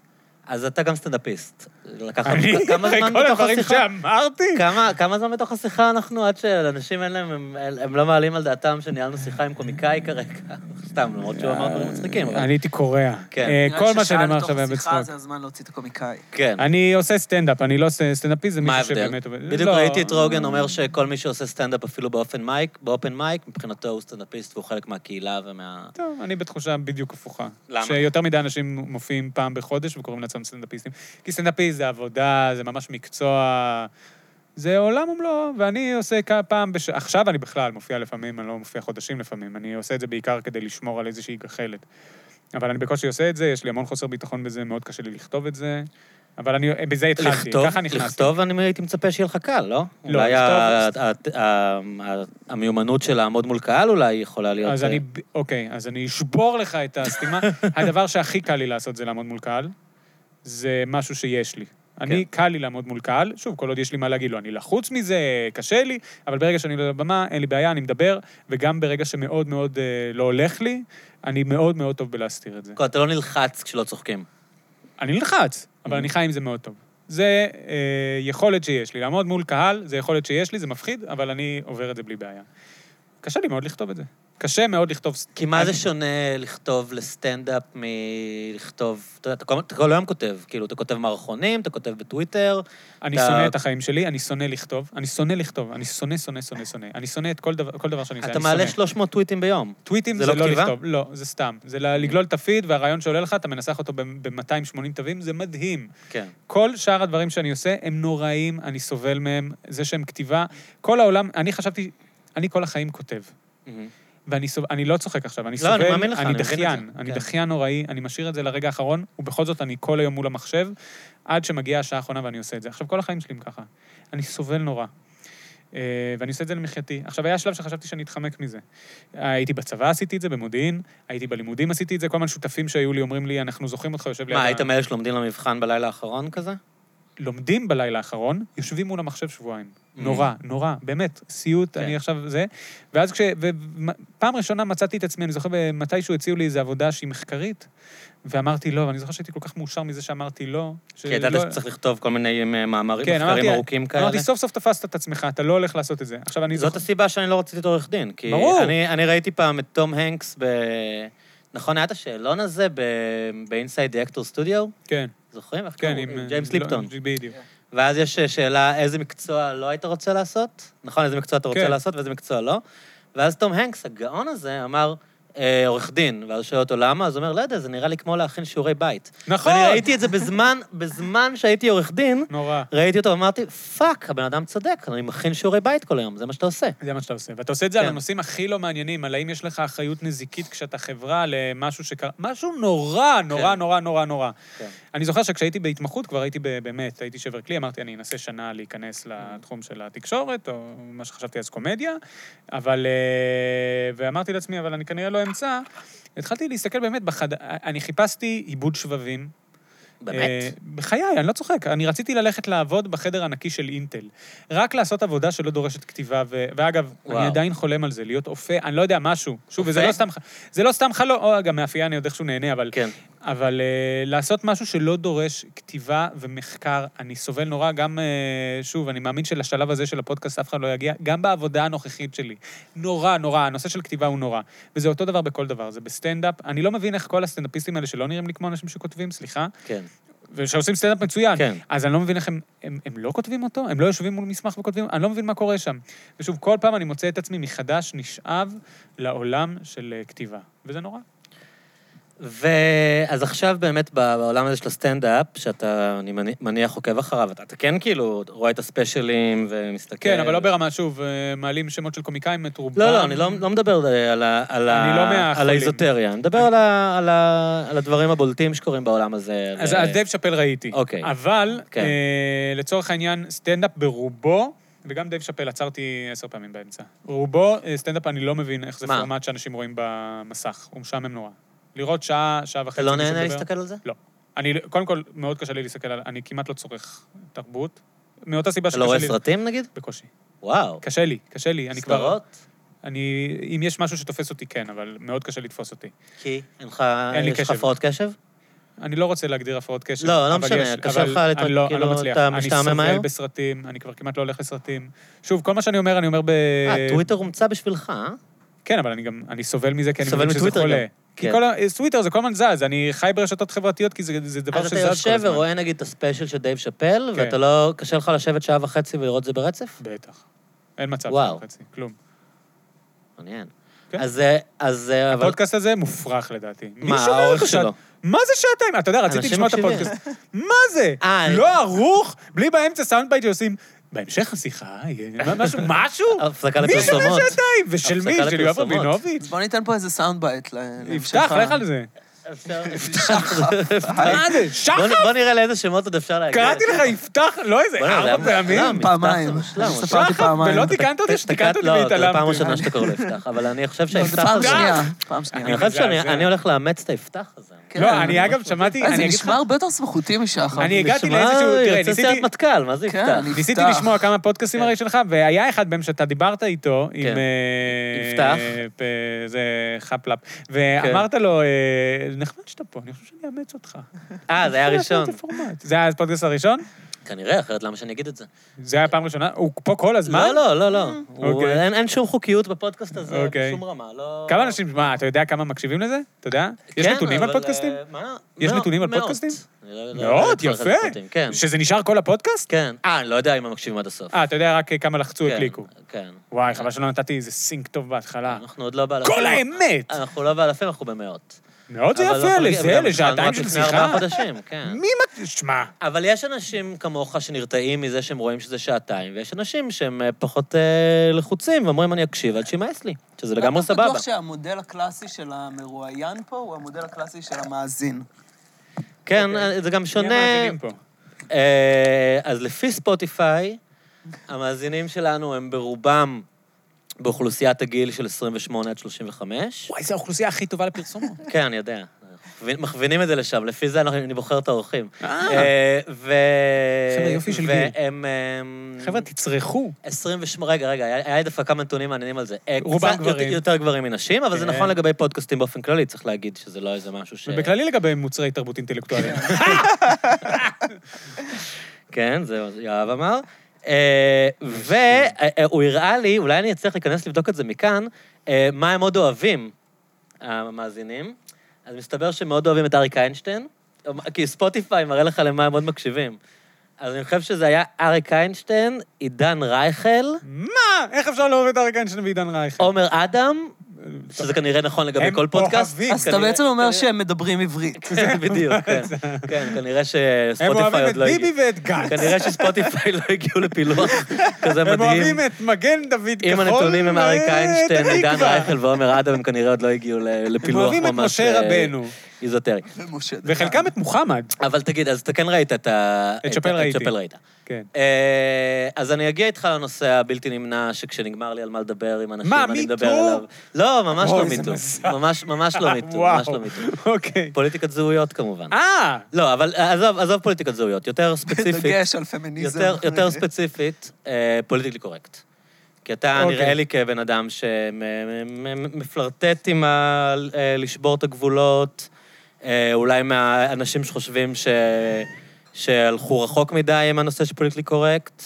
[SPEAKER 1] אז אתה גם סטנדאפיסט. לקח לנו-
[SPEAKER 2] אני,
[SPEAKER 1] כמה
[SPEAKER 2] אחרי
[SPEAKER 1] זמן
[SPEAKER 2] כל
[SPEAKER 1] בתוך
[SPEAKER 2] הדברים
[SPEAKER 1] השיחה?
[SPEAKER 2] שאמרתי,
[SPEAKER 1] כמה, כמה זמן בתוך השיחה אנחנו, עד שאנשים אין להם, הם, הם לא מעלים על דעתם שניהלנו שיחה עם קומיקאי כרגע. סתם, למרות שהוא אמר דברים מצחיקים, אבל...
[SPEAKER 2] אני הייתי קורע.
[SPEAKER 1] כן.
[SPEAKER 2] אה,
[SPEAKER 3] נראה
[SPEAKER 2] כל
[SPEAKER 3] לי
[SPEAKER 2] מה
[SPEAKER 3] ששעה
[SPEAKER 2] שנאמר
[SPEAKER 3] לתוך
[SPEAKER 2] עכשיו היה
[SPEAKER 3] השיחה זה
[SPEAKER 2] בצחוק.
[SPEAKER 3] הזמן להוציא את הקומיקאי.
[SPEAKER 1] כן.
[SPEAKER 2] אני עושה סטנדאפ, אני לא עושה סטנדאפיסט, זה
[SPEAKER 1] מה
[SPEAKER 2] מישהו
[SPEAKER 1] ההבדל?
[SPEAKER 2] שבאמת עובד.
[SPEAKER 1] בדיוק
[SPEAKER 2] לא,
[SPEAKER 1] ראיתי את רוגן אומר שכל מי שעושה סטנדאפ אפילו באופן מייק, באופן מייק, מבחינתו הוא סטנדאפיסט והוא חלק מהקהילה ומה...
[SPEAKER 2] טוב, אני בתחושה בדיוק הפוכה.
[SPEAKER 1] למה?
[SPEAKER 2] שיותר מדי אנשים מופיעים פעם בחודש וקוראים לעצמם סטנדאפיסטים. כי סטנדאפיסט זה עבודה, זה ממש מקצוע, זה עולם ומלואו, ואני עושה כ- פעם בש... עכשיו אני בכלל מופיע לפעמים, אני לא מופיע חודשים לפעמים, אני עושה את זה בעיקר כדי לשמור על איזושהי גחלת. אבל אני בקושי עושה את זה, יש לי המון חוסר ביטחון בזה, מאוד קשה לי לכתוב את זה, אבל אני, אה, בזה התחלתי,
[SPEAKER 1] לכתוב,
[SPEAKER 2] ככה נכנסתי.
[SPEAKER 1] לכתוב, אני הייתי מצפה שיהיה לך קל, לא?
[SPEAKER 2] לא,
[SPEAKER 1] אולי
[SPEAKER 2] לכתוב-
[SPEAKER 1] ה- ה- ה- ה- המיומנות של לעמוד מול קהל אולי יכולה להיות...
[SPEAKER 2] אז
[SPEAKER 1] אה,
[SPEAKER 2] אני, ב- אוקיי, אז אני אשבור לך את הסתימה. הדבר שהכי קל לי לעשות זה לעמוד מול קהל. זה משהו שיש לי. אני,
[SPEAKER 1] כן.
[SPEAKER 2] קל לי לעמוד מול קהל, שוב, כל עוד יש לי מה להגיד לו, אני לחוץ מזה, קשה לי, אבל ברגע שאני על הבמה, אין לי בעיה, אני מדבר, וגם ברגע שמאוד מאוד אה, לא הולך לי, אני מאוד מאוד טוב בלהסתיר את זה.
[SPEAKER 1] כל- אתה לא נלחץ כשלא צוחקים.
[SPEAKER 2] אני נלחץ,
[SPEAKER 1] Mm.
[SPEAKER 2] אבל אני חי עם זה מאוד טוב. זה אה, יכולת שיש לי. לעמוד מול קהל, זה יכולת שיש לי, זה מפחיד, אבל אני עובר את זה בלי בעיה. קשה לי מאוד לכתוב את זה. קשה מאוד לכתוב... ס-
[SPEAKER 1] כי מה זה שונה לכתוב לסטנדאפ מלכתוב... אתה יודע, אתה כל- אתה כל היום כותב, כאילו, אתה כותב מערכונים, אתה כותב בטוויטר,
[SPEAKER 2] אני
[SPEAKER 1] אתה-
[SPEAKER 2] שונא את החיים שלי, אני שונא לכתוב, אני שונא לכתוב, אני שונא, שונא, שונא, שונא. אני שונא את כל דבר, כל דבר שאני עושה,
[SPEAKER 1] אתה
[SPEAKER 2] אני שונא.
[SPEAKER 1] מעלה 300 טוויטים ביום.
[SPEAKER 2] טוויטים
[SPEAKER 1] זה
[SPEAKER 2] זה,
[SPEAKER 1] לא
[SPEAKER 2] לא
[SPEAKER 1] כתיבה?
[SPEAKER 2] לכתוב, לא, זה סתם. זה ל- לגלול את הפיד, והרעיון שעולה לך, אתה מנסח אותו ב-280 תווים, זה מדהים.
[SPEAKER 1] כן.
[SPEAKER 2] כל שאר הדברים שאני עושה הם נוראים, אני סובל מהם, זה שהם כתיבה. כל העולם, אני חשבתי, אני כל החיים כותב.
[SPEAKER 1] מהמם.
[SPEAKER 2] ואני סוב... אני לא צוחק עכשיו, אני
[SPEAKER 1] לא,
[SPEAKER 2] סובל,
[SPEAKER 1] אני מאמין לך, אני מבין את זה,
[SPEAKER 2] דחיין, אני
[SPEAKER 1] כן.
[SPEAKER 2] דחיין נוראי, אני משאיר את זה לרגע האחרון, ובכל זאת אני כל היום מול המחשב, עד שמגיעה השעה האחרונה ואני עושה את זה. עכשיו, כל החיים שלי הם ככה. אני סובל נורא. אה, ואני עושה את זה למחייתי. עכשיו, היה שלב שחשבתי שאני אתחמק מזה. הייתי בצבא, עשיתי את זה, במודיעין, הייתי בלימודים, עשיתי את זה, כל מיני שותפים שהיו לי אומרים לי, אנחנו זוכרים אותך יושב ליד...
[SPEAKER 1] מה,
[SPEAKER 2] ה-
[SPEAKER 1] היית מאלה שלומדים למבחן בלילה האחרון כזה?
[SPEAKER 2] לומדים בלילה האחרון, יושבים מול המחשב שבועיים.
[SPEAKER 1] Mm.
[SPEAKER 2] Mm-hmm. נורא, נורא, באמת, סיוט,
[SPEAKER 1] כן.
[SPEAKER 2] אני עכשיו זה. ואז כש... ופעם ראשונה מצאתי את עצמי, אני זוכר מתישהו הציעו לי איזו עבודה שהיא מחקרית, ואמרתי לא, ואני זוכר שהייתי כל כך מאושר מזה שאמרתי לא.
[SPEAKER 1] כי ידעת שצריך לכתוב כל מיני אה, מאמרים,
[SPEAKER 2] כן,
[SPEAKER 1] מחקרים
[SPEAKER 2] אמרתי-
[SPEAKER 1] ארוכים כאלה.
[SPEAKER 2] אמרתי, סוף סוף תפסת את עצמך, אתה לא הולך לעשות את זה. עכשיו, אני
[SPEAKER 1] זאת
[SPEAKER 2] זוכר...
[SPEAKER 1] הסיבה שאני לא רציתי את עורך דין. כי
[SPEAKER 2] ברור.
[SPEAKER 1] אני, אני ראיתי פעם את תום הנקס ב... נכון, היה את השאלון הזה ב-Inside the Actor Studio?
[SPEAKER 2] כן,
[SPEAKER 1] זוכרים? איך
[SPEAKER 2] כן,
[SPEAKER 1] קראו?
[SPEAKER 2] עם...
[SPEAKER 1] ג'יימס
[SPEAKER 2] לא,
[SPEAKER 1] ליפטון.
[SPEAKER 2] בדיוק.
[SPEAKER 1] ואז יש אה, שאלה, איזה מקצוע לא היית רוצה לעשות? נכון, איזה מקצוע אתה רוצה
[SPEAKER 2] כן.
[SPEAKER 1] לעשות ואיזה מקצוע לא? ואז תום הנקס, הגאון הזה, אמר, "אה, עורך דין. ואז שואל אותו למה, אז הוא אומר, לא יודע, זה נראה לי כמו להכין שיעורי בית.
[SPEAKER 2] נכון!
[SPEAKER 1] ואני ראיתי את זה בזמן, בזמן שהייתי עורך דין,
[SPEAKER 2] נורא.
[SPEAKER 1] ראיתי אותו ואמרתי, פאק, הבן אדם צודק, אני מכין שיעורי בית כל היום, זה מה שאתה עושה.
[SPEAKER 2] זה מה שאתה עושה. ואתה עושה את זה על
[SPEAKER 1] כן.
[SPEAKER 2] הנושאים הכי לא מעניינים, על האם יש לך אחריות נזיקית כשאתה חברה למשהו שקרה... משהו נורא, נורא,
[SPEAKER 1] כן.
[SPEAKER 2] נורא, נורא, נורא.
[SPEAKER 1] כן.
[SPEAKER 2] אני זוכר שכשהייתי בהתמחות, כבר הייתי ב- באמת, הייתי שבר כלי, אמרתי, אני אנסה שנה להיכנס לתחום של התקשורת, או מה שחשבתי אז קומדיה, אבל... אה, ואמרתי לעצמי, אבל אני כנראה לא אמצא. התחלתי להסתכל באמת בחד... אני חיפשתי עיבוד שבבים. אה,
[SPEAKER 1] באמת?
[SPEAKER 2] בחיי, אני לא צוחק. אני רציתי ללכת לעבוד בחדר הנקי של אינטל. רק לעשות עבודה שלא דורשת כתיבה, ו... ואגב, וואו.
[SPEAKER 1] וואו.
[SPEAKER 2] אני עדיין חולם על זה, להיות אופה, אני לא יודע, משהו. שוב, וזה
[SPEAKER 1] אופה?
[SPEAKER 2] לא סתם, ח- זה לא סתם חלום, או, גם מאפייה אני עוד איכשהו נהנה, אבל...
[SPEAKER 1] כן.
[SPEAKER 2] אבל uh, לעשות משהו שלא דורש כתיבה ומחקר, אני סובל נורא, גם, uh, שוב, אני מאמין שלשלב הזה של הפודקאסט אף אחד לא יגיע, גם בעבודה הנוכחית שלי. נורא, נורא, הנושא של כתיבה הוא נורא. וזה אותו דבר בכל דבר, זה בסטנדאפ. אני לא מבין איך כל הסטנדאפיסטים האלה שלא נראים לי כמו אנשים שכותבים, סליחה,
[SPEAKER 1] כן.
[SPEAKER 2] ושעושים סטנדאפ מצוין.
[SPEAKER 1] כן.
[SPEAKER 2] אז אני לא מבין איך הם, הם, הם לא כותבים אותו? הם לא יושבים מול מסמך וכותבים? אני לא מבין מה קורה שם. ושוב, כל פעם אני מוצא את עצמי מחדש נשאב לעולם של אה, כתיבה, וזה נורא.
[SPEAKER 1] ואז עכשיו באמת ב- בעולם הזה של הסטנדאפ, שאתה, אני מני- מניח, עוקב אחריו, אתה אתה כן כאילו רואה את הספיישלים ומסתכל.
[SPEAKER 2] כן, אבל לא ברמה, שוב, אה, מעלים שמות של קומיקאים, את רובם.
[SPEAKER 1] לא, לא, אני לא, לא מדבר על, ה, על,
[SPEAKER 2] אני לא
[SPEAKER 1] ה,
[SPEAKER 2] מהחולים.
[SPEAKER 1] על האיזוטריה, אני מדבר על, ה, על, ה, על הדברים הבולטים שקורים בעולם הזה.
[SPEAKER 2] אז
[SPEAKER 1] ו-
[SPEAKER 2] אז דייב שאפל ראיתי.
[SPEAKER 1] אוקיי.
[SPEAKER 2] אבל,
[SPEAKER 1] כן.
[SPEAKER 2] אה, לצורך העניין, סטנדאפ ברובו, וגם דייב שאפל עצרתי עשר פעמים באמצע. רובו, אה, סטנדאפ, אני לא מבין איך זה
[SPEAKER 1] מה?
[SPEAKER 2] פורמט שאנשים רואים במסך. הוא משעמם נורא. לראות שעה, שעה וחצי.
[SPEAKER 1] אתה לא
[SPEAKER 2] מישהו
[SPEAKER 1] נהנה
[SPEAKER 2] מדבר?
[SPEAKER 1] להסתכל על זה?
[SPEAKER 2] לא. אני, קודם כל, מאוד קשה לי להסתכל על... אני כמעט לא צורך תרבות. מאותה סיבה
[SPEAKER 1] אתה לא רואה
[SPEAKER 2] שקשה לי...
[SPEAKER 1] סרטים נגיד?
[SPEAKER 2] בקושי.
[SPEAKER 1] וואו.
[SPEAKER 2] קשה לי, קשה לי. כן, אני כבר...
[SPEAKER 1] סדרות?
[SPEAKER 2] אני... אם יש משהו שתופס אותי, כן, אבל מאוד קשה לתפוס אותי.
[SPEAKER 1] כי אין לך,
[SPEAKER 2] אין לי
[SPEAKER 1] יש לך
[SPEAKER 2] קשב.
[SPEAKER 1] הפרעות קשב?
[SPEAKER 2] אני לא רוצה להגדיר הפרעות קשב.
[SPEAKER 1] לא, לא
[SPEAKER 2] אבל
[SPEAKER 1] משנה,
[SPEAKER 2] יש,
[SPEAKER 1] קשה
[SPEAKER 2] אבל
[SPEAKER 1] לך לת-
[SPEAKER 2] אני לא, אני
[SPEAKER 1] כאילו,
[SPEAKER 2] לא מצליח.
[SPEAKER 1] אתה
[SPEAKER 2] אני
[SPEAKER 1] משתעמם
[SPEAKER 2] סובל
[SPEAKER 1] מהר?
[SPEAKER 2] בסרטים, אני כבר כמעט לא הולך לסרטים. שוב, כל מה שאני אומר, אני אומר ב...
[SPEAKER 1] אה, טוויטר הומצא בשבילך, אה?
[SPEAKER 2] כן, אבל אני גם, אני סובל מזה, כי אני
[SPEAKER 1] סובל
[SPEAKER 2] מבין שזה
[SPEAKER 1] מטוויטר גם.
[SPEAKER 2] חולה. כי
[SPEAKER 1] כן.
[SPEAKER 2] כל ה... אה, טוויטר זה כל הזמן זז, אני חי ברשתות חברתיות, כי זה זה דבר
[SPEAKER 1] אז אתה
[SPEAKER 2] שזז כל
[SPEAKER 1] יושב
[SPEAKER 2] הזמן.
[SPEAKER 1] ורואה נגיד את הספיישל של דייב שאפל,
[SPEAKER 2] כן.
[SPEAKER 1] ואתה לא, קשה לך לשבת שעה וחצי ולראות את זה ברצף?
[SPEAKER 2] בטח. אין מצב
[SPEAKER 1] וואו.
[SPEAKER 2] של חצי, כלום.
[SPEAKER 1] מעניין.
[SPEAKER 2] כן.
[SPEAKER 1] אז, אה, אז, אה, אבל...
[SPEAKER 2] הפודקאסט הזה מופרך לדעתי. מי
[SPEAKER 1] מה,
[SPEAKER 2] שומע
[SPEAKER 1] האורך
[SPEAKER 2] אותו שעת-
[SPEAKER 1] שלו?
[SPEAKER 2] מה זה שעתיים? אתה יודע, רציתי
[SPEAKER 1] אנשים
[SPEAKER 2] לשמוע את
[SPEAKER 1] מקשיבים.
[SPEAKER 2] הפודקאסט. מה זה?
[SPEAKER 1] אה, אני-
[SPEAKER 2] לא ערוך? בלי באמצע סאונד בייט שעושים... בהמשך השיחה יהיה מה- משהו, משהו?
[SPEAKER 1] הפסקה
[SPEAKER 2] מי שומע
[SPEAKER 1] לפרסומות.
[SPEAKER 2] שעתיים? ושל מי?
[SPEAKER 1] הפסקה
[SPEAKER 2] של יואב
[SPEAKER 1] לפרסומות.
[SPEAKER 2] רבינוביץ'?
[SPEAKER 3] אז בוא ניתן פה איזה סאונד בייט. ל-
[SPEAKER 2] יפתח,
[SPEAKER 3] להמשך ה-
[SPEAKER 2] לך על זה. מה זה?
[SPEAKER 1] בוא
[SPEAKER 2] שחר?
[SPEAKER 1] נ- בוא נראה לאיזה שמות עוד אפשר להגיע.
[SPEAKER 2] קראתי לך יפתח, לא איזה
[SPEAKER 1] בוא'נה, זה היה
[SPEAKER 2] ארבע פעמים.
[SPEAKER 1] מושלם.
[SPEAKER 3] פעמיים.
[SPEAKER 1] זה מושלם,
[SPEAKER 3] אני
[SPEAKER 1] זה
[SPEAKER 3] ספרתי
[SPEAKER 2] שחר,
[SPEAKER 3] פעמיים.
[SPEAKER 2] ולא תיקנת אותי, שתיקנת אותי
[SPEAKER 1] לא, זה פעם
[SPEAKER 2] והתעלמתי. אה,
[SPEAKER 1] ראשונה שאתה קורא ליפתח, אבל אני חושב
[SPEAKER 3] לא,
[SPEAKER 1] שהיפתח
[SPEAKER 3] זה פעם
[SPEAKER 1] הזה...
[SPEAKER 3] שנייה, פעם שנייה.
[SPEAKER 1] אני חושב שאני
[SPEAKER 2] מזעזע.
[SPEAKER 1] אני הולך לאמץ את היפתח הזה.
[SPEAKER 3] כן.
[SPEAKER 2] לא, אני אגב שמעתי,
[SPEAKER 3] אה, זה
[SPEAKER 2] אני אגיד לך...
[SPEAKER 3] נשמע הרבה יותר סמכותי משחר.
[SPEAKER 2] אני הגעתי
[SPEAKER 1] נשמע,
[SPEAKER 2] לאיזשהו... תראה,
[SPEAKER 1] יוצא
[SPEAKER 2] ניסיתי...
[SPEAKER 1] סרט מטכ"ל, מה זה
[SPEAKER 3] כן,
[SPEAKER 1] יפתח?
[SPEAKER 3] אני-
[SPEAKER 2] ניסיתי
[SPEAKER 3] יפתח.
[SPEAKER 2] לשמוע כמה פודקאסים
[SPEAKER 1] כן.
[SPEAKER 2] הרי שלך, והיה אחד בהם שאתה דיברת איתו, עם...
[SPEAKER 1] כן.
[SPEAKER 2] אה,
[SPEAKER 1] יפתח.
[SPEAKER 2] אה, זה חפלאפ. ואמרת לו, אה, נחמד שאתה פה, אני חושב שאני אאמץ אותך.
[SPEAKER 1] אה, זה היה
[SPEAKER 2] אני חושב
[SPEAKER 1] הראשון.
[SPEAKER 2] לעשות את הפורמט. זה היה הפודקאסט הראשון?
[SPEAKER 1] כנראה, אחרת למה שאני אגיד את זה?
[SPEAKER 2] זה היה פעם ראשונה? הוא פה כל הזמן?
[SPEAKER 1] לא, לא, לא, לא. הוא-
[SPEAKER 2] אוקיי.
[SPEAKER 1] אין- אין שום חוקיות בפודקאסט הזה,
[SPEAKER 2] אוקיי.
[SPEAKER 1] בשום רמה, לא...
[SPEAKER 2] כמה אנשים, מה, אתה יודע כמה מקשיבים לזה? אתה יודע? יש
[SPEAKER 1] כן,
[SPEAKER 2] נתונים
[SPEAKER 1] אבל,
[SPEAKER 2] על פודקאסטים?
[SPEAKER 1] אה, מה?
[SPEAKER 2] יש
[SPEAKER 1] מאות-
[SPEAKER 2] נתונים על
[SPEAKER 1] מאות.
[SPEAKER 2] פודקאסטים?
[SPEAKER 1] אני לא- לא- לא
[SPEAKER 2] מאוד,
[SPEAKER 1] יודע את
[SPEAKER 2] יפה.
[SPEAKER 1] הפודקאסטים, כן,
[SPEAKER 2] שזה נשאר כל הפודקאסט?
[SPEAKER 1] כן. אה, אני לא יודע אם הם מקשיבים עד הסוף.
[SPEAKER 2] אה, אתה יודע רק כמה לחצו,
[SPEAKER 1] כן,
[SPEAKER 2] הקליקו.
[SPEAKER 1] כן.
[SPEAKER 2] וואי, חבל שלא נתתי איזה סינק טוב בהתחלה.
[SPEAKER 1] אנחנו עוד לא באלפים.
[SPEAKER 2] כל האמת!
[SPEAKER 1] אנחנו לא באלפים, אנחנו במאות.
[SPEAKER 2] מאוד זה
[SPEAKER 1] אבל
[SPEAKER 2] יפה,
[SPEAKER 1] אנחנו-
[SPEAKER 2] לזה,
[SPEAKER 1] גם
[SPEAKER 2] לשעתיים
[SPEAKER 1] התחלנו
[SPEAKER 2] של
[SPEAKER 1] רק לפני
[SPEAKER 2] שיחה.
[SPEAKER 1] ארבעה חודשים, כן.
[SPEAKER 2] מי מק... שמע,
[SPEAKER 1] אבל יש אנשים כמוך שנרתעים מזה שהם רואים שזה שעתיים, ויש אנשים שהם אה, פחות אה, לחוצים, ואומרים, אני אקשיב עד שימאס לי, שזה לגמרי
[SPEAKER 3] אני
[SPEAKER 1] סבבה.
[SPEAKER 3] בטוח שהמודל הקלאסי של המרואיין פה הוא המודל הקלאסי של המאזין.
[SPEAKER 1] כן, אה, זה גם
[SPEAKER 2] אוקיי. מי
[SPEAKER 1] שונה.
[SPEAKER 2] המאזינים פה?
[SPEAKER 1] אה, אז לפי ספוטיפיי, המאזינים שלנו הם ברובם באוכלוסיית הגיל של 28 עד 35.
[SPEAKER 2] וואי, זו האוכלוסייה הכי טובה לפרסומות.
[SPEAKER 1] כן, אני יודע. מכווין- מכווינים את זה לשם, לפי זה אנחנו- אני בוחר את האורחים.
[SPEAKER 2] אה,
[SPEAKER 1] אה, ו...
[SPEAKER 2] חבר'ה, יופי של גיל.
[SPEAKER 1] והם... אמ,
[SPEAKER 2] חבר'ה, תצרכו.
[SPEAKER 1] 28, רגע, רגע, היה היה לי דווקא כמה נתונים מעניינים על זה. אה,
[SPEAKER 2] רובם
[SPEAKER 1] קצת
[SPEAKER 2] גברים.
[SPEAKER 1] יותר- יותר גברים מנשים, אבל זה
[SPEAKER 2] כן.
[SPEAKER 1] נכון לגבי פודקאסטים באופן כללי, צריך להגיד שזה לא איזה משהו ש...
[SPEAKER 2] ובכללי לגבי מוצרי תרבות אינטלקטואלית.
[SPEAKER 1] כן, זה מה שיואב אמר. אה, והוא אה, הראה לי, אולי אני אצליח להיכנס לבדוק את זה מכאן, אה, מה הם עוד אוהבים, המאזינים. אז מסתבר שהם מאוד אוהבים את אריק איינשטיין, כי ספוטיפיי מראה לך למה הם עוד מקשיבים. אז אני חושב שזה היה אריק איינשטיין, עידן רייכל,
[SPEAKER 2] מה? איך אפשר לאהוב את אריק איינשטיין ועידן רייכל?
[SPEAKER 1] עומר אדם, שזה כנראה נכון לגבי
[SPEAKER 2] הם
[SPEAKER 1] כל פודקאסט.
[SPEAKER 2] אוהבים.
[SPEAKER 3] אז אתה
[SPEAKER 1] כנראה-
[SPEAKER 3] בעצם אומר
[SPEAKER 1] כנראה-
[SPEAKER 3] שהם מדברים עברית.
[SPEAKER 1] זה בדיוק, כן. כן, כנראה
[SPEAKER 2] הם
[SPEAKER 1] שספוטיפיי
[SPEAKER 2] אוהבים את
[SPEAKER 1] עוד לא הגיע.
[SPEAKER 2] ביבי ואת גנץ.
[SPEAKER 1] כנראה שספוטיפיי לא הגיעו לפילוח כזה מדהים.
[SPEAKER 2] הם אוהבים את מגן דוד כחול.
[SPEAKER 1] אם הנתונים הם אריק
[SPEAKER 2] ואת
[SPEAKER 1] איינשטיין, עידן
[SPEAKER 2] התקווה.
[SPEAKER 1] רייכל ועומר אדם, הם כנראה עוד לא הגיעו ל-
[SPEAKER 2] הם
[SPEAKER 1] לפילוח ממש...
[SPEAKER 2] אוהבים את משה
[SPEAKER 1] אה,
[SPEAKER 2] רבנו.
[SPEAKER 1] איזוטרי.
[SPEAKER 3] ומשה דגן.
[SPEAKER 2] וחלקם את מוחמד.
[SPEAKER 1] אבל תגיד, אז אתה כן ראית את ה...
[SPEAKER 2] את שאפל
[SPEAKER 1] ה-
[SPEAKER 2] ראיתי.
[SPEAKER 1] שאפל ראית.
[SPEAKER 2] כן.
[SPEAKER 1] אה, אז אני אגיע איתך לנושא הבלתי נמנע, שכשנגמר לי על מה לדבר עם אנשים,
[SPEAKER 2] מה,
[SPEAKER 1] אני
[SPEAKER 2] Me
[SPEAKER 1] מדבר
[SPEAKER 2] Too?
[SPEAKER 1] עליו. לא, ממש
[SPEAKER 2] אוי,
[SPEAKER 1] לא
[SPEAKER 2] זה
[SPEAKER 1] מיטו.
[SPEAKER 2] מזל.
[SPEAKER 1] ממש ממש לא מיטו, ממש לא
[SPEAKER 2] אה, וואו.
[SPEAKER 1] מיטו.
[SPEAKER 2] אוקיי.
[SPEAKER 1] פוליטיקת זהויות כמובן.
[SPEAKER 2] אה!
[SPEAKER 1] לא, אבל עזוב, עזוב פוליטיקת זהויות, יותר ספציפית.
[SPEAKER 3] בדגש על פמיניזם.
[SPEAKER 1] יותר, יותר ספציפית, אה, פוליטיקלי קורקט. כי אתה okay.
[SPEAKER 2] אוקיי.
[SPEAKER 1] נראה לי כבן אדם שמפלרטט עם ה... אה, לשבור את הגבולות, אה, אולי מהאנשים שחושבים ש... שהלכו רחוק מדי עם הנושא של פוליטיקלי קורקט.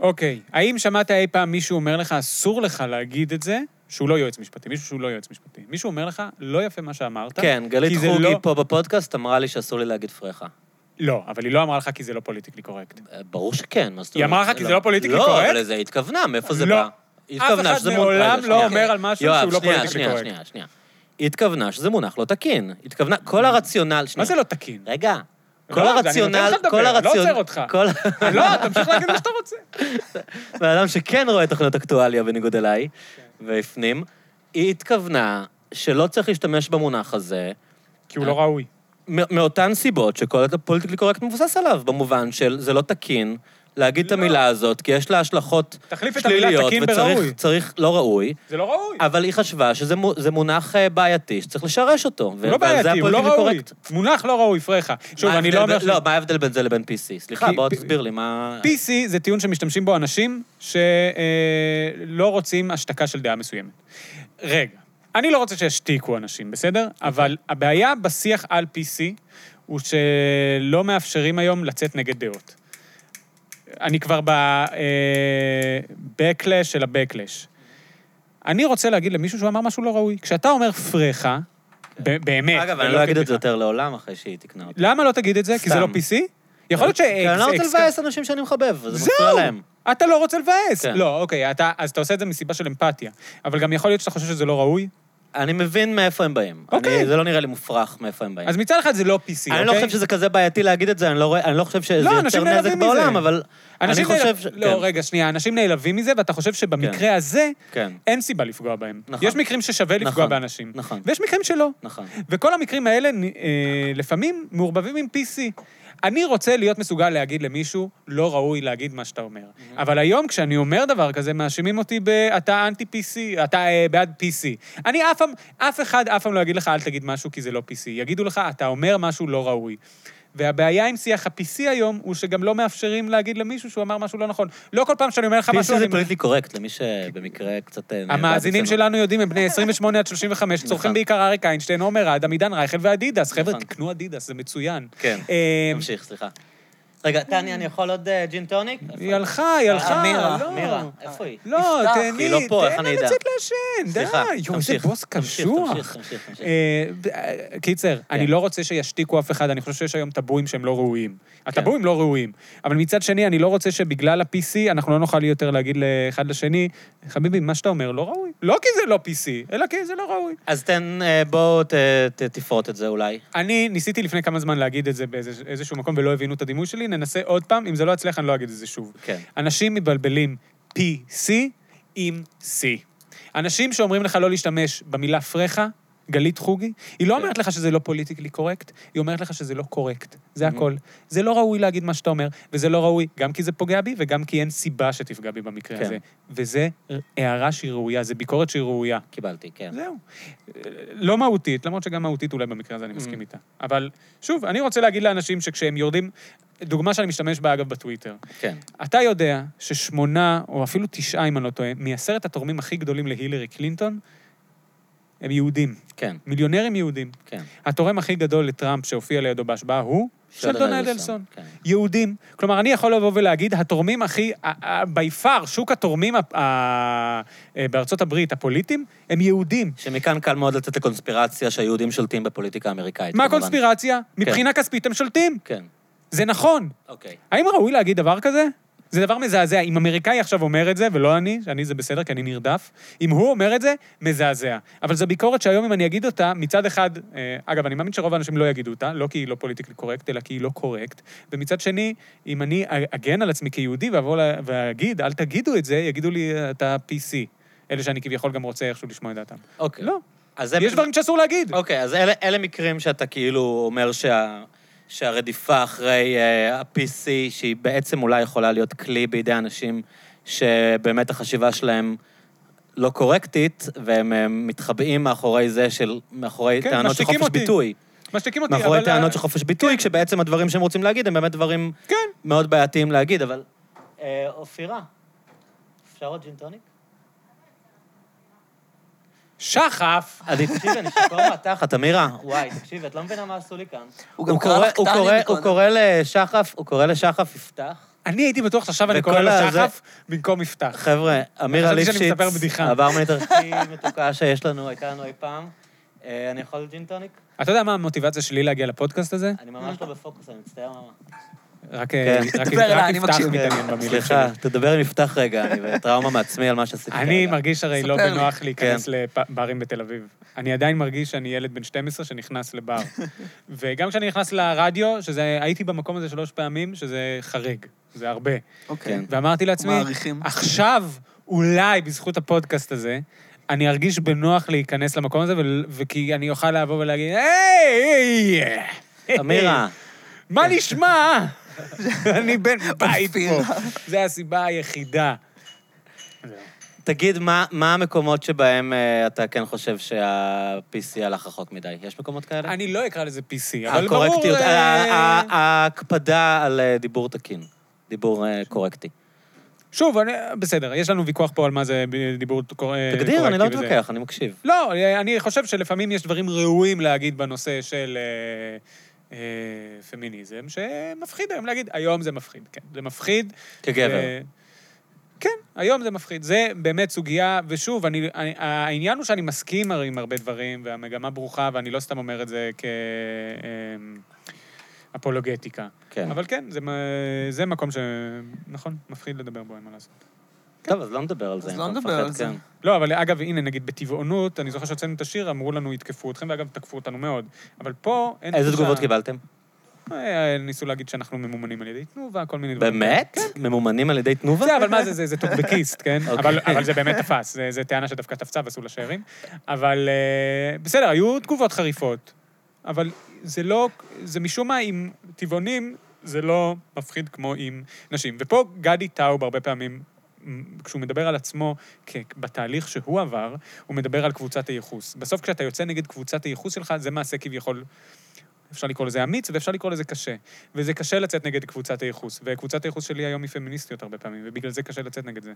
[SPEAKER 2] אוקיי. האם שמעת אי פעם מישהו אומר לך, אסור לך להגיד את זה, שהוא לא יועץ משפטי, מישהו שהוא לא יועץ משפטי. מישהו אומר לך, לא יפה מה שאמרת.
[SPEAKER 1] כן, גלית
[SPEAKER 2] כי זה
[SPEAKER 1] חוגי
[SPEAKER 2] לא-
[SPEAKER 1] פה בפודקאסט אמרה לי שאסור לי להגיד פרחה.
[SPEAKER 2] לא, אבל היא לא אמרה לך כי זה לא פוליטיקלי קורקט.
[SPEAKER 1] אה, ברור שכן, מה זאת
[SPEAKER 2] היא
[SPEAKER 1] אומרת?
[SPEAKER 2] אמרה לך כי זה לא פוליטיקלי
[SPEAKER 1] לא,
[SPEAKER 2] קורקט?
[SPEAKER 1] אבל לזה היא התכוונה, מאיפה זה
[SPEAKER 2] לא.
[SPEAKER 1] בא? היא
[SPEAKER 2] אף
[SPEAKER 1] התכוונה
[SPEAKER 2] אחד
[SPEAKER 1] שזה מונח-
[SPEAKER 2] מעולם
[SPEAKER 1] רגע,
[SPEAKER 2] לא
[SPEAKER 1] שנייה.
[SPEAKER 2] אומר על משהו שהוא לא
[SPEAKER 1] שנייה,
[SPEAKER 2] פוליטיקלי
[SPEAKER 1] שנייה,
[SPEAKER 2] קורקט.
[SPEAKER 1] שנייה, שנייה. היא התכוונה שזה מונח לא תקין. היא התכוונה, כל הרציונל...
[SPEAKER 2] מה
[SPEAKER 1] שנייה.
[SPEAKER 2] זה לא תקין?
[SPEAKER 1] רגע.
[SPEAKER 2] לא,
[SPEAKER 1] כל
[SPEAKER 2] אז אני נותן
[SPEAKER 1] הרציונל,
[SPEAKER 2] לך לדבר,
[SPEAKER 1] כל
[SPEAKER 2] לא
[SPEAKER 1] הרציונל...
[SPEAKER 2] עוצר אותך.
[SPEAKER 1] כל
[SPEAKER 2] לא, תמשיך להגיד מה שאתה רוצה.
[SPEAKER 1] בן אדם שכן רואה תוכניות אקטואליה בניגוד אליי,
[SPEAKER 2] כן.
[SPEAKER 1] והפנים, היא התכוונה שלא צריך להשתמש במונח הזה,
[SPEAKER 2] כי הוא לא ראוי.
[SPEAKER 1] מ- מאותן סיבות שכל הפוליטיקלי קורקט מבוסס עליו, במובן של זה לא תקין להגיד את
[SPEAKER 2] לא.
[SPEAKER 1] המילה הזאת, כי יש לה השלכות
[SPEAKER 2] תחליף את המילה
[SPEAKER 1] שליליות,
[SPEAKER 2] תקין בראוי.
[SPEAKER 1] וצריך צריך- לא ראוי,
[SPEAKER 2] זה לא ראוי.
[SPEAKER 1] אבל היא חשבה שזה מו- זה מונח אה, בעייתי, שצריך לשרש אותו.
[SPEAKER 2] הוא לא בעייתי, הוא לא ראוי. מונח לא ראוי, פרחה. שוב, אני לא אומר... ש-
[SPEAKER 1] לא, מה ההבדל בין זה לבין PC? סליחה,
[SPEAKER 2] כי-
[SPEAKER 1] בוא
[SPEAKER 2] פ-
[SPEAKER 1] תסביר לי מה...
[SPEAKER 2] PC זה טיעון שמשתמשים בו אנשים שלא רוצים השתקה של דעה מסוימת. רגע, אני לא רוצה שישתיקו אנשים, בסדר? אבל הבעיה בשיח על PC הוא שלא מאפשרים היום לצאת נגד דעות. אני כבר ב-Backlash של ה-Backlash. אני רוצה להגיד למישהו שהוא אמר משהו לא ראוי. כשאתה אומר פרחה, ב- באמת,
[SPEAKER 1] אגב,
[SPEAKER 2] ולא
[SPEAKER 1] אני לא אגיד את
[SPEAKER 2] כבדיחה.
[SPEAKER 1] זה יותר לעולם אחרי שהיא תקנה אותי.
[SPEAKER 2] למה לא תגיד את זה? כי זה
[SPEAKER 1] סתם.
[SPEAKER 2] לא PC? יכול להיות ש...
[SPEAKER 1] כי אני לא רוצה לבאס אנשים שאני מחבב, אז זה מפריע להם.
[SPEAKER 2] אתה לא רוצה לבאס.
[SPEAKER 1] כן.
[SPEAKER 2] לא, אוקיי, אתה, אז אתה עושה את זה מסיבה של אמפתיה. אבל גם יכול להיות שאתה חושב שזה לא ראוי.
[SPEAKER 1] אני מבין מאיפה הם באים.
[SPEAKER 2] אוקיי.
[SPEAKER 1] אני- זה לא נראה לי מופרך מאיפה הם באים.
[SPEAKER 2] אז מצד אחד זה לא PC, אוקיי?
[SPEAKER 1] אני לא חושב שזה כזה בעייתי להגיד את זה, אני לא רואה- אני לא חושב שזה
[SPEAKER 2] לא,
[SPEAKER 1] יוצר
[SPEAKER 2] אנשים
[SPEAKER 1] נזק
[SPEAKER 2] נעלבים מזה.
[SPEAKER 1] בעולם, אבל אני
[SPEAKER 2] אנשים נעלב-
[SPEAKER 1] חושב... ש-
[SPEAKER 2] לא,
[SPEAKER 1] כן,
[SPEAKER 2] רגע, שנייה, אנשים נעלבים מזה, ואתה חושב שבמקרה הזה,
[SPEAKER 1] כן,
[SPEAKER 2] אין סיבה לפגוע בהם.
[SPEAKER 1] נכון.
[SPEAKER 2] יש מקרים ששווה לפגוע
[SPEAKER 1] נכון,
[SPEAKER 2] באנשים.
[SPEAKER 1] נכון.
[SPEAKER 2] ויש מקרים שלא.
[SPEAKER 1] נכון.
[SPEAKER 2] וכל המקרים האלה נ- אה, לפעמים מעורבבים עם PC. אני רוצה להיות מסוגל להגיד למישהו, לא ראוי להגיד מה שאתה אומר.
[SPEAKER 1] Mm-hmm.
[SPEAKER 2] אבל היום כשאני אומר דבר כזה, מאשימים אותי ב... אתה אנטי-PC, אתה אה, בעד PC. אני אף פעם, אף אחד אף פעם לא יגיד לך, אל תגיד משהו כי זה לא PC. יגידו לך, אתה אומר משהו לא ראוי. והבעיה עם שיח ה-PC היום, הוא שגם לא מאפשרים להגיד למישהו שהוא אמר משהו לא נכון. לא כל פעם שאני אומר לך
[SPEAKER 1] PC
[SPEAKER 2] משהו...
[SPEAKER 1] זה
[SPEAKER 2] אני-
[SPEAKER 1] פוליטלי קורקט, למי שבמקרה קצת... אה, נאבד
[SPEAKER 2] המאזינים
[SPEAKER 1] אצלנו.
[SPEAKER 2] שלנו יודעים, הם בני 28 עד 35, צורכים
[SPEAKER 1] נכון.
[SPEAKER 2] בעיקר אריק איינשטיין, עומר אדם, עידן רייכל ואדידס. חבר'ה,
[SPEAKER 1] נכון.
[SPEAKER 2] תקנו אדידס, זה מצוין.
[SPEAKER 1] כן,
[SPEAKER 2] אה,
[SPEAKER 1] תמשיך, סליחה. רגע, טניה, אני יכול עוד אה, ג'ין טוניק?
[SPEAKER 2] היא הלכה, היא הלכה.
[SPEAKER 3] מירה,
[SPEAKER 2] לא.
[SPEAKER 1] אה, מירה, איפה היא?
[SPEAKER 2] לא,
[SPEAKER 3] נפתח.
[SPEAKER 2] תהני,
[SPEAKER 1] היא לא פה, איך
[SPEAKER 2] תן
[SPEAKER 1] אני
[SPEAKER 2] לה
[SPEAKER 1] אדע?
[SPEAKER 2] לצאת לעשן, די.
[SPEAKER 1] סליחה,
[SPEAKER 2] יואו, איזה
[SPEAKER 1] תמשיך,
[SPEAKER 2] בוס
[SPEAKER 1] תמשיך,
[SPEAKER 2] קשוח.
[SPEAKER 1] תמשיך, תמשיך, תמשיך. כן.
[SPEAKER 2] אה, אה, קיצר, אני לא רוצה שישתיקו אף אחד, אני חושב שיש היום טאבואים שהם לא ראויים.
[SPEAKER 1] כן.
[SPEAKER 2] הטאבואים לא ראויים. אבל מצד שני, אני לא רוצה שבגלל ה-PC אנחנו לא נוכל יותר להגיד לאחד לשני, חביבי, מה שאתה אומר לא ראוי. לא כי זה לא PC, אלא כי זה לא ראוי.
[SPEAKER 1] אז תן, אה, בוא ת- ת- תפרוט את זה אולי.
[SPEAKER 2] אני ניסיתי לפני כמה זמן להגיד את זה באיזשהו מקום ולא הבינו את הדימוי שלי, ננסה עוד פעם, אם זה לא יצליח אני לא אגיד את זה שוב.
[SPEAKER 1] כן.
[SPEAKER 2] אנשים מבלבלים PC עם C. אנשים שאומרים לך לא להשתמש במילה פרחה, גלית חוגי, היא לא
[SPEAKER 1] כן.
[SPEAKER 2] אומרת לך שזה לא פוליטיקלי קורקט, היא אומרת לך שזה לא קורקט. זה
[SPEAKER 1] Mhm.
[SPEAKER 2] הכל. זה לא ראוי להגיד מה שאתה אומר, וזה לא ראוי גם כי זה פוגע בי וגם כי אין סיבה שתפגע בי במקרה
[SPEAKER 1] כן.
[SPEAKER 2] הזה. וזה הערה שהיא ראויה, זה ביקורת שהיא ראויה.
[SPEAKER 1] קיבלתי, כן.
[SPEAKER 2] זהו. לא מהותית, למרות שגם מהותית אולי במקרה הזה אני מסכים איתה. אבל שוב, אני רוצה להגיד לאנשים שכשהם יורדים, דוגמה שאני משתמש בה, אגב, בטוויטר.
[SPEAKER 1] כן.
[SPEAKER 2] אתה יודע ששמונה, או אפילו תשעה, אם אני לא טועה, מעשרת התורמים הכי גדולים להילרי קלינטון, הם יהודים.
[SPEAKER 1] כן,
[SPEAKER 2] מיליונרים יהודים.
[SPEAKER 1] כן.
[SPEAKER 2] התורם הכי גדול לטראמפ שהופיע לידו בהשבעה הוא שלדון אדלסון.
[SPEAKER 1] כן.
[SPEAKER 2] יהודים. כלומר, אני יכול לבוא ולהגיד, התורמים הכי, by far, שוק התורמים ה- ה- אה, בארצות הברית, הפוליטיים, הם יהודים.
[SPEAKER 1] שמכאן קל מאוד לתת לקונספירציה שהיהודים שולטים בפוליטיקה האמריקאית.
[SPEAKER 2] מה
[SPEAKER 1] כמובן.
[SPEAKER 2] הקונספירציה? מבחינה כספית הם שולטים.
[SPEAKER 1] כן,
[SPEAKER 2] זה נכון.
[SPEAKER 1] אוקיי.
[SPEAKER 2] האם ראוי להגיד דבר כזה? זה דבר מזעזע. אם אמריקאי עכשיו אומר את זה, ולא אני, שאני זה בסדר, כי אני נרדף, אם הוא אומר את זה, מזעזע. אבל זו ביקורת שהיום אם אני אגיד אותה, מצד אחד, אה, אגב, אני מאמין שרוב האנשים לא יגידו אותה, לא כי היא לא פוליטיקלי קורקט, אלא כי היא לא קורקט, ומצד שני, אם אני אגן על עצמי כיהודי ואבוא לה- ואגיד, אל תגידו את זה, יגידו לי, אתה PC. אלה שאני כביכול גם רוצה איכשהו לשמוע את דעתם.
[SPEAKER 1] אוקיי.
[SPEAKER 2] לא,
[SPEAKER 1] אז זה...
[SPEAKER 2] יש דברים שאסור להגיד.
[SPEAKER 1] אוקיי, אז אלה, אלה מקרים שאתה כאילו אומר שה, שהרדיפה אחרי uh, ה-PC, שהיא בעצם אולי יכולה להיות כלי בידי אנשים שבאמת החשיבה שלהם לא קורקטית, והם אה, מתחבאים מאחורי זה של... מאחורי
[SPEAKER 2] כן,
[SPEAKER 1] טענות של
[SPEAKER 2] משתיקים
[SPEAKER 1] חופש
[SPEAKER 2] אותי.
[SPEAKER 1] ביטוי.
[SPEAKER 2] משתיקים אותי,
[SPEAKER 1] מאחורי
[SPEAKER 2] אבל... אה,
[SPEAKER 1] טענות של חופש ביטוי, כשבעצם הדברים שהם רוצים להגיד הם באמת דברים
[SPEAKER 2] כן.
[SPEAKER 1] מאוד בעייתיים להגיד, אבל... אה, אופירה, אפשר עוד ג'ינטוניק?
[SPEAKER 2] שחף!
[SPEAKER 1] עדי, תקשיבי, אני שיכור מהתחת, אמירה. וואי, תקשיבי, את לא מבינה מה עשו לי כאן.
[SPEAKER 3] הוא גם
[SPEAKER 1] הוא
[SPEAKER 3] קרא
[SPEAKER 1] קורא-
[SPEAKER 3] לך
[SPEAKER 1] הוא
[SPEAKER 3] טלי
[SPEAKER 1] קורא-
[SPEAKER 3] מקודם.
[SPEAKER 1] הוא קורא לשחף, הוא קורא לשחף יפתח.
[SPEAKER 2] אני הייתי בטוח שעכשיו אני
[SPEAKER 1] וכל
[SPEAKER 2] קורא לו
[SPEAKER 1] הזה-
[SPEAKER 2] שחף במקום יפתח.
[SPEAKER 1] חבר'ה, אמירה
[SPEAKER 2] חשבתי שאני
[SPEAKER 1] ליפשיץ,
[SPEAKER 2] מספר בדיחה.
[SPEAKER 1] הברמנית הכי מתוקה שיש לנו, הייתה לנו אי פעם. אה, אני יכול ג'ין טוניק?
[SPEAKER 2] אתה יודע מה המוטיבציה שלי להגיע לפודקאסט הזה?
[SPEAKER 1] אני ממש לא בפוקוס, אני מצטער ממש.
[SPEAKER 2] רק אה,
[SPEAKER 1] כן.
[SPEAKER 2] רק-
[SPEAKER 3] דבר
[SPEAKER 2] רק
[SPEAKER 3] אליי, אני
[SPEAKER 2] יפתח
[SPEAKER 3] מקשיב.
[SPEAKER 2] מתעניין במילים שלי.
[SPEAKER 1] סליחה, תדבר עם יפתח רגע, אני בטראומה מעצמי על מה שעשיתי.
[SPEAKER 2] אני
[SPEAKER 1] כרגע.
[SPEAKER 2] מרגיש הרי לא
[SPEAKER 3] ספר לי.
[SPEAKER 2] בנוח להיכנס
[SPEAKER 1] כן.
[SPEAKER 2] לברים בתל אביב. אני עדיין מרגיש שאני ילד בן 12 שנכנס לבר. וגם כשאני נכנס לרדיו, שזה, הייתי במקום הזה שלוש פעמים, שזה חריג, זה הרבה.
[SPEAKER 3] אוקיי.
[SPEAKER 2] ואמרתי לעצמי,
[SPEAKER 3] מעריכים.
[SPEAKER 2] עכשיו, אולי בזכות הפודקאסט הזה, אני ארגיש בנוח להיכנס למקום הזה, ול- וכי אני אוכל לבוא ולהגיד, היי!
[SPEAKER 1] אמירה,
[SPEAKER 2] מה נשמע? אני בן בית פה.
[SPEAKER 3] אופירה.
[SPEAKER 2] זו הסיבה היחידה.
[SPEAKER 1] תגיד, מה- מה המקומות שבהם אה, אתה כן חושב שה-PC הלך רחוק מדי? יש מקומות כאלה?
[SPEAKER 2] אני לא אקרא לזה PC, אבל ברור...
[SPEAKER 1] הקורקטיות,
[SPEAKER 2] אה,
[SPEAKER 1] ה- ה- ההקפדה על אה, דיבור תקין, דיבור אה, קורקטי.
[SPEAKER 2] שוב, אני- בסדר, יש לנו ויכוח פה על מה זה ב- דיבור קור- אה, קורקטי.
[SPEAKER 1] תגדיר, אני לא
[SPEAKER 2] וזה.
[SPEAKER 1] מתווכח, אני מקשיב.
[SPEAKER 2] לא, אה, אני חושב שלפעמים יש דברים ראויים להגיד בנושא של אה, אה, פמיניזם, שמפחיד היום להגיד, היום זה מפחיד, כן. זה מפחיד.
[SPEAKER 1] כגבר.
[SPEAKER 2] אה, כן, היום זה מפחיד. זה באמת סוגיה, ושוב, אני, אני, העניין הוא שאני מסכים הרי עם הרבה דברים, והמגמה ברוכה, ואני לא סתם אומר את זה כאפולוגטיקה.
[SPEAKER 1] כן.
[SPEAKER 2] אבל כן, זה, מ- זה מקום ש... נכון, מפחיד לדבר בו, אין מה לעשות. כן.
[SPEAKER 1] טוב, אז לא נדבר על זה.
[SPEAKER 3] אז
[SPEAKER 1] אם
[SPEAKER 3] לא
[SPEAKER 1] אתה
[SPEAKER 3] נדבר
[SPEAKER 1] מפחד,
[SPEAKER 3] על זה.
[SPEAKER 1] כן.
[SPEAKER 2] לא, אבל אגב, הנה, נגיד בטבעונות, אני זוכר שהוצאנו את השיר, אמרו לנו, יתקפו אתכם, ואגב, תקפו אותנו מאוד. אבל פה אין...
[SPEAKER 1] איזה
[SPEAKER 2] תחושה-
[SPEAKER 1] תגובות קיבלתם?
[SPEAKER 2] אה, ניסו להגיד שאנחנו ממומנים על ידי תנובה, כל מיני דברים.
[SPEAKER 1] באמת?
[SPEAKER 2] כן.
[SPEAKER 1] ממומנים על ידי תנובה?
[SPEAKER 2] זה, אבל מה זה, זה, זה טוקבקיסט, כן?
[SPEAKER 1] אוקיי.
[SPEAKER 2] אבל, אבל זה באמת תפס, זה- זה טענה שדווקא תפסה ועשו לה שערים. אבל אה, בסדר, היו תגובות חריפות, אבל זה לא, זה משום מה עם טבעונים, זה לא מפחיד כמו עם נשים. ופה גדי טאוב הרבה פעמים, מ, כשהוא מדבר על עצמו כ- בתהליך שהוא עבר, הוא מדבר על קבוצת הייחוס. בסוף כשאתה יוצא נגד קבוצת הייחוס שלך, זה מעשה כביכול אפשר לקרוא לזה אמיץ ואפשר לקרוא לזה קשה. וזה קשה לצאת נגד קבוצת הייחוס, וקבוצת הייחוס שלי היום היא פמיניסטיות הרבה פעמים, ובגלל זה קשה לצאת נגד זה.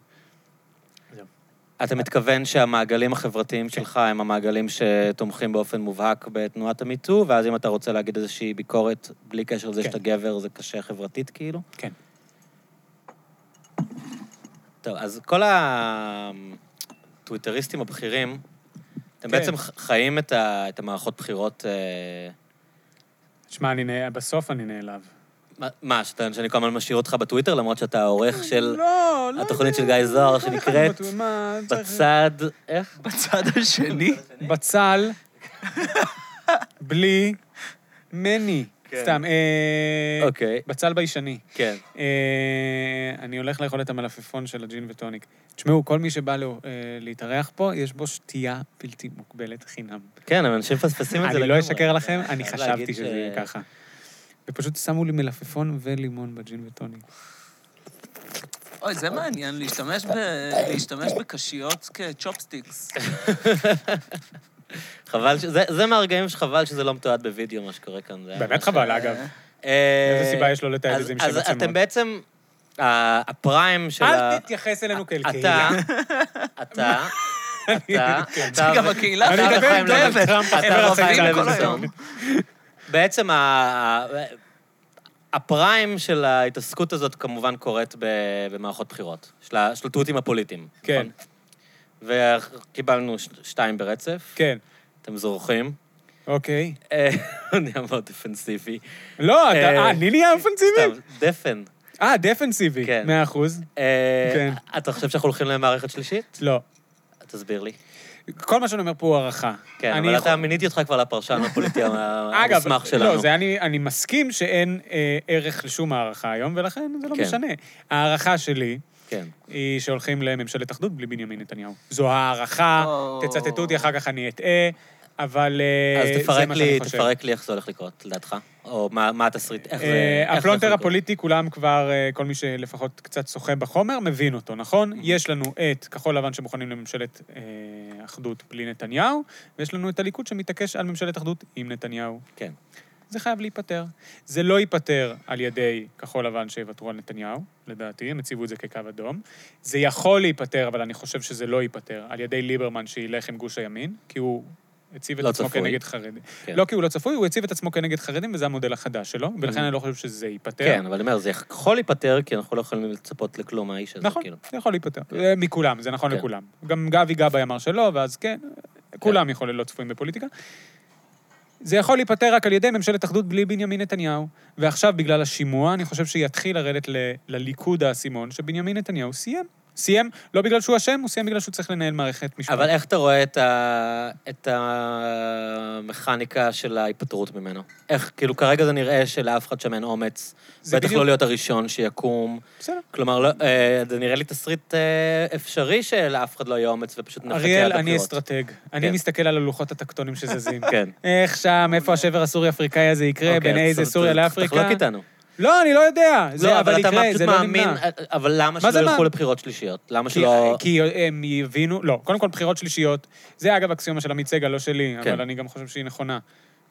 [SPEAKER 1] אתה מתכוון שהמעגלים החברתיים שלך הם המעגלים שתומכים באופן מובהק בתנועת המיטו, ואז אם אתה רוצה להגיד איזושהי ביקורת, בלי קשר לזה
[SPEAKER 2] כן.
[SPEAKER 1] שאתה גבר, זה קשה חברתית כאילו?
[SPEAKER 2] כן.
[SPEAKER 1] טוב, אז כל הטוויטריסטים הבכירים, אתם
[SPEAKER 2] כן.
[SPEAKER 1] בעצם ח- חיים את ה- את המערכות בחירות... אה,
[SPEAKER 2] שמע, אני נה... בסוף אני נעלב.
[SPEAKER 1] מה- מה, שאתה- שאני כל הזמן משאיר אותך בטוויטר, למרות שאתה העורך של
[SPEAKER 2] לא,
[SPEAKER 1] התוכנית של גיא זוהר,
[SPEAKER 2] כל אחד
[SPEAKER 1] שנקראת
[SPEAKER 2] בטו- מה, צריך-
[SPEAKER 1] בצד... איך?
[SPEAKER 3] בצד השני,
[SPEAKER 2] בצל, בלי, מני.
[SPEAKER 4] כן.
[SPEAKER 2] סתם, אה,
[SPEAKER 1] אוקיי,
[SPEAKER 2] בצל ביישני.
[SPEAKER 1] כן.
[SPEAKER 2] אה, אני הולך לאכול את המלפפון של הג'ין וטוניק. תשמעו, כל מי שבא לו, אה, להתארח פה, יש בו שתייה בלתי מוגבלת חינם.
[SPEAKER 1] כן, אבל אנשים מפספסים את זה
[SPEAKER 2] אני לא אשקר לכם, אני
[SPEAKER 1] חייב להגיד
[SPEAKER 2] חשבתי שזה
[SPEAKER 1] ש-
[SPEAKER 2] יהיה ככה. ופשוט שמו לי מלפפון ולימון בג'ין וטוניק.
[SPEAKER 3] אוי, זה מעניין, להשתמש, ב... להשתמש בקשיות כצ'ופסטיקס.
[SPEAKER 1] חבל, ש- זה- זה מהרגעים שחבל שזה לא מתועד בווידאו, מה שקורה כאן. זה היה
[SPEAKER 2] באמת
[SPEAKER 1] ממש-
[SPEAKER 2] חבל, אגב.
[SPEAKER 1] אה,
[SPEAKER 2] איזה סיבה יש לו לתעד את זה עם
[SPEAKER 1] אז-
[SPEAKER 2] שבע
[SPEAKER 1] אז אתם
[SPEAKER 2] צמות?
[SPEAKER 1] בעצם, ה- הפריים של ה...
[SPEAKER 2] אל תתייחס אלינו כאל
[SPEAKER 1] אתה,
[SPEAKER 2] קהילה. כן,
[SPEAKER 1] אתה, אתה, אתה...
[SPEAKER 3] גם
[SPEAKER 1] ו- אתה
[SPEAKER 3] הקהילה
[SPEAKER 2] אני מדבר
[SPEAKER 1] וחיים
[SPEAKER 2] עם דונלד
[SPEAKER 1] לוינסון.
[SPEAKER 2] טראמפ,
[SPEAKER 1] אתה
[SPEAKER 2] הם
[SPEAKER 1] וחיים
[SPEAKER 2] רצים
[SPEAKER 3] כל
[SPEAKER 1] לוינסון.
[SPEAKER 3] היום.
[SPEAKER 1] בעצם ה- ה- הפריים של ההתעסקות הזאת כמובן קורית ב- במערכות בחירות, של ה- של התותים הפוליטיים.
[SPEAKER 2] כן,
[SPEAKER 1] נכון? וקיבלנו ש- שתיים ברצף,
[SPEAKER 2] כן,
[SPEAKER 1] אתם זורחים.
[SPEAKER 2] אוקיי.
[SPEAKER 1] אה, הוא נהיה מאוד דפנסיבי.
[SPEAKER 2] לא, אתה-
[SPEAKER 1] אה,
[SPEAKER 2] אה, אני נהיה אופנסיבי?
[SPEAKER 1] סתם, דפן.
[SPEAKER 2] אה, דפנסיבי,
[SPEAKER 1] כן.
[SPEAKER 2] מאה אחוז.
[SPEAKER 1] אה,
[SPEAKER 2] כן.
[SPEAKER 1] אתה חושב שאנחנו הולכים למערכת שלישית?
[SPEAKER 2] לא.
[SPEAKER 1] תסביר לי.
[SPEAKER 2] כל מה שאני אומר פה הוא הערכה.
[SPEAKER 1] כן,
[SPEAKER 2] אני
[SPEAKER 1] אבל
[SPEAKER 2] יכול-
[SPEAKER 1] אתה מיניתי אותך כבר לפרשן הפוליטי
[SPEAKER 2] אגב,
[SPEAKER 1] המוסמך שלנו.
[SPEAKER 2] לא, זה אני, אני מסכים שאין אה, ערך לשום הערכה היום, ולכן זה לא
[SPEAKER 1] כן.
[SPEAKER 2] משנה. ההערכה שלי
[SPEAKER 1] כן.
[SPEAKER 2] היא שהולכים לממשלת אחדות בלי בנימין נתניהו. זו הערכה,
[SPEAKER 3] או.
[SPEAKER 2] תצטטו אותי, אחר כך אני אטעה, אבל אה,
[SPEAKER 1] אז
[SPEAKER 2] זה
[SPEAKER 1] תפרק
[SPEAKER 2] מה שאני
[SPEAKER 1] לי,
[SPEAKER 2] חושב.
[SPEAKER 1] תפרק לי איך זה הולך לקרות, לדעתך. או מה מה התסריט, איך זה...
[SPEAKER 2] אה,
[SPEAKER 1] איך זה
[SPEAKER 2] הפלונטר
[SPEAKER 1] הולך לקרות?
[SPEAKER 2] הפוליטי, כולם כבר, אה, כל מי שלפחות קצת שוחה בחומר, מבין אותו, נכון?
[SPEAKER 1] Mm-hmm.
[SPEAKER 2] יש לנו את כחול לבן שמוכנים לממשלת אה, אחדות בלי נתניהו, ויש לנו את הליכוד שמתעקש על ממשלת אחדות עם נתניהו.
[SPEAKER 1] כן.
[SPEAKER 2] זה חייב להיפתר. זה לא ייפתר על ידי כחול לבן שיוותרו על נתניהו, לדעתי, הם הציבו את זה כקו אדום. זה יכול להיפתר, אבל אני חושב שזה לא ייפתר, על ידי ליברמן שילך עם גוש הימין, כי הוא הציב את
[SPEAKER 1] לא
[SPEAKER 2] עצמו
[SPEAKER 1] צפוי.
[SPEAKER 2] כנגד חרדים.
[SPEAKER 1] כן.
[SPEAKER 2] לא כי הוא לא צפוי, הוא הציב את עצמו כנגד חרדים, וזה המודל החדש שלו, ולכן אני לא חושב שזה ייפתר.
[SPEAKER 1] Mm-hmm. כן, אבל אני אומר, זה יכול להיפתר, כי אנחנו לא יכולים לצפות לכלום מהאיש הזה,
[SPEAKER 2] נכון,
[SPEAKER 1] כאילו.
[SPEAKER 2] זה יכול להיפתר. זה מכולם, זה נכון
[SPEAKER 1] כן.
[SPEAKER 2] לכולם. גם גבי גבאי אמר שלא, ואז כן, כולם יכול להיות צפויים בפוליטיקה. זה יכול להיפתר רק על ידי ממשלת אחדות בלי בנימין נתניהו. ועכשיו, בגלל השימוע, אני חושב שיתחיל לרדת ל- לליכוד האסימון, שבנימין נתניהו סיים. סיים, לא בגלל שהוא אשם, הוא סיים בגלל שהוא צריך לנהל מערכת משפט.
[SPEAKER 1] אבל איך אתה רואה את ה- את המכניקה של ההיפטרות ממנו? איך, כאילו, כרגע זה נראה שלאף אחד שם אין אומץ,
[SPEAKER 2] זה
[SPEAKER 1] בטח
[SPEAKER 2] בדיוק-
[SPEAKER 1] לא להיות הראשון שיקום.
[SPEAKER 2] בסדר.
[SPEAKER 1] כלומר, לא- אה, זה נראה לי תסריט אה, אפשרי שלאף אחד לא יהיה אומץ ופשוט נחכה עד הבחירות.
[SPEAKER 2] אריאל, אני אסטרטג. אני מסתכל על הלוחות הטקטונים שזזים.
[SPEAKER 1] כן.
[SPEAKER 2] איך שם, איפה השבר הסורי-אפריקאי הזה יקרה,
[SPEAKER 1] אוקיי,
[SPEAKER 2] בין
[SPEAKER 1] אז
[SPEAKER 2] איזה
[SPEAKER 1] ת-
[SPEAKER 2] סוריה
[SPEAKER 1] ת-
[SPEAKER 2] לאפריקה.
[SPEAKER 1] תחלוק איתנו.
[SPEAKER 2] לא, אני לא יודע. זה,
[SPEAKER 1] לא,
[SPEAKER 2] אבל
[SPEAKER 1] אבל אתה
[SPEAKER 2] יקרה,
[SPEAKER 1] פשוט
[SPEAKER 2] זה לא
[SPEAKER 1] מאמין, אה,
[SPEAKER 2] נמנע.
[SPEAKER 1] אבל למה
[SPEAKER 2] מה
[SPEAKER 1] שלא
[SPEAKER 2] זה
[SPEAKER 1] ילכו
[SPEAKER 2] מה?
[SPEAKER 1] לבחירות שלישיות? למה
[SPEAKER 2] כי, אה,
[SPEAKER 1] שלא...
[SPEAKER 2] כי הם יבינו, לא, קודם כל בחירות שלישיות, זה אגב אקסיומה של עמית סגל, לא שלי,
[SPEAKER 1] כן.
[SPEAKER 2] אבל אני גם חושב שהיא נכונה.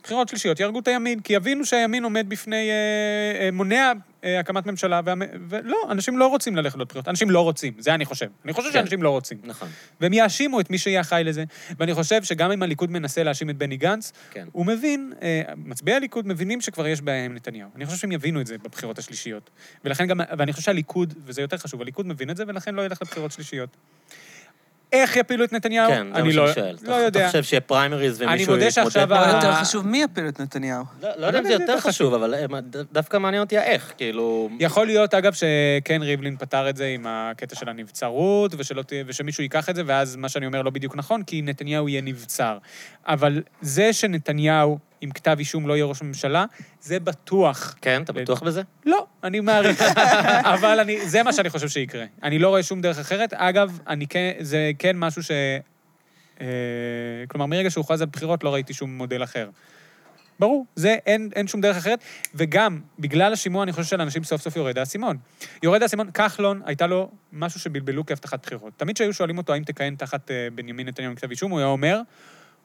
[SPEAKER 2] בחירות שלישיות יהרגו את הימין, כי יבינו שהימין עומד בפני, אה, אה, מונע אה, הקמת ממשלה, והמ- ולא, אנשים לא רוצים ללכת לבחירות, אנשים לא רוצים, זה אני חושב. אני חושב
[SPEAKER 1] כן.
[SPEAKER 2] שאנשים לא רוצים.
[SPEAKER 1] נכון,
[SPEAKER 2] והם יאשימו את מי שיהיה אחראי לזה. ואני חושב שגם אם הליכוד מנסה להאשים את בני גנץ,
[SPEAKER 1] כן.
[SPEAKER 2] הוא מבין, אה, מצביעי הליכוד מבינים שכבר יש בעיה עם נתניהו. אני חושב שהם יבינו את זה בבחירות השלישיות. ולכן גם, ואני חושב שהליכוד, וזה יותר חשוב, הליכוד מבין את זה, ולכן לא ילך לבחירות שלישיות. איך יפילו את נתניהו?
[SPEAKER 1] כן, זה
[SPEAKER 2] אני
[SPEAKER 1] מה
[SPEAKER 2] לא,
[SPEAKER 1] שאני שואל.
[SPEAKER 2] לא
[SPEAKER 1] אתה-
[SPEAKER 2] יודע.
[SPEAKER 1] אתה חושב שיהיה פריימריז
[SPEAKER 2] אני
[SPEAKER 1] ומישהו
[SPEAKER 2] מודה שעכשיו
[SPEAKER 1] יתמודד?
[SPEAKER 3] אבל
[SPEAKER 2] ה-
[SPEAKER 3] לא יותר חשוב, מי יפיל את נתניהו?
[SPEAKER 1] לא לא יודע אם זה יותר חשוב, אבל אה, מה, ד- דווקא מעניין אותי האיך, כאילו...
[SPEAKER 2] יכול להיות, אגב, שכן ריבלין פתר את זה עם הקטע של הנבצרות, ושלא, תה- ושמישהו ייקח את זה, ואז מה שאני אומר לא בדיוק נכון, כי נתניהו יהיה נבצר. אבל זה שנתניהו עם כתב אישום לא יהיה ראש ממשלה, זה בטוח.
[SPEAKER 1] כן, אתה בטוח בזה?
[SPEAKER 2] לא, אני מעריך. אבל אני, זה מה שאני חושב שיקרה. אני לא רואה שום דרך אחרת. אגב, אני כן, זה כן משהו ש... אה, כלומר, מרגע שהוכרז על בחירות לא ראיתי שום מודל אחר. ברור, זה, אין, אין שום דרך אחרת. וגם, בגלל השימוע, אני חושב שלאנשים סוף סוף יורד האסימון. יורד האסימון, כחלון, הייתה לו משהו שבלבלו כהבטחת בחירות. תמיד כשהיו שואלים אותו האם תכהן תחת אה, בנימין נתניהו עם כתב אישום, הוא היה אומר,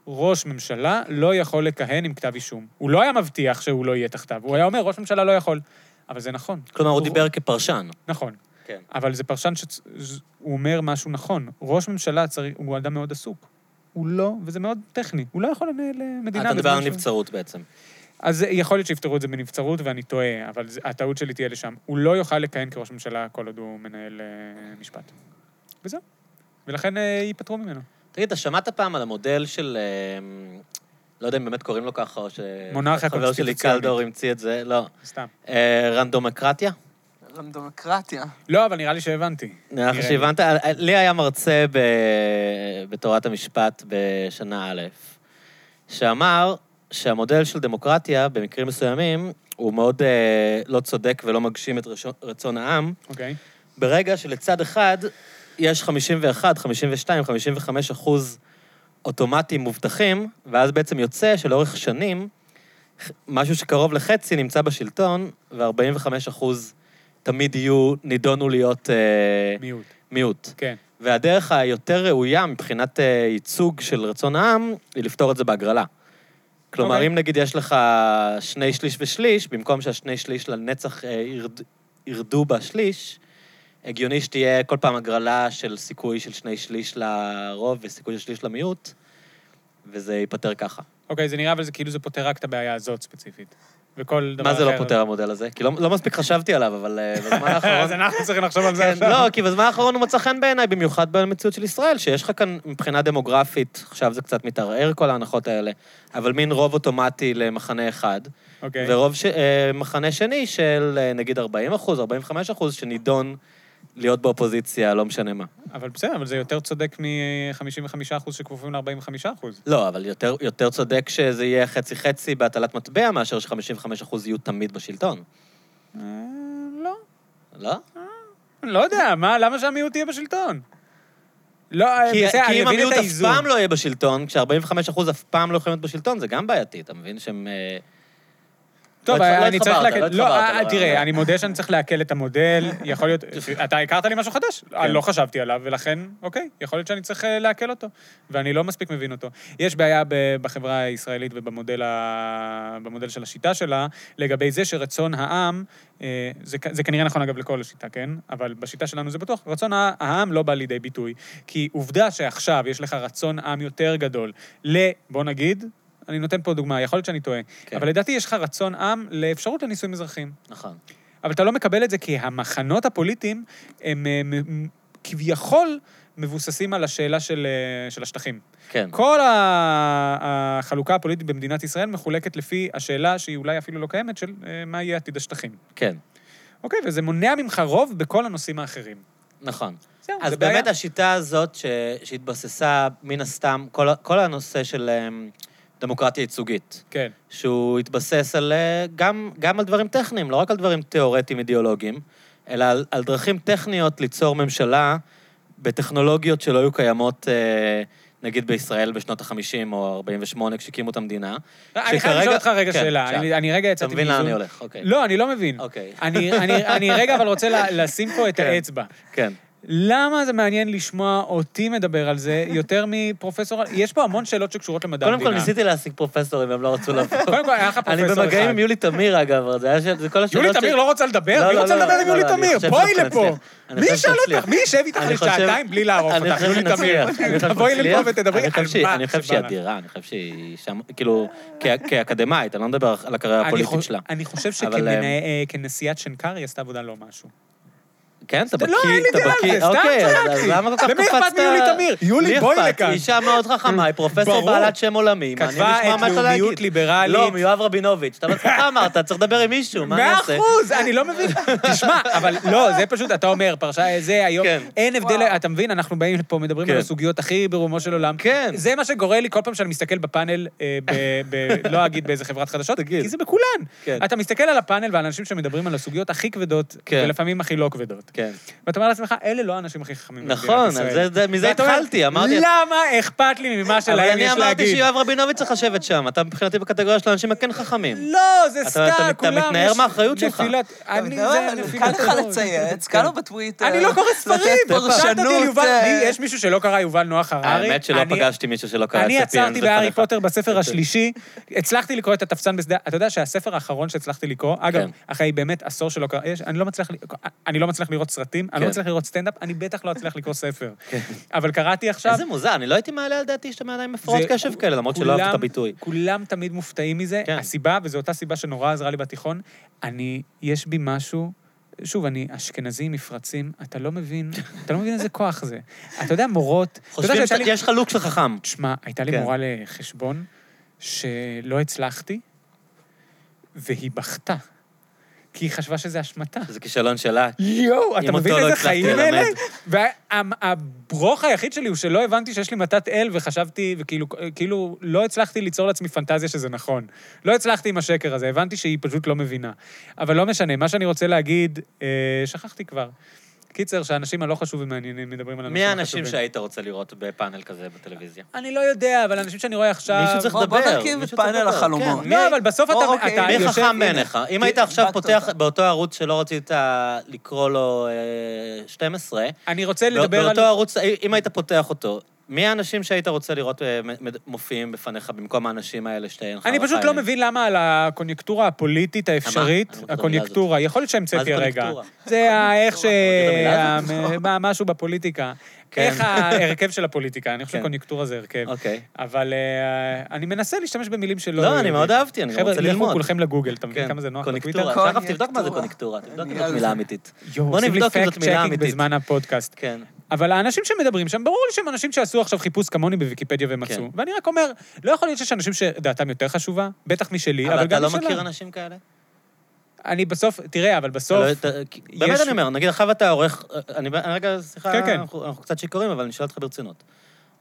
[SPEAKER 2] ראש ממשלה לא יכול לכהן עם כתב אישום. הוא לא היה מבטיח שהוא לא יהיה תחתיו, הוא היה אומר, ראש ממשלה לא יכול. אבל זה נכון,
[SPEAKER 1] כלומר, הוא
[SPEAKER 2] הוא-
[SPEAKER 1] דיבר כפרשן.
[SPEAKER 2] נכון.
[SPEAKER 1] כן.
[SPEAKER 2] אבל זה פרשן שהוא אומר משהו נכון. ראש ממשלה צריך, הוא אדם מאוד עסוק. הוא לא, וזה מאוד טכני, הוא לא יכול לנהל אה, מדינה.
[SPEAKER 1] אתה מדבר
[SPEAKER 2] בזמן
[SPEAKER 1] על
[SPEAKER 2] שהוא-
[SPEAKER 1] נבצרות בעצם.
[SPEAKER 2] אז יכול להיות שיפתרו את זה בנבצרות, ואני טועה, אבל זה- הטעות שלי תהיה לשם. הוא לא יוכל לכהן כראש ממשלה כל עוד הוא מנהל אה, משפט. וזהו. ולכן אה, ייפטרו ממנו.
[SPEAKER 1] תגיד, אתה שמעת פעם על המודל של... אה, לא יודע אם באמת קוראים לו ככה, או ש...
[SPEAKER 2] מונרכיה
[SPEAKER 1] חבר שלי
[SPEAKER 2] קונסטיטוציונית.
[SPEAKER 1] קלדור המציא את זה, לא.
[SPEAKER 2] סתם.
[SPEAKER 1] אה, רנדומקרטיה?
[SPEAKER 3] רנדומקרטיה.
[SPEAKER 2] לא, אבל נראה לי שהבנתי.
[SPEAKER 1] נראה לך
[SPEAKER 2] נראה לי.
[SPEAKER 1] שהבנת? אה, לי היה מרצה ב... בתורת המשפט בשנה א', שאמר שהמודל של דמוקרטיה, במקרים מסוימים, הוא מאוד אה, לא צודק ולא מגשים את רשו- רצון העם,
[SPEAKER 2] אוקיי.
[SPEAKER 1] ברגע שלצד אחד יש 51, 52, 55 אחוז אוטומטים מובטחים, ואז בעצם יוצא שלאורך שנים, משהו שקרוב לחצי נמצא בשלטון, ו-45 אחוז תמיד יהיו, נידונו להיות אה,
[SPEAKER 2] מיעוט.
[SPEAKER 1] מיעוט.
[SPEAKER 2] כן.
[SPEAKER 1] והדרך היותר ראויה מבחינת אה, ייצוג של רצון העם, היא לפתור את זה בהגרלה. כלומר,
[SPEAKER 2] אוקיי.
[SPEAKER 1] אם נגיד יש לך שני שליש ושליש, במקום שהשני שליש לנצח אה, ירד, ירדו בשליש, הגיוני שתהיה כל פעם הגרלה של סיכוי של שני שליש לרוב וסיכוי של שליש למיעוט, וזה ייפתר ככה.
[SPEAKER 2] אוקיי, זה נראה אבל זה כאילו זה פותר רק את הבעיה הזאת ספציפית. וכל דבר
[SPEAKER 1] מה זה לא
[SPEAKER 2] אחר-
[SPEAKER 1] פותר המודל הזה? כי לא, לא מספיק חשבתי עליו, אבל אה, בזמן האחרון...
[SPEAKER 2] אז אנחנו צריכים לחשוב על זה
[SPEAKER 1] כן,
[SPEAKER 2] עכשיו.
[SPEAKER 1] לא, כי בזמן האחרון הוא מצא חן בעיניי, במיוחד במציאות של ישראל, שיש לך כאן מבחינה דמוגרפית, עכשיו זה קצת מתערער כל ההנחות האלה, אבל מין רוב אוטומטי למחנה אחד,
[SPEAKER 2] אוקיי.
[SPEAKER 1] ורוב ש- אה, מחנה שני של אה, נגיד 40 אחוז, 45 אחוז, שנידון להיות באופוזיציה, לא משנה מה.
[SPEAKER 2] אבל בסדר, אבל זה יותר צודק מ-55% שכפופים ל-45%.
[SPEAKER 1] לא, אבל יותר, יותר צודק שזה יהיה חצי-חצי בהטלת מטבע, מאשר ש-55 אחוז יהיו תמיד בשלטון.
[SPEAKER 2] אה, לא.
[SPEAKER 1] לא?
[SPEAKER 2] לא יודע, מה, למה שהמיעוט יהיה בשלטון? לא,
[SPEAKER 1] כי,
[SPEAKER 2] בסדר,
[SPEAKER 1] כי
[SPEAKER 2] אני
[SPEAKER 1] אם
[SPEAKER 2] מבין
[SPEAKER 1] המיעוט
[SPEAKER 2] את
[SPEAKER 1] אף
[SPEAKER 2] האיזון.
[SPEAKER 1] פעם לא יהיה בשלטון, כש-45 אחוז אף פעם לא יכולים להיות בשלטון, זה גם בעייתי, אתה מבין שהם... אה,
[SPEAKER 2] טוב,
[SPEAKER 1] לא התח- לא
[SPEAKER 2] אני צריך
[SPEAKER 1] התחברת,
[SPEAKER 2] להקל...
[SPEAKER 1] לא
[SPEAKER 2] לא,
[SPEAKER 1] התחברת
[SPEAKER 2] אה,
[SPEAKER 1] ל-
[SPEAKER 2] תראה, אני מודה שאני צריך לעכל את המודל, יכול להיות... אתה הכרת לי משהו חדש, אני לא חשבתי עליו, ולכן, אוקיי, יכול להיות שאני צריך אה, לעכל אותו, ואני לא מספיק מבין אותו. יש בעיה ב- בחברה הישראלית ובמודל ה- במודל של השיטה שלה, לגבי זה שרצון העם, אה, זה כ- זה כנראה נכון, אגב, לכל השיטה, כן? אבל בשיטה שלנו זה בטוח, רצון הע- העם לא בא לידי ביטוי. כי עובדה שעכשיו יש לך רצון עם יותר גדול ל... בוא נגיד, אני נותן פה דוגמה, יכול להיות שאני טועה,
[SPEAKER 1] כן.
[SPEAKER 2] אבל לדעתי יש לך רצון עם לאפשרות לנישואים אזרחיים.
[SPEAKER 1] נכון.
[SPEAKER 2] אבל אתה לא מקבל את זה כי המחנות הפוליטיים הם אה, מ- מ- כביכול מבוססים על השאלה של, אה, של השטחים.
[SPEAKER 1] כן.
[SPEAKER 2] כל ה- החלוקה הפוליטית במדינת ישראל מחולקת לפי השאלה שהיא אולי אפילו לא קיימת, של אה, מה יהיה עתיד השטחים.
[SPEAKER 1] כן,
[SPEAKER 2] אוקיי, וזה מונע ממך רוב בכל הנושאים האחרים.
[SPEAKER 1] נכון.
[SPEAKER 2] זהו,
[SPEAKER 1] אז
[SPEAKER 2] זה בעיה.
[SPEAKER 1] באמת השיטה הזאת ש... שהתבססה, מן הסתם, כל, ה- כל הנושא של אמ, דמוקרטיה ייצוגית,
[SPEAKER 2] כן,
[SPEAKER 1] שהוא התבסס על, אה, גם, גם על דברים טכניים, לא רק על דברים תיאורטיים אידיאולוגיים, אלא על, על דרכים טכניות ליצור ממשלה בטכנולוגיות שלא היו קיימות, אה, נגיד בישראל בשנות ה-50 או 48 כשהקימו את המדינה.
[SPEAKER 2] אה, אני חייב לשאול אותך רגע
[SPEAKER 1] כן,
[SPEAKER 2] שאלה,
[SPEAKER 1] שאל.
[SPEAKER 2] אני- אני רגע
[SPEAKER 1] אתה
[SPEAKER 2] יצאתי
[SPEAKER 1] מבין לאן אני הולך, אוקיי.
[SPEAKER 2] לא, אני לא מבין.
[SPEAKER 1] אוקיי,
[SPEAKER 2] אני- אני- אני רגע אבל רוצה לה- לשים פה את
[SPEAKER 1] כן.
[SPEAKER 2] האצבע.
[SPEAKER 1] כן.
[SPEAKER 2] למה זה מעניין לשמוע אותי מדבר על זה יותר מפרופסור... יש פה המון שאלות שקשורות למדע
[SPEAKER 1] קודם
[SPEAKER 2] המדינה.
[SPEAKER 1] כל ניסיתי להשיג פרופסורים, הם לא רצו לבוא.
[SPEAKER 2] קודם כל, היה לך
[SPEAKER 1] אני
[SPEAKER 2] פרופסור אחד.
[SPEAKER 1] במגעים עם יולי תמיר, אגב, אבל זה היה ש... זה כל השאלות
[SPEAKER 2] יולי תמיר לא רוצה לדבר?
[SPEAKER 1] לא,
[SPEAKER 2] מי
[SPEAKER 1] לא,
[SPEAKER 2] רוצה
[SPEAKER 1] לא,
[SPEAKER 2] לדבר עם
[SPEAKER 1] לא,
[SPEAKER 2] יולי
[SPEAKER 1] לא, אני
[SPEAKER 2] תמיר?
[SPEAKER 1] חושב
[SPEAKER 2] בואי
[SPEAKER 1] שאנחנו
[SPEAKER 2] לפה.
[SPEAKER 1] נצליח. אני
[SPEAKER 2] מי
[SPEAKER 1] חושב
[SPEAKER 2] ישאל
[SPEAKER 1] שנצליח.
[SPEAKER 2] אותך? מי ישב איתך
[SPEAKER 1] אני חושב-
[SPEAKER 2] לשעתיים בלי לערוך
[SPEAKER 1] אני
[SPEAKER 2] אותך?
[SPEAKER 1] חושב
[SPEAKER 2] יולי תמיר.
[SPEAKER 1] שנצליח, אני חושב
[SPEAKER 2] תבואי
[SPEAKER 1] שנצליח.
[SPEAKER 2] לפה ותדברי
[SPEAKER 1] אני
[SPEAKER 2] על
[SPEAKER 1] חושב שהיא-
[SPEAKER 2] מה
[SPEAKER 1] אני חושב
[SPEAKER 2] שבא
[SPEAKER 1] שהיא
[SPEAKER 2] לך.
[SPEAKER 1] אדירה, אני חושב שהיא שם, כאילו, כ- כאקדמאית, אני לא מדבר על הקריירה
[SPEAKER 2] אני
[SPEAKER 1] הפוליטית
[SPEAKER 2] חוש-
[SPEAKER 1] שלה.
[SPEAKER 2] אני חושב
[SPEAKER 1] אבל, אה,
[SPEAKER 2] שכנשיאת שנקר היא עשתה עבודה לא משהו.
[SPEAKER 1] כן, אתה
[SPEAKER 2] לא,
[SPEAKER 1] בקיא,
[SPEAKER 2] אין לי
[SPEAKER 1] אתה
[SPEAKER 2] דעה על
[SPEAKER 1] בקיא,
[SPEAKER 2] זה, סתם
[SPEAKER 1] אוקיי, אז-
[SPEAKER 2] צעקתי.
[SPEAKER 1] אז למה כל כך
[SPEAKER 2] למי
[SPEAKER 1] קפצת?
[SPEAKER 2] אכפת מיולי תמיר? יולי,
[SPEAKER 1] לי
[SPEAKER 2] בואי
[SPEAKER 1] אכפת,
[SPEAKER 2] לכאן.
[SPEAKER 1] היא אישה מאוד חכמה, היא פרופסור
[SPEAKER 2] ברור.
[SPEAKER 1] בעלת שם עולמי, מעניין
[SPEAKER 2] כתבה
[SPEAKER 1] לשמוע
[SPEAKER 2] את
[SPEAKER 1] מה אתה
[SPEAKER 2] לאומיות
[SPEAKER 1] להגיד.
[SPEAKER 2] ליברלית.
[SPEAKER 1] לא, מיואב רבינוביץ', אתה בעצמך אמרת, צריך לדבר עם מישהו, מה אני
[SPEAKER 2] מאה
[SPEAKER 1] אעשה?
[SPEAKER 2] אחוז, אני לא מבין. תשמע, אבל לא, זה פשוט, אתה אומר, פרשה זה היום,
[SPEAKER 1] כן.
[SPEAKER 2] אין הבדל, אתה מבין, אנחנו באים לפה, מדברים
[SPEAKER 1] כן.
[SPEAKER 2] על הסוגיות הכי ברומו של עולם.
[SPEAKER 1] כן.
[SPEAKER 2] זה מה שגורם לי כל פעם שאני מסתכל בפאנל, אה, ב- ב- לא אגיד באיזה חברת חדשות,
[SPEAKER 1] תגיד.
[SPEAKER 2] כי זה בכולן.
[SPEAKER 1] כן.
[SPEAKER 2] אתה מסתכל על הפאנל ועל אנשים שמדברים על הסוגיות הכי כבדות,
[SPEAKER 1] כן.
[SPEAKER 2] ולפעמים הכי לא כבדות.
[SPEAKER 1] כן.
[SPEAKER 2] ואתה אומר לעצמך, אלה לא האנשים הכי חכמים במדינת
[SPEAKER 1] נכון, על
[SPEAKER 2] ישראל."
[SPEAKER 1] זה- זה- מזה
[SPEAKER 2] ואתה אומר,
[SPEAKER 1] התחלתי, אמרתי-
[SPEAKER 2] למה אכפת לי ממה
[SPEAKER 1] אבל
[SPEAKER 2] שלהם
[SPEAKER 1] אני
[SPEAKER 2] יש
[SPEAKER 1] אמרתי
[SPEAKER 2] להגיד?
[SPEAKER 1] שיואב רבינוביץ' צריך לשבת שם, אתה מבחינתי בקטגוריה של האנשים הכן חכמים.
[SPEAKER 2] לא, זה
[SPEAKER 1] אתה-
[SPEAKER 2] סתם,
[SPEAKER 1] אתה-
[SPEAKER 2] כולם...
[SPEAKER 1] אתה מתנער
[SPEAKER 2] יש
[SPEAKER 1] מהאחריות שלך.
[SPEAKER 2] נפילת- אני, זה נפילת...
[SPEAKER 3] לא, קל לך
[SPEAKER 2] כזאת.
[SPEAKER 3] לצייץ, קל לו בטוויטר.
[SPEAKER 2] אני לא קורא ספרים.
[SPEAKER 3] לתת
[SPEAKER 2] שאלת אותי על
[SPEAKER 3] פרשנות.
[SPEAKER 2] יובל,
[SPEAKER 3] אה,
[SPEAKER 2] לי- יש מישהו שלא קרא יובל נוח הררי?
[SPEAKER 1] האמת שלא
[SPEAKER 2] אני-
[SPEAKER 1] פגשתי מישהו שלא קרא את
[SPEAKER 2] אני
[SPEAKER 1] ספיאנס
[SPEAKER 2] עצרתי בהארי
[SPEAKER 1] לפניך.
[SPEAKER 2] פוטר
[SPEAKER 1] אוקיי.
[SPEAKER 2] בספר השלישי, הצלחתי לקרוא את התפסן בשדה, אתה יודע שהספר האחרון שהצלחתי לקרוא, אגב,
[SPEAKER 1] כן.
[SPEAKER 2] אחרי באמת עשור שלא קרא, יש- אני לא מצליח ל- אני לא מצליח לראות סרטים, אני לא
[SPEAKER 1] כן.
[SPEAKER 2] מצליח לראות סטנדאפ, אני בטח לא אצליח לקרוא ספר. אבל קראתי עכשיו,
[SPEAKER 1] איזה מוזר, אני לא הייתי מעלה על דעתי שאתה מעדיין מפרעות
[SPEAKER 2] זה-
[SPEAKER 1] קשב כאלה, למרות שלא אהבת את
[SPEAKER 2] כולם-
[SPEAKER 1] הביטוי.
[SPEAKER 2] כולם תמיד מופתעים מזה.
[SPEAKER 1] כן.
[SPEAKER 2] הסיבה, וזו אותה סיבה שנורא עזרה לי בתיכון, אני, יש בי משהו... שוב, אני אשכנזי, מפרצים, אתה לא מבין, אתה לא מבין איזה כוח זה. אתה יודע, מורות... אתה יודע
[SPEAKER 1] חושבים
[SPEAKER 2] שהייתה לי-
[SPEAKER 1] שיש לך לוק של חכם.
[SPEAKER 2] תשמע, הייתה לי
[SPEAKER 1] כן.
[SPEAKER 2] מורה לחשבון שלא הצלחתי, והיא בכתה. כי היא חשבה שזה אשמתה.
[SPEAKER 1] זה כישלון
[SPEAKER 2] לא,
[SPEAKER 1] שלה.
[SPEAKER 2] יואו, אתה
[SPEAKER 1] אם
[SPEAKER 2] מבין
[SPEAKER 1] אותו לא
[SPEAKER 2] איזה
[SPEAKER 1] הצלחתי
[SPEAKER 2] חיים אלה?
[SPEAKER 1] ללמד.
[SPEAKER 2] והברוך היחיד שלי הוא שלא הבנתי שיש לי מתת אל, וחשבתי, וכאילו, כאילו, לא הצלחתי ליצור לעצמי פנטזיה שזה נכון. לא הצלחתי עם השקר הזה, הבנתי שהיא פשוט לא מבינה. אבל לא משנה, מה שאני רוצה להגיד, אה, שכחתי כבר. קיצר, שהאנשים הלא חשובים מעניינים מדברים
[SPEAKER 1] מי
[SPEAKER 2] על אנשים החשובים.
[SPEAKER 1] האנשים שהיית רוצה לראות בפאנל כזה בטלוויזיה?
[SPEAKER 2] אני לא יודע, אבל אנשים שאני רואה עכשיו...
[SPEAKER 1] מישהו צריך
[SPEAKER 3] בוא-
[SPEAKER 1] לדבר.
[SPEAKER 3] בוא נרכיב
[SPEAKER 1] מישהו
[SPEAKER 3] את
[SPEAKER 1] צריך
[SPEAKER 3] פאנל
[SPEAKER 1] לדבר,
[SPEAKER 3] החלומות.
[SPEAKER 1] כן.
[SPEAKER 2] לא, אבל בסוף
[SPEAKER 3] או,
[SPEAKER 2] אתה,
[SPEAKER 3] אוקיי.
[SPEAKER 2] אתה
[SPEAKER 1] מי
[SPEAKER 2] יושב...
[SPEAKER 1] חכם
[SPEAKER 3] הנה,
[SPEAKER 1] בעיניך? אם
[SPEAKER 3] כי
[SPEAKER 1] היית עכשיו
[SPEAKER 3] הדבקת
[SPEAKER 1] פותח
[SPEAKER 3] אותה.
[SPEAKER 1] באותו ערוץ שלא רצית לקרוא לו אה, 12,
[SPEAKER 2] אני רוצה
[SPEAKER 1] בא-
[SPEAKER 2] לדבר על...
[SPEAKER 1] באותו ערוץ, אם היית פותח אותו, מי האנשים שהיית רוצה לראות אה, מ- מד- מופיעים בפניך במקום האנשים האלה שאתה אין לך
[SPEAKER 2] אני פשוט
[SPEAKER 1] חיים?
[SPEAKER 2] לא מבין למה על הקוניונקטורה הפוליטית האפשרית,
[SPEAKER 1] אני לא מכיר את המילה
[SPEAKER 2] הקוניונקטורה, יכול
[SPEAKER 1] מה
[SPEAKER 2] להיות
[SPEAKER 1] זה
[SPEAKER 2] שהמצאתי הרגע.
[SPEAKER 1] קוניונקטורה?
[SPEAKER 2] זה ה- איך ש...
[SPEAKER 1] אתה מכיר את
[SPEAKER 2] ה- מה- משהו בפוליטיקה.
[SPEAKER 1] כן.
[SPEAKER 2] איך ההרכב של הפוליטיקה, אני חושב
[SPEAKER 1] כן.
[SPEAKER 2] שקוניונקטורה זה הרכב.
[SPEAKER 1] אוקיי.
[SPEAKER 2] אבל אה, אני מנסה להשתמש במילים שלא...
[SPEAKER 1] לא, אני
[SPEAKER 2] יודעים.
[SPEAKER 1] מאוד אהבתי, אני גם
[SPEAKER 2] חבר'ה,
[SPEAKER 1] רוצה
[SPEAKER 2] לכו
[SPEAKER 1] ללמוד.
[SPEAKER 2] כולכם לגוגל, אתה מבין
[SPEAKER 1] כן,
[SPEAKER 2] כמה זה נוח בטוויטר?
[SPEAKER 1] קוניונקטורה. עכשיו תבדוק מה זה קוניונקטורה, תבדוק אם
[SPEAKER 3] אני
[SPEAKER 1] זאת
[SPEAKER 3] על
[SPEAKER 1] מילה
[SPEAKER 3] זה.
[SPEAKER 1] אמיתית.
[SPEAKER 2] יואו,
[SPEAKER 1] בוא
[SPEAKER 2] עושים לי
[SPEAKER 1] נבדוק אם זאת מילה
[SPEAKER 2] fact-checking
[SPEAKER 1] אמיתית.
[SPEAKER 2] בזמן הפודקאסט.
[SPEAKER 1] כן.
[SPEAKER 2] אבל האנשים שמדברים שם, ברור לי שהם אנשים שעשו עכשיו חיפוש כמוני בוויקיפדיה ומצאו.
[SPEAKER 1] כן.
[SPEAKER 2] ואני רק אומר, לא יכול להיות שיש אנשים שדעתם יותר חשובה, בטח משלי,
[SPEAKER 1] אבל
[SPEAKER 2] אבל
[SPEAKER 1] אתה
[SPEAKER 2] גם
[SPEAKER 1] לא
[SPEAKER 2] משלה.
[SPEAKER 1] מכיר אנשים כאלה?
[SPEAKER 2] אני בסוף, תראה, אבל
[SPEAKER 1] אתה
[SPEAKER 2] בסוף...
[SPEAKER 1] לא- אתה- כי- באמת
[SPEAKER 2] יש-
[SPEAKER 1] אני אומר, נגיד עכשיו אתה עורך, אה, אני ב- רגע, סליחה,
[SPEAKER 2] כן, כן.
[SPEAKER 1] אנחנו אנחנו קצת שיכורים, אבל אני שואל אותך ברצינות.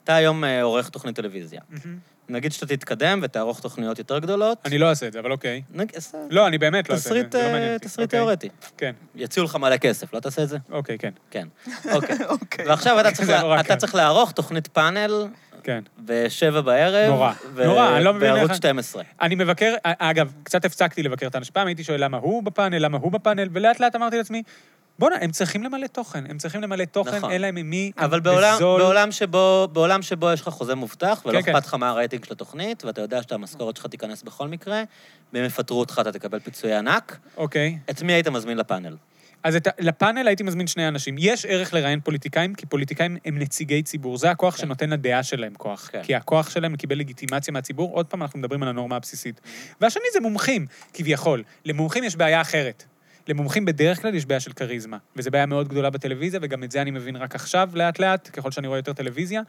[SPEAKER 1] אתה היום אה, עורך תוכנית טלוויזיה.
[SPEAKER 2] מהמם.
[SPEAKER 1] נגיד שאתה תתקדם ותערוך תוכניות יותר גדולות.
[SPEAKER 2] אני לא אעשה את זה, אבל אוקיי.
[SPEAKER 1] נגיד, עשה-
[SPEAKER 2] לא, אני באמת לא אעשה את
[SPEAKER 1] תסריט,
[SPEAKER 2] זה, זה
[SPEAKER 1] אה,
[SPEAKER 2] לא מעניין אותי.
[SPEAKER 1] תסריט
[SPEAKER 2] אוקיי.
[SPEAKER 1] תיאורטי.
[SPEAKER 2] כן,
[SPEAKER 1] יציעו לך מלא כסף, לא תעשה את זה?
[SPEAKER 2] אוקיי, כן,
[SPEAKER 1] כן. אוקיי.
[SPEAKER 3] אוקיי.
[SPEAKER 1] ועכשיו אתה צריך
[SPEAKER 2] זה
[SPEAKER 1] לה-
[SPEAKER 2] נורא
[SPEAKER 1] אתה
[SPEAKER 2] קל.
[SPEAKER 1] צריך לערוך תוכנית פאנל
[SPEAKER 2] כן.
[SPEAKER 1] בשבע בערב.
[SPEAKER 2] נורא. נורא, אני לא מבין
[SPEAKER 1] בערוץ
[SPEAKER 2] איך-
[SPEAKER 1] 12.
[SPEAKER 2] אני מבקר, אה, אגב, קצת הפסקתי לבקר את האנשים. פעם הייתי שואל למה הוא בפאנל, למה הוא בפאנל, ולאט לאט אמרתי לעצמי, בואנה, הם צריכים למלא תוכן, הם צריכים למלא תוכן,
[SPEAKER 1] נכון.
[SPEAKER 2] אין להם עם מי,
[SPEAKER 1] אבל בעולם,
[SPEAKER 2] בזול.
[SPEAKER 1] בעולם, שבו, בעולם שבו יש לך חוזה מובטח, ולא
[SPEAKER 2] כן, כן.
[SPEAKER 1] אכפת לך מה הרייטינג של התוכנית, ואתה יודע שהמשכורת שלך תיכנס בכל מקרה, ואם יפטרו אותך אתה תקבל פיצוי ענק,
[SPEAKER 2] אוקיי.
[SPEAKER 1] את מי היית מזמין לפאנל?
[SPEAKER 2] אז את, ה- לפאנל הייתי מזמין שני אנשים. יש ערך לראיין פוליטיקאים, כי פוליטיקאים הם נציגי ציבור. זה הכוח
[SPEAKER 1] כן.
[SPEAKER 2] שנותן לדעה שלהם כוח.
[SPEAKER 1] כן.
[SPEAKER 2] כי הכוח שלהם קיבל לגיטימציה מהציבור. עוד פעם, אנחנו מדברים על הנורמה הבסיסית. והשני זה מומחים, כביכול. למומחים יש בעיה אחרת. למומחים בדרך כלל יש בעיה של כריזמה, וזו בעיה מאוד גדולה בטלוויזיה, וגם את זה אני מבין רק עכשיו, לאט-לאט, ככל שאני רואה יותר טלוויזיה.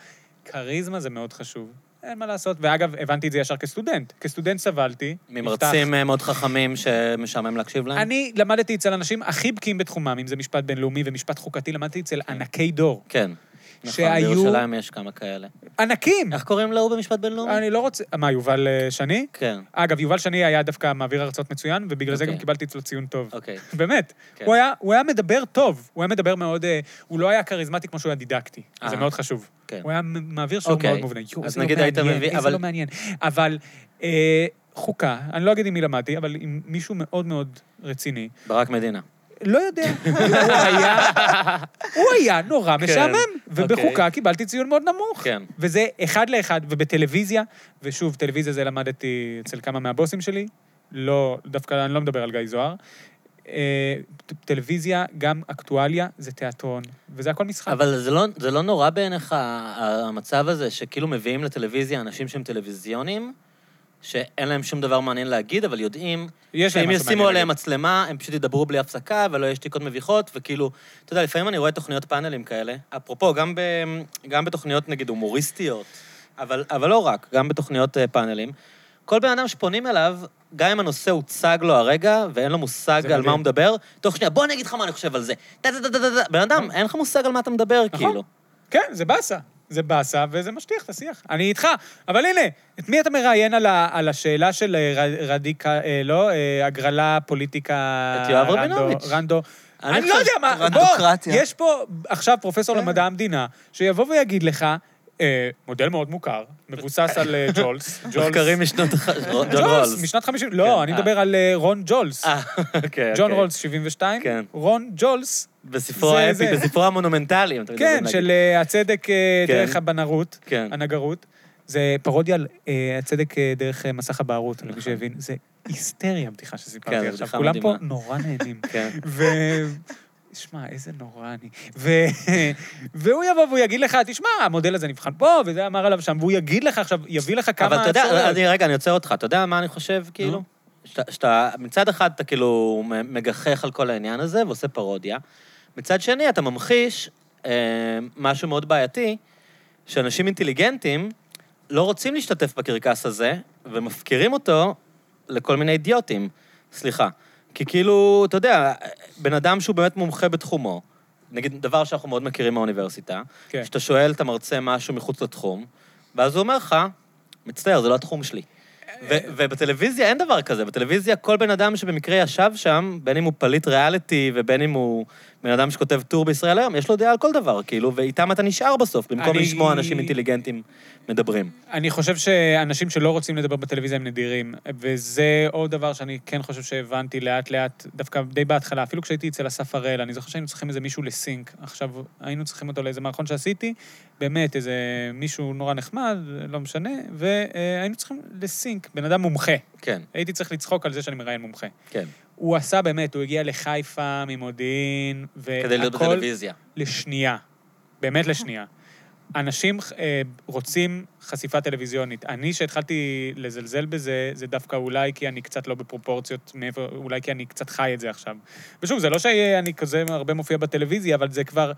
[SPEAKER 2] כריזמה זה מאוד חשוב. אין מה לעשות. ואגב, הבנתי את זה ישר כסטודנט. כסטודנט סבלתי. נפתח.
[SPEAKER 1] ממרצים אה, מאוד חכמים שמשעמם להקשיב להם?
[SPEAKER 2] אני למדתי אצל אנשים הכי בקיאים בתחומם, אם זה משפט בינלאומי ומשפט חוקתי, למדתי אצל ענקי דור.
[SPEAKER 1] כן. נכון,
[SPEAKER 2] שהיו-
[SPEAKER 1] בירושלים יש כמה כאלה.
[SPEAKER 2] ענקים!
[SPEAKER 1] איך קוראים להוא במשפט בינלאומי?
[SPEAKER 2] אני לא רוצה... מה, יובל אה, שני?
[SPEAKER 1] נכון. כן,
[SPEAKER 2] אגב, יובל שני היה דווקא מעביר הרצאות מצוין, ובגלל זה גם
[SPEAKER 1] אוקיי.
[SPEAKER 2] קיבלתי אצלו ציון טוב.
[SPEAKER 1] אוקיי.
[SPEAKER 2] באמת.
[SPEAKER 1] כן.
[SPEAKER 2] הוא היה- הוא היה מדבר טוב, הוא היה מדבר מאוד... אה, הוא לא היה כריזמטי כמו שהוא היה דידקטי. זה
[SPEAKER 1] אה.
[SPEAKER 2] מאוד חשוב.
[SPEAKER 1] כן.
[SPEAKER 2] הוא היה מ- מעביר שיעור
[SPEAKER 1] אוקיי.
[SPEAKER 2] מאוד מובנה. יואו,
[SPEAKER 1] אז
[SPEAKER 2] זה לא
[SPEAKER 1] נגיד היית
[SPEAKER 2] מעניין,
[SPEAKER 1] מביא-
[SPEAKER 2] איזה
[SPEAKER 1] אבל-
[SPEAKER 2] לא מעניין. אבל אה, חוקה, אני לא אגיד עם מי למדתי, אבל עם מישהו מאוד מאוד רציני,
[SPEAKER 1] ברק מדינה.
[SPEAKER 2] לא יודע. הוא היה, הוא היה נורא משעמם, ובחוקה
[SPEAKER 1] כן, אוקיי.
[SPEAKER 2] קיבלתי ציון מאוד נמוך.
[SPEAKER 1] כן.
[SPEAKER 2] וזה אחד לאחד, ובטלוויזיה, ושוב, טלוויזיה זה למדתי אצל כמה מהבוסים שלי, לא, דווקא אני לא מדבר על גיא זוהר. אה, ט- טלוויזיה, גם אקטואליה, זה תיאטרון, וזה הכל משחק.
[SPEAKER 1] אבל זה לא, זה לא נורא בעיניך ה- המצב הזה, שכאילו מביאים לטלוויזיה אנשים שהם טלוויזיונים, שאין להם שום דבר מעניין להגיד, אבל יודעים
[SPEAKER 2] יש להם
[SPEAKER 1] שאם
[SPEAKER 2] משהו
[SPEAKER 1] ישימו
[SPEAKER 2] מעניין
[SPEAKER 1] עליהם מצלמה, הם פשוט ידברו בלי הפסקה, ולא יהיו שתיקות מביכות, וכאילו, אתה יודע, לפעמים אני רואה תוכניות פאנלים כאלה. אפרופו, גם, ב, גם בתוכניות נגיד הומוריסטיות, אבל, אבל לא רק, גם בתוכניות אה, פאנלים. כל בן אדם שפונים אליו, גם אם הנושא הוצג לו הרגע, ואין לו מושג על
[SPEAKER 2] זה
[SPEAKER 1] מה
[SPEAKER 2] מדהים.
[SPEAKER 1] הוא מדבר, תוך שנייה, בוא אני אגיד לך מה אני חושב על זה. טה טה טה טה טה, בן אדם, אין לך מושג על מה אתה מדבר,
[SPEAKER 2] נכון.
[SPEAKER 1] כאילו.
[SPEAKER 2] כן, זה באסה. זה באסה, וזה משטיח את השיח. אני איתך. אבל הנה, את מי אתה מראיין על, ה, על השאלה של אה, ר- רדיקה, אה, לא, אה, הגרלה, פוליטיקה...
[SPEAKER 1] את יואב
[SPEAKER 2] רנדו-
[SPEAKER 1] רבינוביץ'.
[SPEAKER 2] רנדו.
[SPEAKER 1] אני
[SPEAKER 2] אני לא
[SPEAKER 1] חושב-
[SPEAKER 2] יודע מה, בוא,
[SPEAKER 3] רנדוקרטיה.
[SPEAKER 2] יש פה עכשיו פרופסור
[SPEAKER 1] כן.
[SPEAKER 2] למדע המדינה, שיבוא ויגיד לך, אה, מודל מאוד מוכר, מבוסס על אה, ג'ולס. ג'ולס-
[SPEAKER 1] מחקרים משנות... הח- ג'ון
[SPEAKER 2] ג'ולס,
[SPEAKER 1] רולס.
[SPEAKER 2] משנת 50... לא,
[SPEAKER 1] כן,
[SPEAKER 2] אני
[SPEAKER 1] אה.
[SPEAKER 2] מדבר על אה, רון ג'ולס.
[SPEAKER 1] אה, אוקיי,
[SPEAKER 2] ג'ון
[SPEAKER 1] אוקיי.
[SPEAKER 2] רולס, 72.
[SPEAKER 1] כן.
[SPEAKER 2] רון ג'ולס,
[SPEAKER 1] בספרו
[SPEAKER 2] זה-
[SPEAKER 1] האפי,
[SPEAKER 2] זה.
[SPEAKER 1] בספרו המונומנטלי. אם אתה
[SPEAKER 2] כן,
[SPEAKER 1] מתכוון
[SPEAKER 2] של
[SPEAKER 1] להגיד.
[SPEAKER 2] אה, הצדק אה,
[SPEAKER 1] כן.
[SPEAKER 2] דרך הבנרות,
[SPEAKER 1] כן.
[SPEAKER 2] הנגרות. זה פרודיה על אה, הצדק אה, דרך אה, מסך הבערות, למי שהבין. זה היסטריה הבדיחה
[SPEAKER 1] נכון. כן,
[SPEAKER 2] שסיפרתי
[SPEAKER 1] זו
[SPEAKER 2] עכשיו.
[SPEAKER 1] בדיחה
[SPEAKER 2] כולם פה
[SPEAKER 1] מדהימה.
[SPEAKER 2] נורא נהנים.
[SPEAKER 1] כן.
[SPEAKER 2] ו... שמע, איזה נורא אני. ו... והוא יבוא והוא יגיד לך, תשמע, המודל הזה נבחן פה, וזה אמר עליו שם, והוא יגיד לך עכשיו, יביא לך כמה...
[SPEAKER 1] אבל אתה יודע, אה,
[SPEAKER 2] הצעות.
[SPEAKER 1] אני, רגע, אני עוצר אותך. אתה יודע מה אני חושב, כאילו? שאתה- שאתה, מצד אחד אתה כאילו מ- מגחך על כל העניין הזה ועושה פרודיה, מצד שני אתה ממחיש אה, משהו מאוד בעייתי, שאנשים אינטליגנטים לא רוצים להשתתף בקרקס הזה, ומפקירים אותו לכל מיני אידיוטים. סליחה. כי כאילו, אתה יודע, בן אדם שהוא באמת מומחה בתחומו, נגיד דבר שאנחנו מאוד מכירים מהאוניברסיטה,
[SPEAKER 2] כן.
[SPEAKER 1] שאתה שואל את המרצה משהו מחוץ לתחום, ואז הוא אומר לך, מצטער, זה לא התחום שלי. ו- ובטלוויזיה אין דבר כזה, בטלוויזיה כל בן אדם שבמקרה ישב שם, בין אם הוא פליט ריאליטי ובין אם הוא בן אדם שכותב טור בישראל היום, יש לו דעה על כל דבר, כאילו, ואיתם אתה נשאר בסוף, במקום
[SPEAKER 2] אני-
[SPEAKER 1] לשמוע אנשים אינטליגנטים מדברים.
[SPEAKER 2] אני חושב שאנשים שלא רוצים לדבר בטלוויזיה הם נדירים, וזה עוד דבר שאני כן חושב שהבנתי לאט-לאט, דווקא די בהתחלה, אפילו כשהייתי אצל אסף הראל, אני זוכר שהיינו צריכים איזה מישהו לסינק. עכשיו, היינו צריכים אותו לאיזה מערכון שעשיתי, באמת, איזה מישהו נורא נחמד, לא משנה, והיינו צריכים לסינק, בן אדם מומחה.
[SPEAKER 1] כן,
[SPEAKER 2] הייתי צריך לצחוק על זה שאני מראיין מומחה.
[SPEAKER 1] כן.
[SPEAKER 2] הוא עשה באמת, הוא הגיע לחיפה ממודיעין, והכל...
[SPEAKER 1] כדי להיות בטלוויזיה.
[SPEAKER 2] לשנייה, באמת
[SPEAKER 3] אוקיי.
[SPEAKER 2] לשנייה. אנשים אה, רוצים חשיפה טלוויזיונית. אני, שהתחלתי לזלזל בזה, זה דווקא אולי כי אני קצת לא בפרופורציות מעבר, אולי כי אני קצת חי את זה עכשיו. ושוב, זה לא שאני כזה הרבה מופיע בטלוויזיה, אבל זה כבר...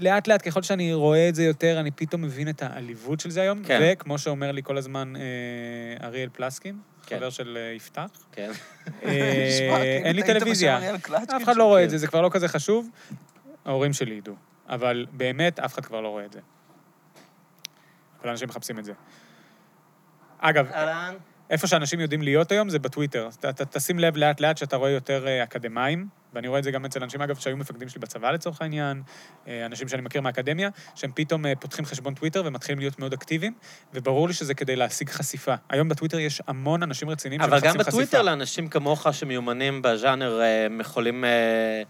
[SPEAKER 2] לאט-לאט, ככל שאני רואה את זה יותר, אני פתאום מבין את העליבות של זה היום.
[SPEAKER 1] כן.
[SPEAKER 2] וכמו שאומר לי כל הזמן אה, אריאל פלסקין,
[SPEAKER 1] כן.
[SPEAKER 2] חבר של אה, יפתח,
[SPEAKER 1] כן.
[SPEAKER 2] אה,
[SPEAKER 3] נשמע, כאילו,
[SPEAKER 2] אין לי
[SPEAKER 3] אתה היית
[SPEAKER 2] טלוויזיה.
[SPEAKER 3] בשם אריאל קלצ'קין
[SPEAKER 2] אף אחד
[SPEAKER 3] שם.
[SPEAKER 2] לא רואה
[SPEAKER 1] כן.
[SPEAKER 2] את זה, זה כבר לא כזה חשוב. ההורים שלי ידעו, אבל באמת אף אחד כבר לא רואה את זה. אבל אנשים מחפשים את זה. אגב,
[SPEAKER 1] אהלן.
[SPEAKER 2] איפה שאנשים יודעים להיות היום זה בטוויטר. אתה- אתה תשים לב לאט-לאט שאתה רואה יותר אה, אקדמאים, ואני רואה את זה גם אצל אנשים, אגב, שהיו מפקדים שלי בצבא לצורך העניין, אה, אנשים שאני מכיר מהאקדמיה, שהם פתאום אה, פותחים חשבון טוויטר ומתחילים להיות מאוד אקטיביים, וברור לי שזה כדי להשיג חשיפה. היום בטוויטר יש המון אנשים רציניים
[SPEAKER 1] אבל
[SPEAKER 2] שמחפשים
[SPEAKER 1] גם
[SPEAKER 2] חשיפה.
[SPEAKER 1] בטוויטר לאנשים כמוך שמיומנים בז'אנר, אה, הם יכולים אה,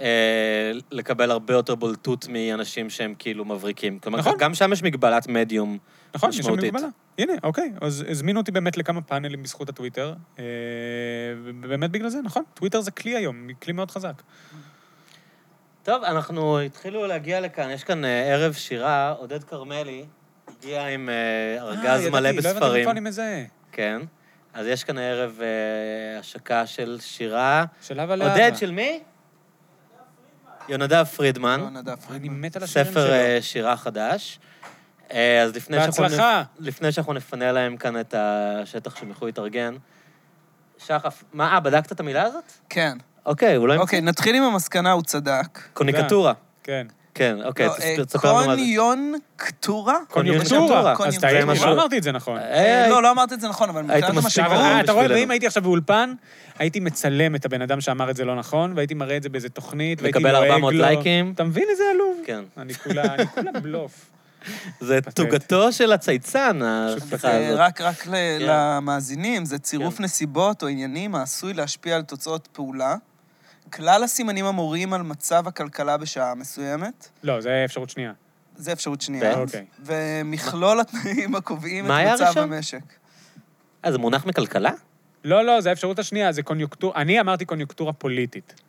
[SPEAKER 1] אה, לקבל הרבה יותר בולטות מאנשים שהם כאילו מבריקים. כלומר,
[SPEAKER 2] נכון.
[SPEAKER 1] גם שם יש מגבלת מדיום.
[SPEAKER 2] נכון, יש שם
[SPEAKER 1] משמעותית.
[SPEAKER 2] מגבלה. הנה, אוקיי. אז הזמינו אותי באמת לכמה פאנלים בזכות הטוויטר. אה, באמת בגלל זה, נכון. טוויטר זה כלי היום, כלי מאוד חזק.
[SPEAKER 1] טוב, אנחנו התחילו להגיע לכאן, יש כאן אה, ערב שירה, עודד כרמלי הגיע עם אה, ארגז מלא
[SPEAKER 2] אה, ידעתי, לא הבנתי
[SPEAKER 1] בספרים.
[SPEAKER 2] מאיפה אני מזהה.
[SPEAKER 1] כן. אז יש כאן הערב אה, השקה של שירה.
[SPEAKER 2] של אבא לאבא.
[SPEAKER 1] עודד, של מי? יונדב פרידמן.
[SPEAKER 3] לא, נדב
[SPEAKER 2] אני
[SPEAKER 3] פרידמן.
[SPEAKER 2] מת על השירים שלו.
[SPEAKER 1] ספר אה, שירה חדש. אה, אז לפני שאנחנו,
[SPEAKER 2] בהצלחה.
[SPEAKER 1] לפני שאנחנו נפנה להם כאן את השטח שהם יוכלו להתארגן, שחף, מה, אה, בדקת את המילה הזאת?
[SPEAKER 3] כן.
[SPEAKER 1] אוקיי, אולי...
[SPEAKER 3] אוקיי, נתחיל עם המסקנה, הוא צדק.
[SPEAKER 1] קוניקטורה.
[SPEAKER 2] כן.
[SPEAKER 1] כן, אוקיי,
[SPEAKER 3] לא, אה,
[SPEAKER 1] תספר- תספר לנו מה זה.
[SPEAKER 3] קוניונקטורה?
[SPEAKER 2] קוניונקטורה.
[SPEAKER 3] קוניונקטורה.
[SPEAKER 2] אז טעיתי,
[SPEAKER 1] זה משהו-
[SPEAKER 2] לא אמרתי את זה נכון.
[SPEAKER 1] אה,
[SPEAKER 3] לא, לא אמרת את זה נכון, אבל מבחינת
[SPEAKER 1] היית מספיק
[SPEAKER 2] עכשיו,
[SPEAKER 1] ברור
[SPEAKER 2] אה, אתה רואה,
[SPEAKER 1] בשבילנו.
[SPEAKER 2] ואם הייתי עכשיו באולפן, הייתי מצלם את הבן אדם שאמר את זה לא נכון, והייתי מראה את זה באיזה תוכנית, והייתי
[SPEAKER 1] מקבל
[SPEAKER 2] לועג
[SPEAKER 1] 400
[SPEAKER 2] לו.
[SPEAKER 1] לייקים.
[SPEAKER 2] אתה מבין איזה עלוב?
[SPEAKER 1] כן.
[SPEAKER 2] אני כולה, אני כולה בלוף.
[SPEAKER 1] זה
[SPEAKER 2] פטנט.
[SPEAKER 1] תוגתו של הצייצן, השיחה
[SPEAKER 3] זה
[SPEAKER 1] הזאת.
[SPEAKER 3] אה,
[SPEAKER 1] כן.
[SPEAKER 3] רק, רק ל- למאזינים, זה צירוף נסיבות או עניינים העשוי להשפיע על תוצאות פעולה. כלל הסימנים המורים על מצב הכלכלה בשעה מסוימת,
[SPEAKER 2] לא, זה אפשרות שנייה.
[SPEAKER 3] זה אפשרות שנייה.
[SPEAKER 1] כן.
[SPEAKER 2] אוקיי.
[SPEAKER 3] ומכלול התנאים הקובעים את
[SPEAKER 1] מה היה
[SPEAKER 3] מצב
[SPEAKER 1] הראשון?
[SPEAKER 3] המשק.
[SPEAKER 1] אה, זה מונח מכלכלה?
[SPEAKER 2] לא, לא, זה האפשרות השנייה, זה קוניונקטורה, אני אמרתי קוניונקטורה פוליטית.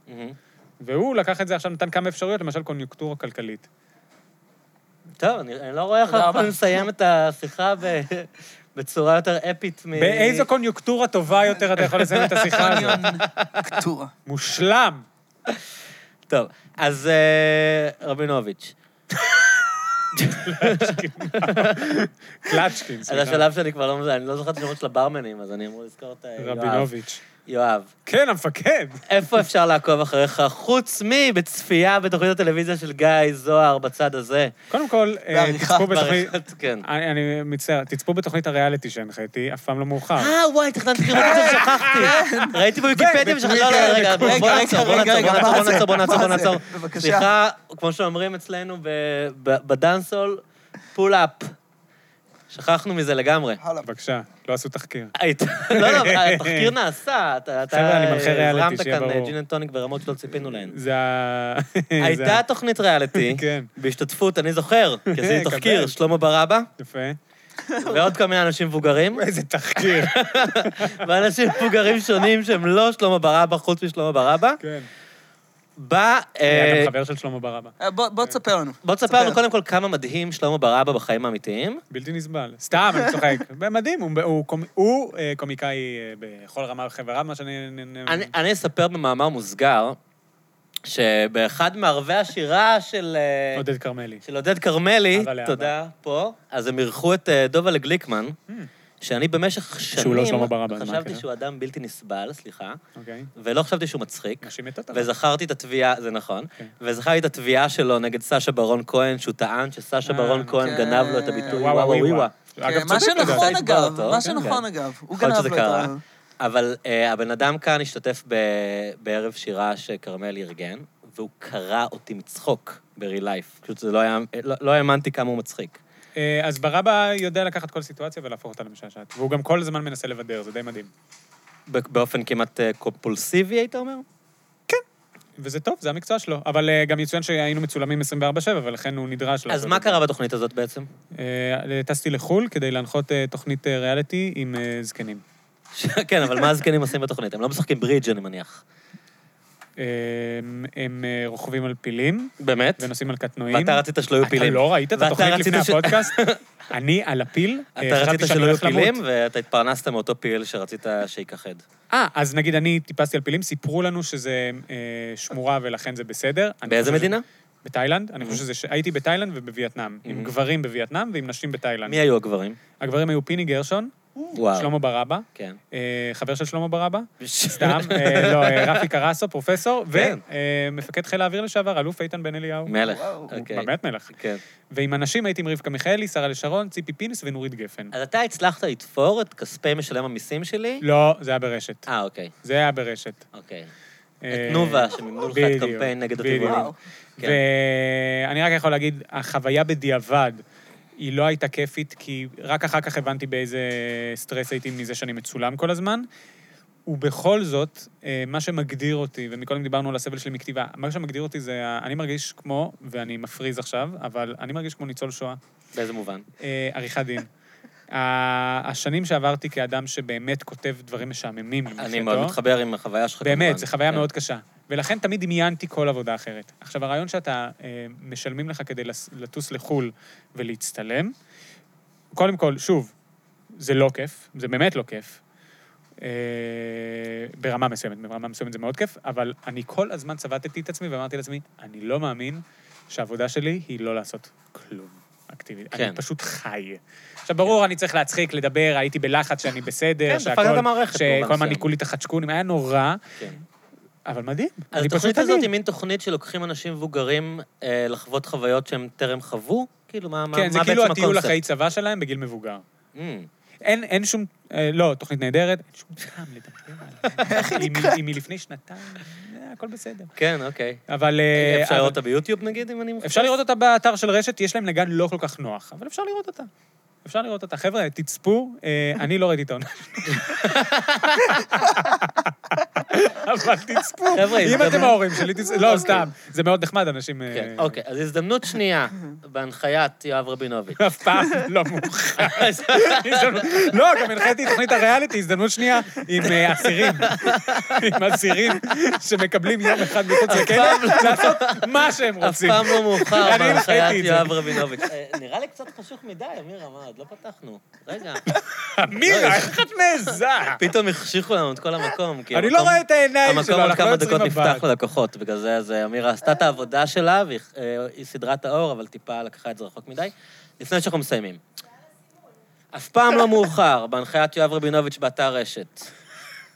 [SPEAKER 2] והוא לקח את זה עכשיו, נתן כמה אפשרויות, למשל קוניונקטורה כלכלית.
[SPEAKER 1] טוב, אני אני לא רואה איך
[SPEAKER 3] תודה
[SPEAKER 1] אנחנו
[SPEAKER 3] רבה.
[SPEAKER 1] נסיים את השיחה ב- בצורה יותר אפית מ...
[SPEAKER 2] באיזו קוניונקטורה טובה יותר אתה יכול לסיים את השיחה הזאת?
[SPEAKER 3] קוניונקטורה.
[SPEAKER 2] מושלם.
[SPEAKER 1] טוב, אז אה, רבינוביץ'.
[SPEAKER 2] קלצ'קין,
[SPEAKER 1] אז
[SPEAKER 2] סליחה.
[SPEAKER 1] השלב שאני כבר לא מזהה, אני לא זוכר את השמות של הברמנים, אז אני אמור לזכור את אה, יואב.
[SPEAKER 2] רבינוביץ'.
[SPEAKER 1] יואב.
[SPEAKER 2] כן, המפקד.
[SPEAKER 1] איפה אפשר לעקוב אחריך חוץ מבצפייה בתוכנית הטלוויזיה של גיא זוהר בצד הזה?
[SPEAKER 2] קודם כל, אה,
[SPEAKER 3] בעריכה,
[SPEAKER 2] תצפו בתוכנית...
[SPEAKER 1] בעריכת- כן.
[SPEAKER 3] אה.
[SPEAKER 2] אני אני מצטער, תצפו בתוכנית הריאליטי שהנחיתי, אף פעם לא מאוחר.
[SPEAKER 1] אה, וואי, תכננתי לראות את זה ושכחתי. ראיתי בוויקיפדיה ושכחתי... לא, לא, רגע, בוא
[SPEAKER 3] כן. רגע,
[SPEAKER 1] נעצור, בוא
[SPEAKER 3] רגע,
[SPEAKER 1] נעצור,
[SPEAKER 3] רגע,
[SPEAKER 1] בוא
[SPEAKER 3] מה זה?
[SPEAKER 1] נעצור, בוא נעצור, בוא
[SPEAKER 3] מה זה?
[SPEAKER 1] נעצור.
[SPEAKER 3] בבקשה.
[SPEAKER 1] סליחה, כמו שאומרים אצלנו ב- ב- בדאנסול, פול אפ. שכחנו מזה לגמרי.
[SPEAKER 3] הלאה.
[SPEAKER 2] בבקשה, לא עשו תחקיר.
[SPEAKER 1] היית- לא, לא, התחקיר נעשה, אתה אתה
[SPEAKER 2] חבר'ה, אני מנחה ריאליטי,
[SPEAKER 1] הזרמת
[SPEAKER 2] שיהיה
[SPEAKER 1] כאן אה,
[SPEAKER 2] ברור.
[SPEAKER 1] ג'ין אנד טוניק ברמות שלא ציפינו להן.
[SPEAKER 2] זה ה... זה ה-
[SPEAKER 1] הייתה תוכנית ריאליטי,
[SPEAKER 2] כן.
[SPEAKER 1] בהשתתפות, אני זוכר, כי עשיתי
[SPEAKER 2] קבל.
[SPEAKER 1] תחקיר, שלמה ברבא,
[SPEAKER 2] יפה.
[SPEAKER 1] ועוד כל מיני אנשים מבוגרים,
[SPEAKER 2] איזה תחקיר.
[SPEAKER 1] ואנשים מבוגרים שונים שהם לא שלמה ברבא, חוץ משלמה ברבא.
[SPEAKER 2] כן.
[SPEAKER 1] בא...
[SPEAKER 2] היה
[SPEAKER 1] אה,
[SPEAKER 2] גם חבר של שלמה ברבא.
[SPEAKER 3] אה, בוא בוא תספר לנו.
[SPEAKER 1] בוא תספר לנו קודם כל כמה מדהים שלמה ברבא בחיים האמיתיים.
[SPEAKER 2] בלתי נסבל. סתם, אני צוחק. מדהים, הוא- הוא קומ- הוא אה, קומיקאי אה, בכל רמה וחברה, מה שאני... נ- נ-
[SPEAKER 1] אני- אני אספר במאמר מוסגר, שבאחד מערבי השירה של... אה,
[SPEAKER 2] עודד כרמלי.
[SPEAKER 1] של עודד כרמלי,
[SPEAKER 2] אבא לאבא.
[SPEAKER 1] תודה, פה, אז הם אירחו את אה, דובלה גליקמן, שאני במשך שנים...
[SPEAKER 2] Hmm. שהוא לא שלמה ברבש, מה
[SPEAKER 1] חשבתי
[SPEAKER 2] הקטע?
[SPEAKER 1] שהוא אדם בלתי נסבל, סליחה,
[SPEAKER 2] אוקיי.
[SPEAKER 1] ולא חשבתי שהוא מצחיק.
[SPEAKER 2] נשים מתות עליו.
[SPEAKER 1] וזכרתי את התביעה, זה נכון,
[SPEAKER 2] כן.
[SPEAKER 1] וזכרתי את התביעה שלו נגד סאשה ברון כהן, שהוא טען שסאשה
[SPEAKER 2] אה,
[SPEAKER 1] ברון כהן
[SPEAKER 3] כן.
[SPEAKER 1] גנב לו את הביטוי
[SPEAKER 2] וואו,
[SPEAKER 1] וואו
[SPEAKER 2] וואו,
[SPEAKER 1] וואו. אה,
[SPEAKER 2] אגב,
[SPEAKER 3] כן, מה
[SPEAKER 2] צודק
[SPEAKER 1] לדעתי.
[SPEAKER 3] שנכון,
[SPEAKER 2] לדעתי.
[SPEAKER 1] נשבר
[SPEAKER 3] אגב,
[SPEAKER 1] אותו,
[SPEAKER 3] מה
[SPEAKER 1] כן,
[SPEAKER 3] שנכון,
[SPEAKER 1] כן.
[SPEAKER 3] אגב. הוא
[SPEAKER 1] יכול
[SPEAKER 3] גנב
[SPEAKER 1] להיות שזה
[SPEAKER 3] לו את
[SPEAKER 1] קרה.
[SPEAKER 3] ה...
[SPEAKER 1] אבל אה, הבן אדם כאן השתתף ב- בערב שירה שכרמל ארגן, והוא קרע אותי מצחוק ב-real life. פשוט זה לא היה, לא לא האמנתי כמה הוא מצחיק.
[SPEAKER 2] אה, אז ברבא יודע לקחת כל סיטואציה ולהפוך אותה למשעשעת. והוא גם כל הזמן מנסה לבדר, זה די מדהים.
[SPEAKER 1] ב- באופן כמעט אה, קומפולסיבי, היית אומר?
[SPEAKER 2] וזה טוב, זה המקצוע שלו. אבל אה, גם יצוין שהיינו מצולמים 24/7, ולכן הוא נדרש לעשות
[SPEAKER 1] אז
[SPEAKER 2] את
[SPEAKER 1] מה
[SPEAKER 2] זה.
[SPEAKER 1] קרה בתוכנית הזאת בעצם?
[SPEAKER 2] אה, טסתי לחו"ל כדי להנחות אה, תוכנית אה, ריאליטי עם אה, זקנים.
[SPEAKER 1] כן, אבל מה הזקנים עושים בתוכנית? הם לא משחקים ברידג', אני מניח.
[SPEAKER 2] אה, הם- הם אה, רוכבים על פילים
[SPEAKER 1] באמת?
[SPEAKER 2] ונוסעים על קטנועים.
[SPEAKER 1] ואתה רצית שלא יהיו
[SPEAKER 2] אתה
[SPEAKER 1] פילים.
[SPEAKER 2] לא ראית את
[SPEAKER 1] ואתה
[SPEAKER 2] התוכנית
[SPEAKER 1] רצית
[SPEAKER 2] לפני
[SPEAKER 1] ש-
[SPEAKER 2] הפודקאסט? אני על הפיל, אה,
[SPEAKER 1] אתה
[SPEAKER 2] חשבתי
[SPEAKER 1] רצית
[SPEAKER 2] שאני
[SPEAKER 1] שלא יהיו
[SPEAKER 2] הולך למות.
[SPEAKER 1] פילים, ואתה התפרנסת מאותו פיל שרצית שייכחד.
[SPEAKER 2] אה, אז נגיד אני טיפסתי על פילים, סיפרו לנו שזה אה, שמורה ולכן זה בסדר. אני
[SPEAKER 1] באיזה
[SPEAKER 2] חושב ש-
[SPEAKER 1] מדינה? Mm-hmm.
[SPEAKER 2] בתאילנד. אני חושב שזה... ש- הייתי בתאילנד ובווייטנאם. עם
[SPEAKER 1] Mhm.
[SPEAKER 2] גברים בווייטנאם ועם נשים בתאילנד.
[SPEAKER 1] מי היו הגברים?
[SPEAKER 2] הגברים היו פיני גרשון,
[SPEAKER 1] וואו.
[SPEAKER 2] שלמה ברבא,
[SPEAKER 1] כן.
[SPEAKER 2] אה, חבר של שלמה ברבא, סתם, אה, לא, אה, רפי קרסו, פרופסור,
[SPEAKER 1] כן.
[SPEAKER 2] ומפקד חיל האוויר לשעבר, אלוף איתן בן אליהו.
[SPEAKER 1] מלך.
[SPEAKER 3] וואו.
[SPEAKER 2] הוא
[SPEAKER 1] אוקיי.
[SPEAKER 2] באמת מלך.
[SPEAKER 1] כן.
[SPEAKER 2] ועם הנשים הייתי עם רבקה מיכאלי, שרה לשרון, ציפי פינס ונורית גפן.
[SPEAKER 1] אז אתה הצלחת לתפור את כספי משלם המיסים שלי?
[SPEAKER 2] לא, זה היה ברשת.
[SPEAKER 1] אה, אוקיי,
[SPEAKER 2] זה היה ברשת.
[SPEAKER 1] אוקיי.
[SPEAKER 2] אה,
[SPEAKER 1] את תנובה, שמימנו לך את
[SPEAKER 2] בדיוק,
[SPEAKER 1] קמפיין נגד
[SPEAKER 2] בדיוק.
[SPEAKER 1] הטבעונים.
[SPEAKER 3] וואו.
[SPEAKER 1] כן.
[SPEAKER 2] ואני רק יכול להגיד, החוויה בדיעבד, היא לא הייתה כיפית, כי רק אחר כך הבנתי באיזה סטרס הייתי מזה שאני מצולם כל הזמן. ובכל זאת, אה, מה שמגדיר אותי, ומקודם דיברנו על הסבל שלי מכתיבה, מה שמגדיר אותי זה, ה- אני מרגיש כמו, ואני מפריז עכשיו, אבל אני מרגיש כמו ניצול שואה,
[SPEAKER 1] באיזה מובן?
[SPEAKER 2] אה, עריכת דין. ה- השנים שעברתי כאדם שבאמת כותב דברים משעממים
[SPEAKER 1] אני
[SPEAKER 2] למחייתו,
[SPEAKER 1] מאוד מתחבר עם החוויה שלך.
[SPEAKER 2] באמת,
[SPEAKER 1] כמובן.
[SPEAKER 2] זו חוויה
[SPEAKER 1] כן.
[SPEAKER 2] מאוד קשה. ולכן תמיד דמיינתי כל עבודה אחרת. עכשיו, הרעיון שאתה, אה, משלמים לך כדי לס- לטוס לחו"ל ולהצטלם, קודם כל, שוב, זה לא כיף, זה באמת לא כיף. אה, ברמה מסוימת, ברמה מסוימת זה מאוד כיף, אבל אני כל הזמן צבטתי את עצמי ואמרתי לעצמי, אני לא מאמין שהעבודה שלי היא לא לעשות כלום אקטיבית.
[SPEAKER 1] כן.
[SPEAKER 2] אני פשוט חי. עכשיו, ברור, אני צריך להצחיק, לדבר, הייתי בלחץ שאני בסדר,
[SPEAKER 1] כן, דפקת את המערכת
[SPEAKER 2] שכל
[SPEAKER 1] במובן
[SPEAKER 2] הזמן
[SPEAKER 1] מסוים.
[SPEAKER 2] ניקו לי את החדשקונים, היה נורא,
[SPEAKER 1] כן.
[SPEAKER 2] אבל מדהים.
[SPEAKER 1] אז
[SPEAKER 2] אני
[SPEAKER 1] התוכנית
[SPEAKER 2] פשוט
[SPEAKER 1] הזאת
[SPEAKER 2] אני.
[SPEAKER 1] היא מין תוכנית שלוקחים אנשים מבוגרים אה, לחוות חוויות שהם טרם חוו? כאילו, מה מה- מה בעצם
[SPEAKER 2] כן, זה
[SPEAKER 1] הקונספט?
[SPEAKER 2] כאילו הטיול לחיי צבא שלהם בגיל מבוגר.
[SPEAKER 1] Mm.
[SPEAKER 2] אין, אין שום, אה, לא, תוכנית נהדרת, אין שום טעם לדבר עליה. איך היא נקראת? היא מלפני שנתיים, אה, הכל בסדר.
[SPEAKER 1] כן, אוקיי.
[SPEAKER 2] אבל... אה,
[SPEAKER 1] אפשר
[SPEAKER 2] אבל-
[SPEAKER 1] לראות אותה ביוטיוב נגיד, אם אני מפספס?
[SPEAKER 2] אפשר לראות אותה באתר של רשת, יש להם נגן לא כל כך נוח, אבל אפשר לראות אותה. אפשר לראות אותה. חבר'ה, תצפו, אה, אני לא ראיתי את העונה. אבל תצפו.
[SPEAKER 1] חבר'ה,
[SPEAKER 2] אם אתם
[SPEAKER 1] הזדמנות-
[SPEAKER 2] ההורים שלי, תצפו. לא, סתם, זה מאוד נחמד, אנשים... אה,
[SPEAKER 1] כן, אוקיי. אז הזדמנות שנייה, בהנחיית יואב רבינוביץ'.
[SPEAKER 2] אף פעם לא מאוחר. הזדמנות- לא, גם הנחיתי את תוכנית הריאליטי, הזדמנות שנייה עם אה, אסירים. עם אסירים שמקבלים יום אחד מחוץ לכלא, לעשות מה שהם
[SPEAKER 1] לא. אף
[SPEAKER 2] רוצים.
[SPEAKER 1] פעם לא מאוחר
[SPEAKER 2] אני
[SPEAKER 1] בהנחיית
[SPEAKER 2] הנחיתי את זה.
[SPEAKER 1] יואב רבינוביץ'. אה, נראה לי קצת חשוך מדי, אמירה, מה, עוד לא פתחנו. רגע. לא.
[SPEAKER 2] אמירה, לא? איך את מעיזה?
[SPEAKER 1] פתאום החשיכו לנו את כל המקום. כי
[SPEAKER 2] אני
[SPEAKER 1] המקום-
[SPEAKER 2] לא רואה את העיניים
[SPEAKER 1] המקום
[SPEAKER 2] שלו,
[SPEAKER 1] עוד
[SPEAKER 2] אנחנו לא
[SPEAKER 1] כמה
[SPEAKER 2] יוצרים
[SPEAKER 1] דקות
[SPEAKER 2] מבט.
[SPEAKER 1] נפתח ללקוחות, בגלל זה אז אה, אמירה עשתה את העבודה שלה, והיא אה, היא סידרה את האור, אבל טיפה לקחה את זה רחוק מדי. לפני שאנחנו מסיימים. אף פעם לא מאוחר, בהנחיית יואב רבינוביץ' באתר רשת.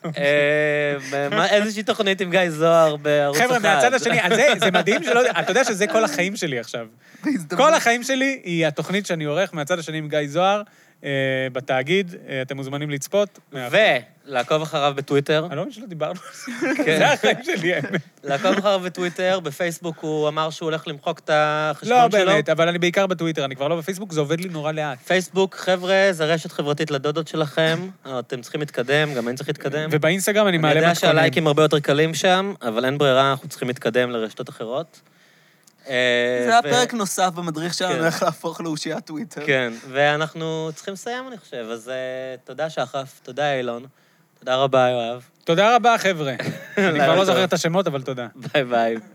[SPEAKER 1] אה, מה- איזושהי תוכנית עם גיא זוהר בערוץ אחד.
[SPEAKER 2] חבר'ה, מהצד השני, אז זה- זה מדהים שלא... אתה יודע שזה כל החיים שלי עכשיו.
[SPEAKER 3] בהזדמנות.
[SPEAKER 2] כל החיים שלי היא התוכנית שאני עורך מהצד השני עם גיא זוהר, אה, בתאגיד, אה, אתם מוזמנים לצפות.
[SPEAKER 1] ולעקוב אחריו בטוויטר.
[SPEAKER 2] אני לא מבין שלא דיברנו על זה.
[SPEAKER 1] כן.
[SPEAKER 2] זה החיים שלי, האמת.
[SPEAKER 1] לעקוב אחריו בטוויטר, בפייסבוק הוא אמר שהוא הולך למחוק את החשבון
[SPEAKER 2] לא,
[SPEAKER 1] שלו.
[SPEAKER 2] באמת, אבל אני בעיקר בטוויטר, אני כבר לא בפייסבוק, זה עובד לי נורא לאט.
[SPEAKER 1] פייסבוק, חבר'ה, זה רשת חברתית לדודות שלכם, אה, אתם צריכים להתקדם, גם אני צריך להתקדם.
[SPEAKER 2] ובאינסטגרם כן. אני
[SPEAKER 1] אני
[SPEAKER 2] מעלה
[SPEAKER 1] יודע
[SPEAKER 2] מתכונים.
[SPEAKER 1] שהלייקים הרבה יותר קלים שם, אבל אין ברירה, אנחנו צריכים להתקדם לרשתות אחרות. אה, זה
[SPEAKER 3] זה היה פרק נוסף במדריך
[SPEAKER 1] כן.
[SPEAKER 3] שלנו, איך להפוך לאושיית טוויטר.
[SPEAKER 1] כן, ואנחנו צריכים לסיים, אני חושב, אז אה, תודה שחף, תודה אילון, תודה רבה, יואב.
[SPEAKER 2] תודה רבה, חבר'ה. אני כבר
[SPEAKER 1] לילה
[SPEAKER 2] לא זוכר
[SPEAKER 1] טוב.
[SPEAKER 2] את השמות, אבל תודה.
[SPEAKER 1] ביי ביי.